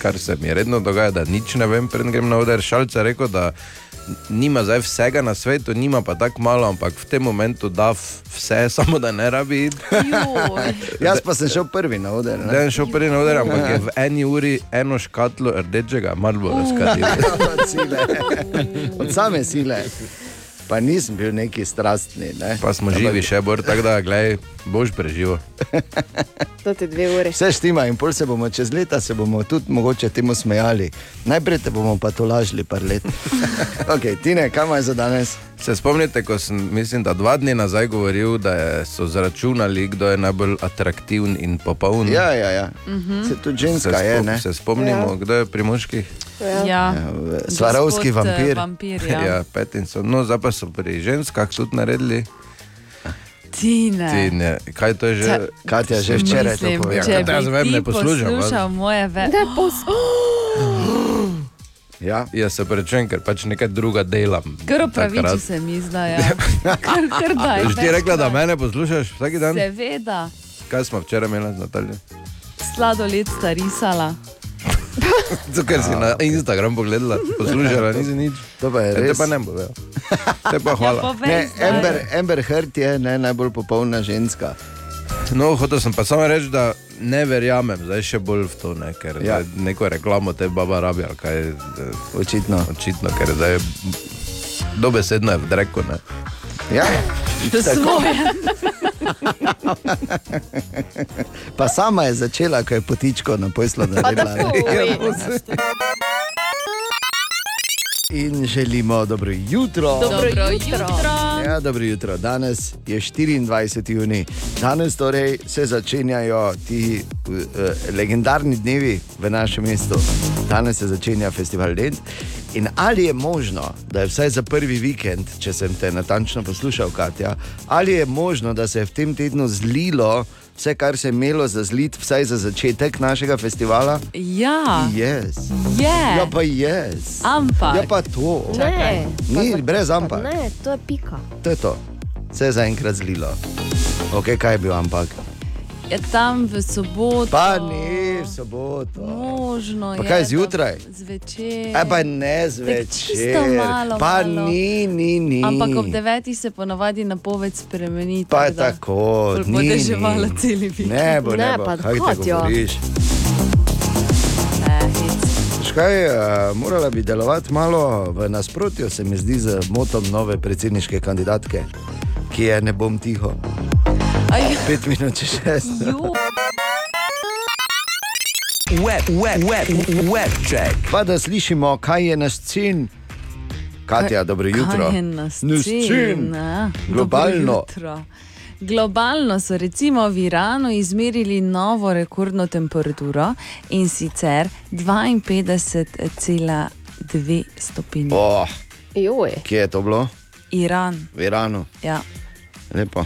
[SPEAKER 5] Kar se mi redno dogaja, da nič ne vem, preden grem na oder. Šalca je rekel, da nima zdaj vsega na svetu, nima pa tako malo, ampak v tem momentu da v- vse, samo da ne rabi iti. Ja.
[SPEAKER 3] Jaz pa sem šel prvi na oder.
[SPEAKER 5] Da je šel prvi na oder, ampak je v eni uri eno škatlo rdečega, malo bo razkadil.
[SPEAKER 3] Od sile. Od same sile. Pa nisem bil neki strastni. Ne?
[SPEAKER 5] Pa smo živi še, Bor, tako da, gledaj, boš preživel.
[SPEAKER 2] To ti dve uri.
[SPEAKER 3] Vse štima in pol se bomo čez leta, se bomo tudi mogoče temu smejali. Najprej te bomo pa to lažili, par let. okay, Tine, kaj imaš za danes?
[SPEAKER 5] Se spomnite, ko sem, mislim, da dva dni nazaj govoril, da je- so zračunali, kdo je najbolj atraktiven in popoln?
[SPEAKER 3] Ja, ja, ja. Mhm. Se tudi ženska
[SPEAKER 5] Mm. se
[SPEAKER 3] je,
[SPEAKER 5] spo-
[SPEAKER 3] ne?
[SPEAKER 5] Se spomnimo,
[SPEAKER 3] Ja.
[SPEAKER 5] ja. kdo je pri moških?
[SPEAKER 4] Ja.
[SPEAKER 3] Svarovski
[SPEAKER 4] Gospod, eh,
[SPEAKER 3] vampir.
[SPEAKER 4] vampir ja.
[SPEAKER 5] ja Petinson. No, zdaj pa so pri ženskah tudi naredili.
[SPEAKER 4] Tine.
[SPEAKER 5] Ti ne, kaj to je že?
[SPEAKER 4] Če-
[SPEAKER 3] Katja, že včeraj to
[SPEAKER 4] Ja. Mislim,
[SPEAKER 3] povedala.
[SPEAKER 5] Ja,
[SPEAKER 4] če
[SPEAKER 5] kaj te jaz vem,
[SPEAKER 4] bi
[SPEAKER 5] ne
[SPEAKER 4] ti
[SPEAKER 5] poslušam, vas.
[SPEAKER 4] poslušal moje več.
[SPEAKER 3] Ja.
[SPEAKER 5] Jaz se prečem, ker pač nekaj druga delam.
[SPEAKER 4] Kar upraviči
[SPEAKER 5] Takrat.
[SPEAKER 4] se pač mi zdaj. Ja. Kar, kar daj.
[SPEAKER 5] Boš ti rekla, da mene poslušaš vsak dan?
[SPEAKER 4] Seveda,
[SPEAKER 5] Kaj smo včeraj imeli z Natalijo?
[SPEAKER 4] sladoled sta risala.
[SPEAKER 5] Zato, ker
[SPEAKER 3] Ja,
[SPEAKER 5] si na Instagram pogledala, poslušala, nisi nič.
[SPEAKER 3] To pa je
[SPEAKER 5] Ja, te
[SPEAKER 3] res.
[SPEAKER 5] pa ne bo vejo. Te
[SPEAKER 4] Ja,
[SPEAKER 5] pa hvala.
[SPEAKER 4] povej
[SPEAKER 3] Ne, Amber, Amber Heard je ne, najbolj popolna ženska.
[SPEAKER 5] No, hotel sem pa samo reči, da ne verjamem, zdaj še bolj v to, ne, ker
[SPEAKER 3] Ja.
[SPEAKER 5] ja. neko reklamo te baba rabi. ali Kaj, eh,
[SPEAKER 3] Očitno.
[SPEAKER 5] Očitno, ker zdaj dobesedno je v dreku. Ne.
[SPEAKER 3] Ja,
[SPEAKER 4] To svoje.
[SPEAKER 3] Pa sama je začela, ko je potičko na pojslo naredila. Ja, In želimo dobro jutro.
[SPEAKER 11] Dobro Dobro jutro. jutro.
[SPEAKER 3] Ja, dobro jutro. Danes je 24. juni. Danes torej se začenjajo ti uh, uh, legendarni dnevi v našem mestu. Danes se začenja festival Lent. In ali je možno, da je vsaj za prvi vikend, če sem te natančno poslušal, Katja, ali je možno, da se je v tem tednu zlilo vse, kar se je imelo za zlit, vsaj za začetek našega festivala?
[SPEAKER 4] Ja,
[SPEAKER 3] Yes.
[SPEAKER 4] Je.
[SPEAKER 3] Mm. Ja, pa je. Yes.
[SPEAKER 4] ampak.
[SPEAKER 3] Ja, pa to.
[SPEAKER 4] Čakaj.
[SPEAKER 3] Ni, brez ampak.
[SPEAKER 2] Ne, to je pika.
[SPEAKER 3] To je to. Vse je zaenkrat zlilo. Ok, kaj je bil ampak?
[SPEAKER 4] Je tam v soboto.
[SPEAKER 3] Pa ni v soboto.
[SPEAKER 4] Možno
[SPEAKER 3] Pa
[SPEAKER 4] je.
[SPEAKER 3] kaj
[SPEAKER 4] da
[SPEAKER 3] zjutraj?
[SPEAKER 4] Zvečer.
[SPEAKER 3] E, pa ne
[SPEAKER 4] čisto
[SPEAKER 3] zvečer.
[SPEAKER 4] malo,
[SPEAKER 3] Pa
[SPEAKER 4] malo.
[SPEAKER 3] ni, ni, ni.
[SPEAKER 4] Ampak ob devetih se ponavadi napoved spremeni.
[SPEAKER 3] Pa
[SPEAKER 4] tako
[SPEAKER 3] je
[SPEAKER 4] da
[SPEAKER 3] tako.
[SPEAKER 4] Bolj
[SPEAKER 3] ni, ni.
[SPEAKER 4] podeževala celi vikend.
[SPEAKER 3] Ne, bo, ne,
[SPEAKER 4] Ne,
[SPEAKER 3] bo.
[SPEAKER 4] pa
[SPEAKER 3] kaj
[SPEAKER 4] kot ja.
[SPEAKER 3] ti
[SPEAKER 4] jo.
[SPEAKER 3] govoriš.
[SPEAKER 4] Eh,
[SPEAKER 3] Veš Kaj, eh, morala bi delovati malo v nasprotju, se mi zdi, z motom nove predsedniške kandidatke, ki je ne bom tiho.
[SPEAKER 4] Aj.
[SPEAKER 3] Pet minut čez šest.
[SPEAKER 1] Web, web, web, web check.
[SPEAKER 3] Pa da slišimo, kaj je naš cilj. Katja, dobro jutro.
[SPEAKER 4] Kaj je na
[SPEAKER 3] Naš cilj.
[SPEAKER 4] scena?
[SPEAKER 3] Globalno.
[SPEAKER 4] Dobro jutro. Globalno so recimo v Iranu izmerili novo rekordno temperaturo in sicer 52,2 stopinje.
[SPEAKER 3] Oh,
[SPEAKER 2] Joj,
[SPEAKER 3] kje je to bilo?
[SPEAKER 4] Iran,
[SPEAKER 3] V Iranu.
[SPEAKER 4] ja,
[SPEAKER 3] Lepo,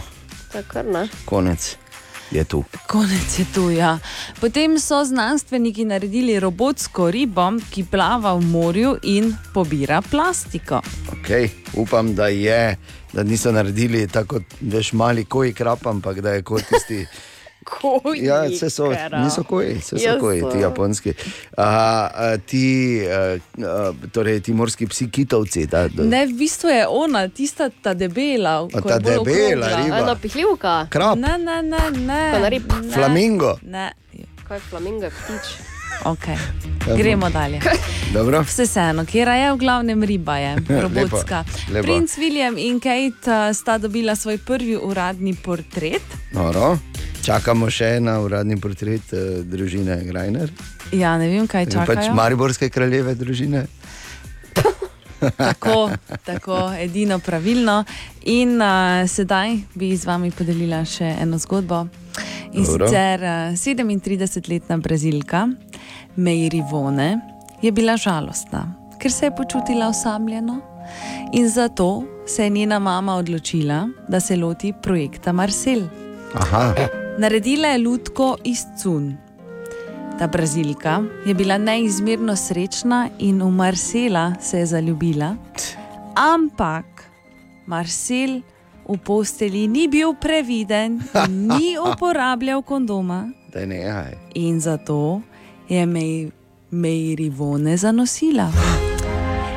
[SPEAKER 2] to je kar ne.
[SPEAKER 3] konec je tu.
[SPEAKER 4] konec je tu. Ja. Potem so znanstveniki naredili robotsko ribo, ki plava v morju in pobira plastiko.
[SPEAKER 3] Okay, upam, da je, da niso naredili tako, kot veš, mali koji krap, ampak da je kot tisti.
[SPEAKER 2] Koji
[SPEAKER 3] Ja, vse so,
[SPEAKER 2] krap.
[SPEAKER 3] niso koji, vse so
[SPEAKER 2] Ja,
[SPEAKER 3] koji,
[SPEAKER 2] so.
[SPEAKER 3] ti japonski. Aha, a, ti, a, a, torej, ti morski psi kitovci. Da, da.
[SPEAKER 4] Ne, v bistvu je ona, tista ta debela,
[SPEAKER 3] A
[SPEAKER 4] ko
[SPEAKER 3] ta
[SPEAKER 4] je bolj
[SPEAKER 3] debela
[SPEAKER 2] Ja,
[SPEAKER 4] okrogla.
[SPEAKER 3] riba. Ena
[SPEAKER 2] pihlivka.
[SPEAKER 3] Krap.
[SPEAKER 4] Ne, ne, ne, ne.
[SPEAKER 2] Kanarib.
[SPEAKER 4] Ne.
[SPEAKER 3] Flamingo.
[SPEAKER 4] Ne.
[SPEAKER 2] Kaj je flamingo, ptič?
[SPEAKER 4] Okay. Gremo dalje.
[SPEAKER 3] Dobro.
[SPEAKER 4] Vse vseeno, kjer je v glavnem riba, je robotska.
[SPEAKER 3] Lepo, lepo.
[SPEAKER 4] Princ William in Kate eh, sta dobila svoj prvi uradni portret.
[SPEAKER 3] Noro. Čakamo še na uradni portret eh, družine Grajner.
[SPEAKER 4] Ja, ne vem, kaj čakajo.
[SPEAKER 3] Pač mariborske kraljeve družine.
[SPEAKER 4] Tako, tako, edino pravilno. In uh, sedaj bi z vami podelila še eno zgodbo. In
[SPEAKER 3] Dobro.
[SPEAKER 4] sicer uh, 37-letna Brazilka Meiri Vone je bila žalostna, ker se je počutila osamljeno in zato se je njena mama odločila, da se loti projekta Marcel.
[SPEAKER 3] Aha.
[SPEAKER 4] Naredila je lutko iz cun. Ta brazilka je bila neizmerno srečna in v Marsela se je zaljubila. Ampak Marsel v posteli ni bil previden, in ni uporabljal kondoma
[SPEAKER 3] Daj nehaj.
[SPEAKER 4] in zato je Mej- Meiri Vone zanosila.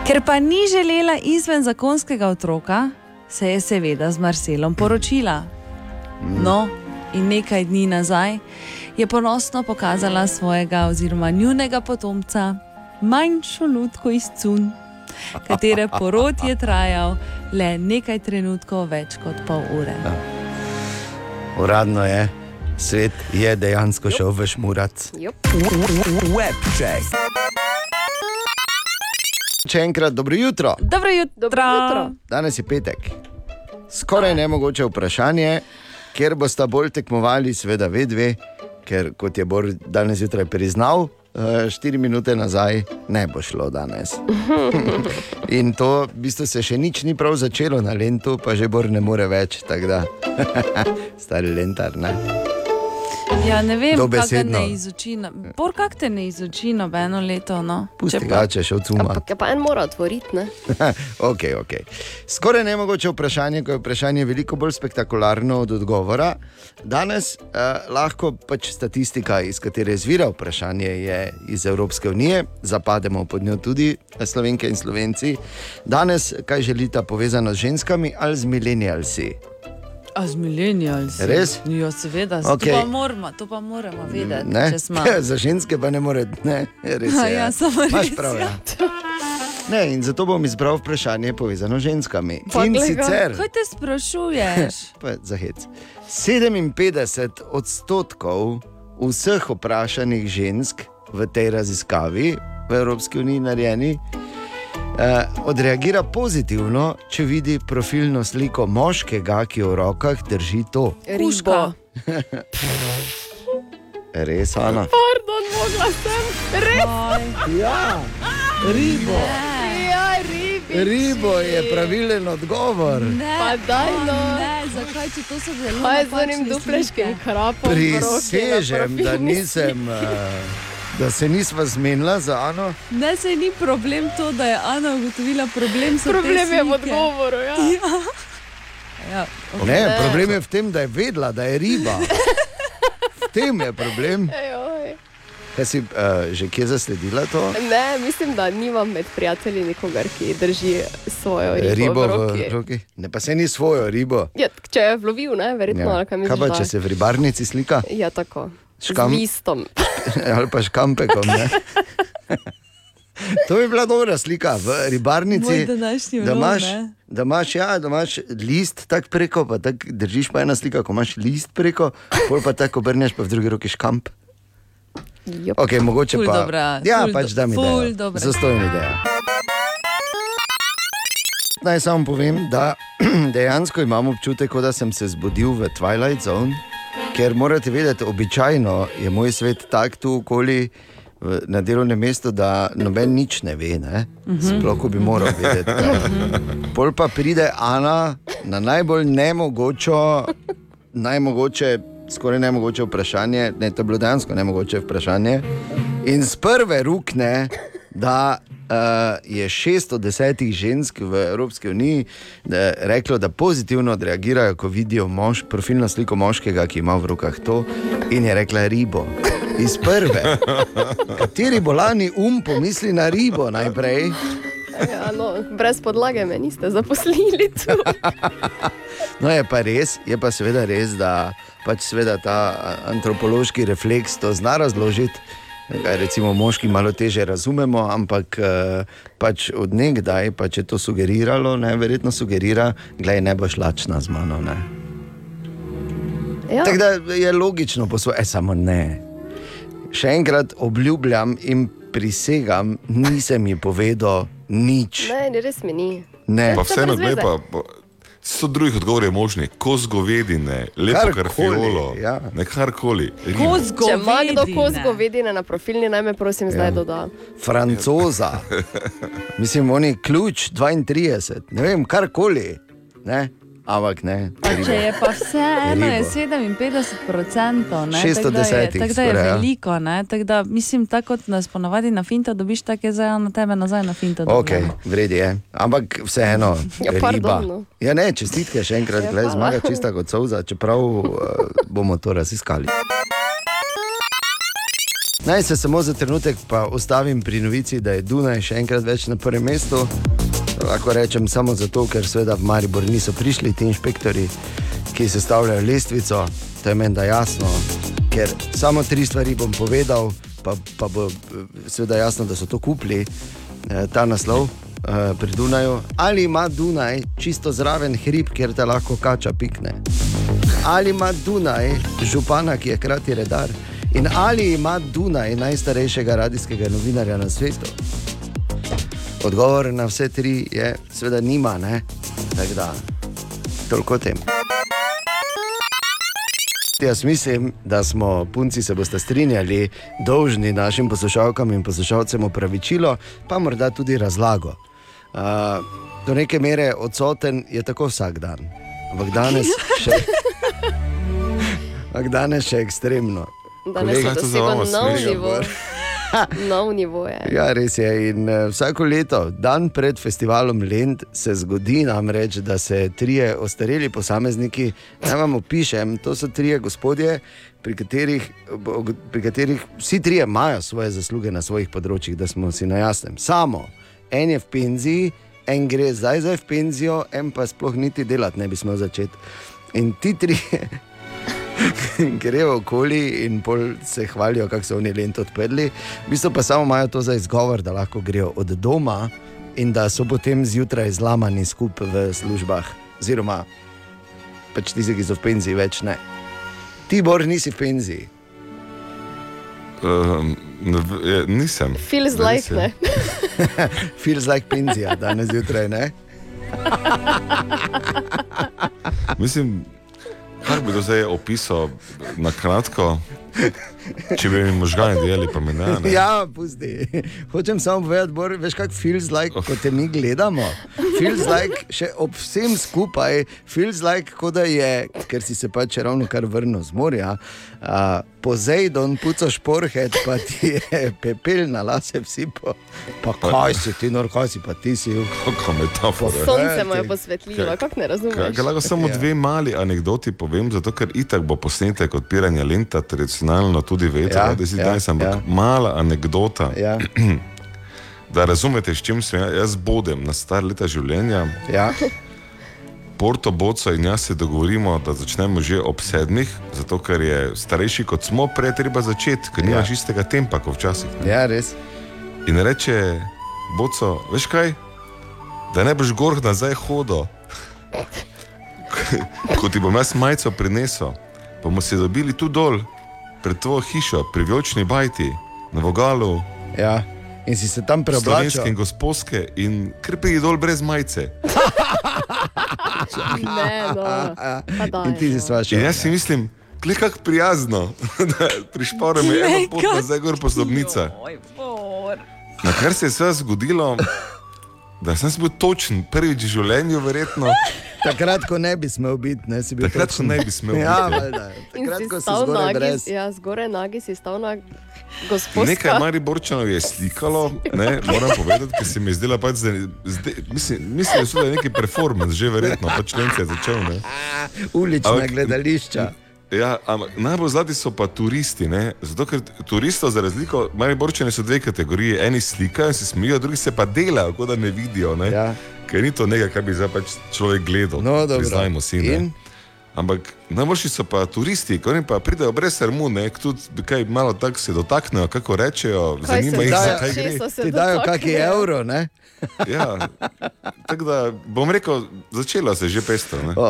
[SPEAKER 4] Ker pa ni želela izven zakonskega otroka, se je seveda z Marcelom poročila. No, in nekaj dni nazaj je ponosno pokazala svojega oziroma njunega potomca, manjšo lutko iz cun, katere porod je trajal le nekaj trenutkov več kot pol ure.
[SPEAKER 3] Uradno je, svet je dejansko šel v šmurat.
[SPEAKER 1] Web check.
[SPEAKER 3] Še enkrat dobro jutro.
[SPEAKER 4] Dobro jutro. Dobro jutro.
[SPEAKER 3] Danes je petek. Skoraj nemogoče vprašanje, ker boste bolj tekmovali, seveda, ve dve, ker kot je Bor danes zjutraj priznal, eh, štiri minute nazaj ne bo šlo danes. In to v bistvu se še nič ni prav začelo na Lentu, pa že Bor ne more več, tako da stari Lentar. Ne?
[SPEAKER 4] Ja, ne vem, kako te
[SPEAKER 3] Dobesedno.
[SPEAKER 4] ne izuči. no- Bor, kako te ne izuči nobeno leto? No?
[SPEAKER 3] Pusti ga, če še odsuma.
[SPEAKER 2] Ja, pa en mora otvoriti, ne?
[SPEAKER 3] okay, okay. Skoraj ne mogoče vprašanje, ko je vprašanje veliko bolj spektakularno od odgovora. Danes eh, lahko pač statistika, iz katere izvira vprašanje, je iz Evropske unije, zapademo pod njo tudi eh, slovenke in slovenci. Danes, kaj želite povezano z ženskami ali z milenijalci?
[SPEAKER 4] A z milenijalci.
[SPEAKER 3] Res?
[SPEAKER 4] Ja, seveda,
[SPEAKER 3] Okej.
[SPEAKER 4] okay. to, pa moramo, to pa moramo vedeti.
[SPEAKER 3] Ne?
[SPEAKER 4] če smo.
[SPEAKER 3] Za ženske pa ne more, ne, res je.
[SPEAKER 4] Ja, samo res,
[SPEAKER 3] Imaš prav,
[SPEAKER 4] ja.
[SPEAKER 3] ja. Ne, in zato bom izbral vprašanje povezano z ženskami.
[SPEAKER 4] Pa,
[SPEAKER 3] in
[SPEAKER 4] glej ga,
[SPEAKER 3] sicer.
[SPEAKER 4] Kaj te sprašuješ?
[SPEAKER 3] Pa za hec. 57 odstotkov vseh vprašanih žensk v tej raziskavi, v Evropski uniji narejeni, eh, odreagira pozitivno, če vidi profilno sliko moškega, ki v rokah drži to.
[SPEAKER 2] Riško.
[SPEAKER 3] Res, Ana.
[SPEAKER 2] Pardon, mogla sem. Res.
[SPEAKER 3] Ja, ribo.
[SPEAKER 2] Ja, ribi.
[SPEAKER 3] Ribo je pravilen odgovor.
[SPEAKER 4] Ne,
[SPEAKER 2] Pa daj,
[SPEAKER 4] o
[SPEAKER 2] no.
[SPEAKER 4] Ne, zakaj če to so pač zelo
[SPEAKER 2] Kaj je z
[SPEAKER 4] napačne
[SPEAKER 2] onim dupleškim
[SPEAKER 4] slike?
[SPEAKER 2] krapom?
[SPEAKER 3] Prisežem, da nisem. eh, Da se nisva zmenila za Ano.
[SPEAKER 4] Ne, se ni problem to, da je Ana ugotovila problem. so te
[SPEAKER 2] Problem je v
[SPEAKER 4] slike.
[SPEAKER 2] odgovoru, ja.
[SPEAKER 4] ja.
[SPEAKER 3] Ne, problem je v tem, da je vedela, da je riba. V tem je problem.
[SPEAKER 2] Ejoj.
[SPEAKER 3] Kaj si uh, že kje zasledila to?
[SPEAKER 2] Ne, mislim, da nimam med prijatelji nikogar, ki drži svojo ribo,
[SPEAKER 3] ribo
[SPEAKER 2] v roki.
[SPEAKER 3] v roki. Ne, pa se ni svojo ribo.
[SPEAKER 2] Ja, če je vlovil, ne, verjetno.
[SPEAKER 3] Ja.
[SPEAKER 2] ali
[SPEAKER 3] Kaj
[SPEAKER 2] Kaj, misliš,
[SPEAKER 3] pa,
[SPEAKER 2] da
[SPEAKER 3] če
[SPEAKER 2] je?
[SPEAKER 3] se v ribarnici slika?
[SPEAKER 2] Ja, tako.
[SPEAKER 3] Škam-
[SPEAKER 2] Z listom.
[SPEAKER 3] Ali pa škampekom. Ne? To bi bila dobra slika v
[SPEAKER 4] Moj
[SPEAKER 3] ribarnici.
[SPEAKER 4] današnji
[SPEAKER 3] Da
[SPEAKER 4] ulov,
[SPEAKER 3] imaš,
[SPEAKER 4] ne.
[SPEAKER 3] da, imaš, ja, da imaš list tako preko, pa tak držiš pa ena slika, ko imaš list preko, pol pa tako obrneš, pa v drugi roki škamp. Okay, mogoče
[SPEAKER 4] Ful
[SPEAKER 3] pa,
[SPEAKER 4] dobra,
[SPEAKER 3] ja,
[SPEAKER 4] ful
[SPEAKER 3] pač
[SPEAKER 4] do-
[SPEAKER 3] da mi
[SPEAKER 4] ful
[SPEAKER 3] je.
[SPEAKER 4] dobra.
[SPEAKER 3] Zastojna ideja. Naj samo povem, da dejansko imam občutek, kot da sem se zbudil v Twilight Zone, ker morate vedeti, običajno je moj svet tak tu okoli. v- Na delovnem mestu, da noben nič ne ve, ne?
[SPEAKER 4] Mhm.
[SPEAKER 3] sploh ko bi moral vedeti. ne. Pol pa pride Ana na najbolj nemogočo, najmogoče, skoraj nemogoče vprašanje, ne, to je bilo dejansko nemogoče vprašanje. In z prve rokne, da uh, je šest od desetih žensk v Evropski uniji da, reklo, da pozitivno odreagirajo, ko vidijo mož, profilno sliko moškega, ki ima v rokah to, in je rekla ribo. Iz prve. Kateri bolani um pomisli na ribo najprej?
[SPEAKER 2] Ja, no, brez podlage me niste zaposlili tu.
[SPEAKER 3] No, je pa res, je pa seveda res, da pač seveda ta a, antropološki refleks to zna razložiti. Kaj Recimo, moški malo teže razumemo, ampak eh, pač odengdaj, pa če je to sugeriralo, ne, verjetno sugerira, da ne boš lačna z mano. Ne.
[SPEAKER 2] Ja.
[SPEAKER 3] Tako da je logično, poslo, e, samo ne. Še enkrat obljubljam in prisegam, nisem ji povedal nič.
[SPEAKER 2] Ne, ne, res mi ni.
[SPEAKER 3] Ne.
[SPEAKER 6] Pa
[SPEAKER 2] Saj
[SPEAKER 6] vseeno,
[SPEAKER 2] brez
[SPEAKER 6] gledaj
[SPEAKER 2] veze.
[SPEAKER 6] pa. pa So drugih odgovorov je možni, kos govedine, lepo
[SPEAKER 3] Karkoli,
[SPEAKER 6] karfiolo, ja. ne karkoli. ribo.
[SPEAKER 2] Če ima kdo kozgo vedine na profilni, naj me prosim ja. zdaj doda.
[SPEAKER 3] francoza. Mislim, oni ključ 32, ne vem, karkoli. Ne? Ampak ne.
[SPEAKER 4] Pa če je pa vseeno, je
[SPEAKER 3] Ribo.
[SPEAKER 4] 57%, no, ne,
[SPEAKER 3] Šest
[SPEAKER 4] tako
[SPEAKER 3] od
[SPEAKER 4] da je,
[SPEAKER 3] desetih
[SPEAKER 4] tako da je
[SPEAKER 3] skoraj, ja.
[SPEAKER 4] veliko. Ne, tako da, mislim, tako kot nas ponavadi na finto dobiš, tako je zdaj na tebe nazaj na finto.
[SPEAKER 3] Ok,
[SPEAKER 4] dobljeno.
[SPEAKER 3] vredi je. Ampak vseeno,
[SPEAKER 4] Ja,
[SPEAKER 3] riba.
[SPEAKER 4] pardon, no.
[SPEAKER 3] Ja, ne, čestitke še enkrat,
[SPEAKER 4] Ja,
[SPEAKER 3] gled,
[SPEAKER 4] hvala.
[SPEAKER 3] zmaga čista kot souza, čeprav uh, bomo to raziskali. Naj se samo za trenutek pa ustavim pri novici, da je Dunaj še enkrat več na prvem mestu. To Lahko rečem samo zato, ker seveda v Maribor niso prišli ti inšpektori, ki sestavljajo lestvico. To je menda jasno, ker samo tri stvari bom povedal, pa, pa bo eh, seveda jasno, da so to kupili, eh, ta naslov eh, pri Dunaju. Ali ima Dunaj čisto zraven hrib, kjer te lahko kača pikne? ali ima Dunaj župana, ki je hkrati redar, in ali ima Dunaj najstarejšega radijskega novinarja na svetu? Odgovor na vse tri je, seveda, nima, ne? Tako da, toliko o tem. Jaz mislim, da smo, punci se boste strinjali, dolžni našim poslušalkam in poslušalcem opravičilo, pa morda tudi razlago. Uh, do neke mere odsoten je tako vsak dan, ampak danes še, ampak danes še ekstremno.
[SPEAKER 2] Danes je
[SPEAKER 3] Kolega-
[SPEAKER 2] dosegel nov nivo. Nov nivo je.
[SPEAKER 3] Ja, res je. In eh, vsako leto, dan pred festivalom Lend, se zgodi namreč, da se trije ostareli posamezniki, naj vam opišem, to so trije gospodje, pri katerih, bo- pri katerih vsi trije imajo svoje zasluge na svojih področjih, da smo si na jasnem. Samo en je v penziji, en gre zdaj zdaj v penzijo, en pa sploh niti delati ne bi smel začeti. In ti trije grejo okoli in pol se hvalijo, kako so oni lento odprli. V bistvu pa samo imajo to za izgovor, da lahko grejo od doma in da so potem zjutraj zlamani skupaj v službah, oziroma pač tisti, ki so v penziji, več ne. Ti, Bor, nisi v penziji.
[SPEAKER 6] Um, ne v- je, nisem.
[SPEAKER 2] Feels
[SPEAKER 6] Da
[SPEAKER 2] like,
[SPEAKER 6] nisem.
[SPEAKER 2] ne.
[SPEAKER 3] Feels like penzija, danes zjutraj ne.
[SPEAKER 6] Mislim, kako bi to zdaj opisal na kratko, če bi mi možgani delali, pa mi ne. ne.
[SPEAKER 3] Ja, pusti. Hočem samo povedati, Bor, veš, kako feels like, ko te mi gledamo. Feels like, še ob vsem skupaj, feels like, kot da je, ker si se pač ravno kar vrnil z morja, uh, pozejdon, pucaš porhet, pa ti je pepel na lase vsipo. Pa kaj si ti, nor, kaj si pa ti si.
[SPEAKER 6] Kako metafora.
[SPEAKER 2] Sonce mu je posvetljivo,
[SPEAKER 6] Kaj-
[SPEAKER 2] kako ne
[SPEAKER 6] Kaj,
[SPEAKER 2] razumeš?
[SPEAKER 6] kaj lahko
[SPEAKER 3] Ja.
[SPEAKER 6] samo dve mali anekdoti povem, zato ker itak bo posnetek odpiranja lenta tradicionalno tudi vedel,
[SPEAKER 3] Ja,
[SPEAKER 6] ja, da si
[SPEAKER 3] ja,
[SPEAKER 6] ja, danes, ampak
[SPEAKER 3] ja.
[SPEAKER 6] ja. mala anekdota.
[SPEAKER 3] Ja.
[SPEAKER 6] Da razumete, s čim sem jaz, jaz bodem na star leta življenja.
[SPEAKER 3] Ja.
[SPEAKER 6] Porto Boco in jaz se dogovorimo, da začnemo že ob sedmih, zato ker je starejši kot smo, prej je treba začeti, ker nimaš istega tempa kot včasih. ne.
[SPEAKER 3] Ja, res.
[SPEAKER 6] In reče, boco, veš kaj, da ne boš gor nazaj hodil. Ko ti bom jaz majico prinesel, bomo se dobili tu dol, pred tvojo hišo, pri Vjočni Bajti, na Vogalu,
[SPEAKER 3] Ja. In si se tam preoblačil.
[SPEAKER 6] slovenske in gospodske in krpi dol brez majice.
[SPEAKER 2] Ne, dobro. Pa no. daj,
[SPEAKER 3] In ti si svaš.
[SPEAKER 6] In jaz si mislim, glej kako prijazno, da prišpore me eno
[SPEAKER 2] Glej,
[SPEAKER 6] pot
[SPEAKER 2] kako-
[SPEAKER 6] nazaj gor po stopnicah. Na kar se je sve zgodilo, da sem si bil točen, prvič v življenju verjetno.
[SPEAKER 3] Takrat, ko ne bi smel biti, ne si bil.
[SPEAKER 6] Takrat, ko
[SPEAKER 3] točen.
[SPEAKER 6] ne bi smel
[SPEAKER 3] Ja,
[SPEAKER 6] biti.
[SPEAKER 3] valjda.
[SPEAKER 2] In
[SPEAKER 3] Takrat, ko si
[SPEAKER 2] si stal
[SPEAKER 3] zgoraj
[SPEAKER 2] nagi,
[SPEAKER 3] brez.
[SPEAKER 2] ja, zgoraj nagi si stal na gospodinstvu.
[SPEAKER 6] Nekaj Mariborčanov je slikalo, ne, moram povedati, ker se mi je zdela pač, da zdaj, mislim, mislim, da so da neki performance, že verjetno, pač Lenci je začel. Ne.
[SPEAKER 3] Ulična
[SPEAKER 6] Ampak-
[SPEAKER 3] gledališča.
[SPEAKER 6] Ja, ampak najbolj zlati so pa turisti, ne? zato ker turistov za razliko, Mariborčani so dve kategorije, eni slikajo in se smejijo, drugi se pa delajo, kot da ne vidijo. Ne?
[SPEAKER 3] Ja.
[SPEAKER 6] Ker ni to nekaj, kar bi zdaj pač človek gledal,
[SPEAKER 3] No, dobro.
[SPEAKER 6] priznajmo si. Ne?
[SPEAKER 3] In?
[SPEAKER 6] Ampak najboljši so pa turisti, ko oni pa pridejo brez srmu, ne, k- tudi kaj malo tako se dotaknejo, kako rečejo,
[SPEAKER 3] Kaj se
[SPEAKER 6] zanima jih,
[SPEAKER 3] dajo?
[SPEAKER 6] zakaj gre.
[SPEAKER 3] Česa se Ti dajo dotaknejo? kaki evro, ne?
[SPEAKER 6] Ja, tako da bom rekel, začelo se je že pestro. ne.
[SPEAKER 3] O,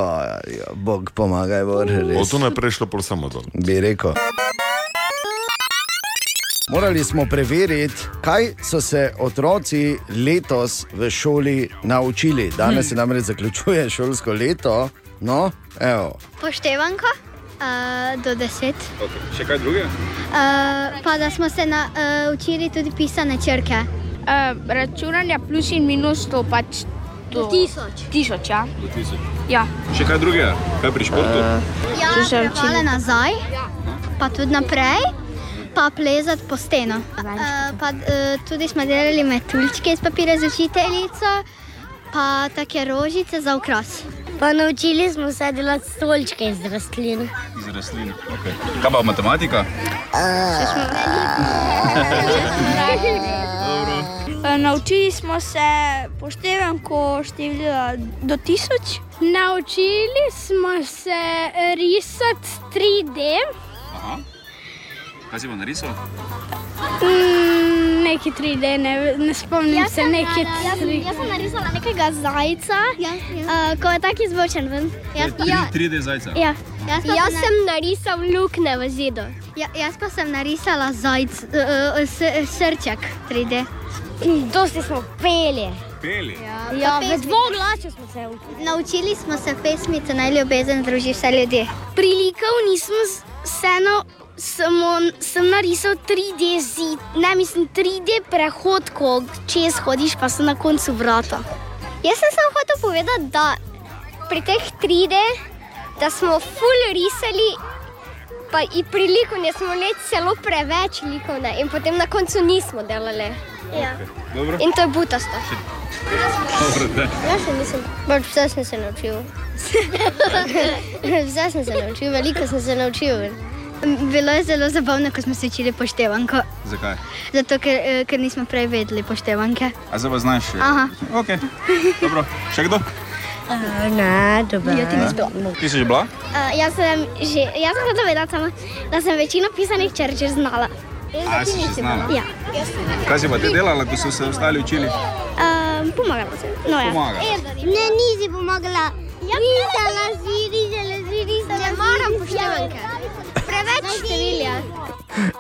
[SPEAKER 3] ja, Bog pomagaj, bo
[SPEAKER 6] Od
[SPEAKER 3] res.
[SPEAKER 6] tu naprej je šlo pa samo dol.
[SPEAKER 3] Bi rekel. Morali smo preveriti, kaj so se otroci letos v šoli naučili. Danes se namreč zaključuje šolsko leto. No, evo.
[SPEAKER 27] Poštevanka uh, do 10.
[SPEAKER 8] Okay. Še kaj drugega?
[SPEAKER 27] Uh, pa da smo se naučili uh, tudi pisane črke.
[SPEAKER 10] Uh, računanja plus in minus to pač. To... Tisoč. Tisoč, ja.
[SPEAKER 8] Do tisoč.
[SPEAKER 10] ja.
[SPEAKER 8] Še kaj drugega? Kaj pri športu?
[SPEAKER 27] Ja,
[SPEAKER 10] To se
[SPEAKER 27] prevale
[SPEAKER 10] učim.
[SPEAKER 27] nazaj,
[SPEAKER 10] Ja.
[SPEAKER 27] pa tudi naprej, pa plezati po steno. Uh, pa, uh, tudi smo delali metuljčke iz papirja z učiteljico, pa take rožice za ukras. Pa naučili smo se delati stolčke iz rastlin.
[SPEAKER 8] Iz rastlin. Okay. Kaj pa matematika?
[SPEAKER 10] Naučili smo se poštevanko števila do tisoč. Naučili smo se risati 3D,
[SPEAKER 8] Aha. Kaj si bo narisal?
[SPEAKER 10] mm, neki 3D, ne, ne spomnim
[SPEAKER 27] Jaz sem- jaz sem- jaz sem narisala nekega zajca, uh, ko je tako izbočen ven. Jaz, ja,
[SPEAKER 8] 3D zajca.
[SPEAKER 27] ja. Jaz, jaz sem sem narisal luknje v zidu. Ja, jaz pa sem narisala zajc, uh, uh, srček 3D. Dosti smo peli.
[SPEAKER 8] Peli.
[SPEAKER 27] Ja, v dvoglasu smo se učili. Naučili smo se pesmice Naj ljubezen združi vse ljudi. Prilikov nismo vseeno, samo sem narisal 3D zid, ne mislim 3D prehod, ko čez hodiš, pa so na koncu vrata. Jaz sem samo hotel povedati, da pri teh 3D, da smo ful risali. Pa in pri likovni smo imeli celo preveč likovne, in potem na koncu nismo delali. Ja.
[SPEAKER 8] Dobro.
[SPEAKER 27] In to je butasto.
[SPEAKER 8] Dobro, da.
[SPEAKER 27] Jaz se nisem, pač vse sem se naučil. vse sem se naučil, veliko sem se naučil. Bilo je zelo zabavno, ko smo se učili poštevanko,
[SPEAKER 8] Zakaj?
[SPEAKER 27] zato ker, eh, ker nismo prej vedeli poštevanke.
[SPEAKER 8] A zdaj pa znaš? eh?
[SPEAKER 27] Aha.
[SPEAKER 8] Ok, dobro. Še kdo?
[SPEAKER 27] Ne, dobro. Ja,
[SPEAKER 8] Ti si že bila?
[SPEAKER 27] jaz sem že, jaz sem zavedala samo, da sem večino pisanih črč že znala.
[SPEAKER 8] A, si že znala?
[SPEAKER 27] Ja.
[SPEAKER 8] Kaj si pa ti delala, ko so se ostali učili?
[SPEAKER 27] Uh, Um, pomagala sem. No, ja.
[SPEAKER 9] Pomagala.
[SPEAKER 27] Ne, nisi pomagala. Ja, risala si, risala si, risala si. Ne moram poštevanke. Preveč številja.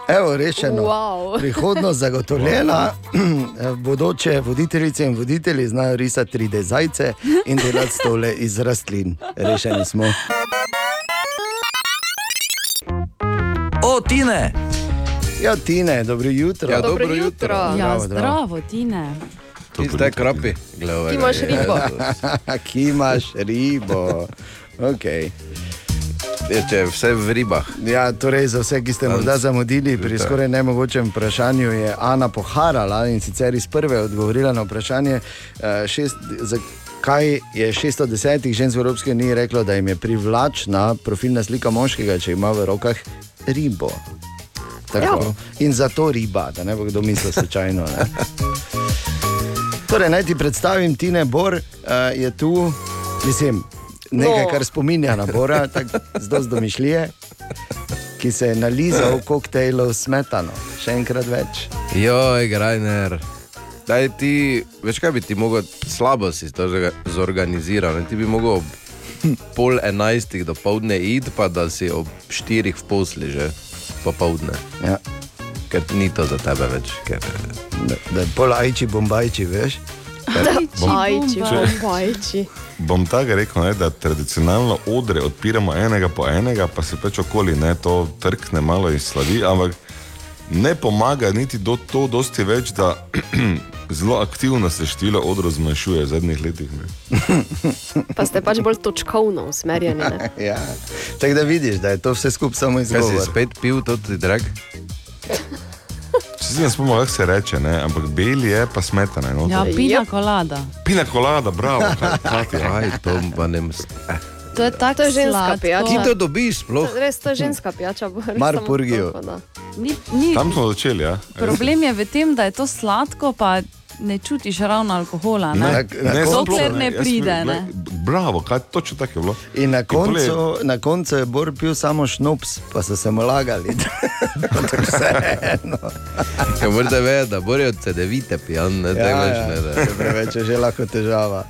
[SPEAKER 3] Evo, rešeno.
[SPEAKER 27] Wow.
[SPEAKER 3] Prihodnost zagotovljena. Bodoče voditeljice in voditelji znajo risati 3D zajce in delati stole iz rastlin. Rešeni smo.
[SPEAKER 1] O, Tine!
[SPEAKER 3] Ja, Tine, dobro jutro.
[SPEAKER 5] Ja,
[SPEAKER 4] Dobro Ja, zdravo, Tine.
[SPEAKER 5] Ti zdaj krapi.
[SPEAKER 4] Ki imaš
[SPEAKER 5] ja.
[SPEAKER 4] ribo.
[SPEAKER 3] Ki imaš ribo. Okay.
[SPEAKER 5] Je, če je vse v ribah.
[SPEAKER 3] Ja, torej za vse, ki ste morda zamudili pri skoraj nemogočem vprašanju, je Ana poharala in sicer iz prve odgovorila na vprašanje, eh, šest, zakaj je 610 žensk v Evropski uniji reklo, da jim je privlačna profilna slika moškega, če ima v rokah ribo. Tako. In zato riba, da ne bo kdo mislil slučajno. Ne? Torej, naj ti predstavim, Tine Bor uh, je tu, mislim, nekaj,
[SPEAKER 11] No.
[SPEAKER 3] no. kar spominja na Bora, tako zelo domišljije, ki se je nalizal koktejlov s smetano. Še enkrat več.
[SPEAKER 5] Joj, grajner. Daj ti, veš kaj bi ti mogel, slabo si to zorga- zorganiziral. Ne? Ti bi mogel ob pol enajstih do povdne id, pa da si ob štirih v posli že popovdne.
[SPEAKER 3] Ja.
[SPEAKER 5] Ker ni to za tebe več. Ker...
[SPEAKER 3] Da, da je pol ajči, bombajči, veš?
[SPEAKER 2] Ajči, bombajči.
[SPEAKER 6] Bom tako rekel, ne, da tradicionalno odre odpiramo enega po enega, pa se pač okoli ne, to trkne malo in slavi, ampak ne pomaga niti do to, dosti več, da zelo aktivno se število odrov zmanjšuje v zadnjih letih. Ne.
[SPEAKER 2] Pa ste pač bolj točkovno usmerjeni. ne?
[SPEAKER 3] Ja. Tako da vidiš, da je to vse skupaj samo
[SPEAKER 5] Kaj si
[SPEAKER 3] izgovor.
[SPEAKER 5] spet pil, to ti drag?
[SPEAKER 6] Če si ne spomnim, kako se reče, ne, ampak bel je pa smetana. No,
[SPEAKER 4] Ja, pina kolada.
[SPEAKER 6] Pina kolada, bravo, kaj ti
[SPEAKER 5] je. To pa ne moreš.
[SPEAKER 4] To je tako
[SPEAKER 2] To je ženska
[SPEAKER 4] sladko.
[SPEAKER 2] pijača. Ti
[SPEAKER 5] to dobiš sploh?
[SPEAKER 2] Res to je ženska pijača. bolj
[SPEAKER 6] Mar
[SPEAKER 2] samo
[SPEAKER 6] Purgijo.
[SPEAKER 2] tako, da.
[SPEAKER 4] Ni, ni,
[SPEAKER 6] Tam smo začeli, ja.
[SPEAKER 4] problem je v tem, da je to sladko, pa ne čutiš ravno alkohola. Ne? Dokler
[SPEAKER 6] sploh
[SPEAKER 4] ne
[SPEAKER 6] Jaz
[SPEAKER 4] pride.
[SPEAKER 6] bi-
[SPEAKER 4] Ne?
[SPEAKER 6] Bravo, kaj točno tako je bilo.
[SPEAKER 3] In na
[SPEAKER 6] pol je-
[SPEAKER 3] koncu, na koncu je Bor pil samo šnops, pa so se mu lagali. Ampak vseeno.
[SPEAKER 5] Ja, morda ve, da bojo CD-vite pijan, ne
[SPEAKER 3] Ja,
[SPEAKER 5] tega
[SPEAKER 3] ja,
[SPEAKER 5] več ne.
[SPEAKER 3] to je Preveč je že lahko težava.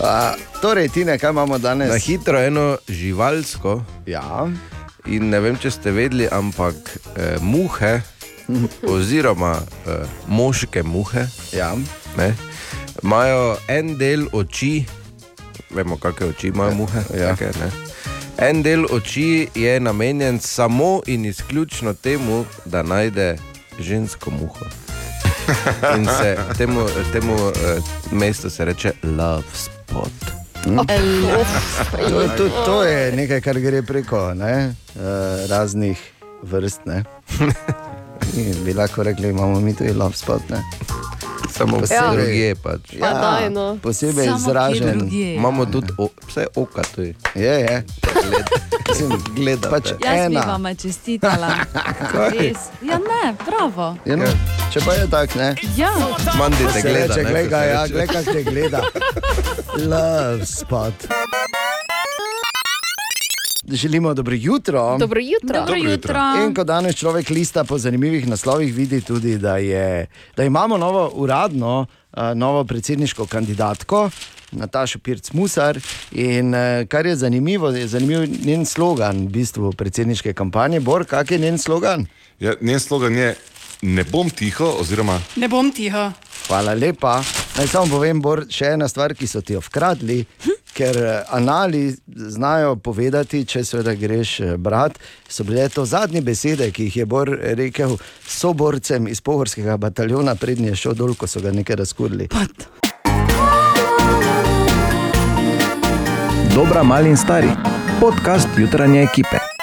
[SPEAKER 3] A, torej, ti ne, kaj imamo danes?
[SPEAKER 5] Na hitro eno živalsko.
[SPEAKER 3] Ja.
[SPEAKER 5] In ne vem, če ste vedeli, ampak eh, muhe, oziroma eh, moške muhe,
[SPEAKER 3] ja.
[SPEAKER 5] ne, imajo en del oči, vemo, kakšne oči imajo muhe. Ja. Take, ne. en del oči je namenjen samo in izključno temu, da najde žensko muho. In se temu, temu eh, mestu se reče love spot.
[SPEAKER 3] To, to, to je nekaj, kar gre preko ne? eh, raznih vrst. Ne? In bi lahko rekli, imamo mi tudi lovspot.
[SPEAKER 5] Samo
[SPEAKER 3] Posebej-
[SPEAKER 5] ja. drugje pač.
[SPEAKER 3] Pa Ja, daj, no. posebej Samo kje izražen. drugje.
[SPEAKER 5] Imamo tudi o, vse oka tu. Je,
[SPEAKER 3] je.
[SPEAKER 5] Gledam.
[SPEAKER 3] Pač
[SPEAKER 4] Jaz bi vama čestitala.
[SPEAKER 5] Kaj?
[SPEAKER 4] Res. Ja, ne, bravo.
[SPEAKER 3] Ja, no, če pa je tako, ne.
[SPEAKER 4] Ja.
[SPEAKER 5] Mandi te
[SPEAKER 3] Pač Se
[SPEAKER 5] gleda,
[SPEAKER 3] reče,
[SPEAKER 5] ne,
[SPEAKER 3] glej
[SPEAKER 5] ko
[SPEAKER 3] ga,
[SPEAKER 5] se
[SPEAKER 3] ja,
[SPEAKER 5] reče.
[SPEAKER 3] glej, kako te gleda. Love spot. Želimo dobro jutro.
[SPEAKER 2] Dobro jutro. Dobro jutro.
[SPEAKER 3] In ko danes človek lista po zanimivih naslovih, vidi tudi, da, je, da imamo novo uradno, eh, novo predsedniško kandidatko. Nataša Pirc Musar. In eh, kar je zanimivo, je zanimiv njen slogan, v bistvu predsedniške kampanje. Bor, kak je njen slogan?
[SPEAKER 6] Ja, njen slogan je: Ne bom tiho, oziroma
[SPEAKER 12] Ne bom tiho.
[SPEAKER 3] Hvala lepa. Naj samo povem, Bor, še ena stvar, ki so ti jo ukradli, ker eh, anali znajo povedati, če seveda greš eh, brat. So bile to zadnje besede, ki jih je Bor rekel soborcem iz Pohorskega bataljona, prednje šel dol, ko so ga nekaj razkurili.
[SPEAKER 13] Dobra, mali in stari. Podcast jutranje ekipe.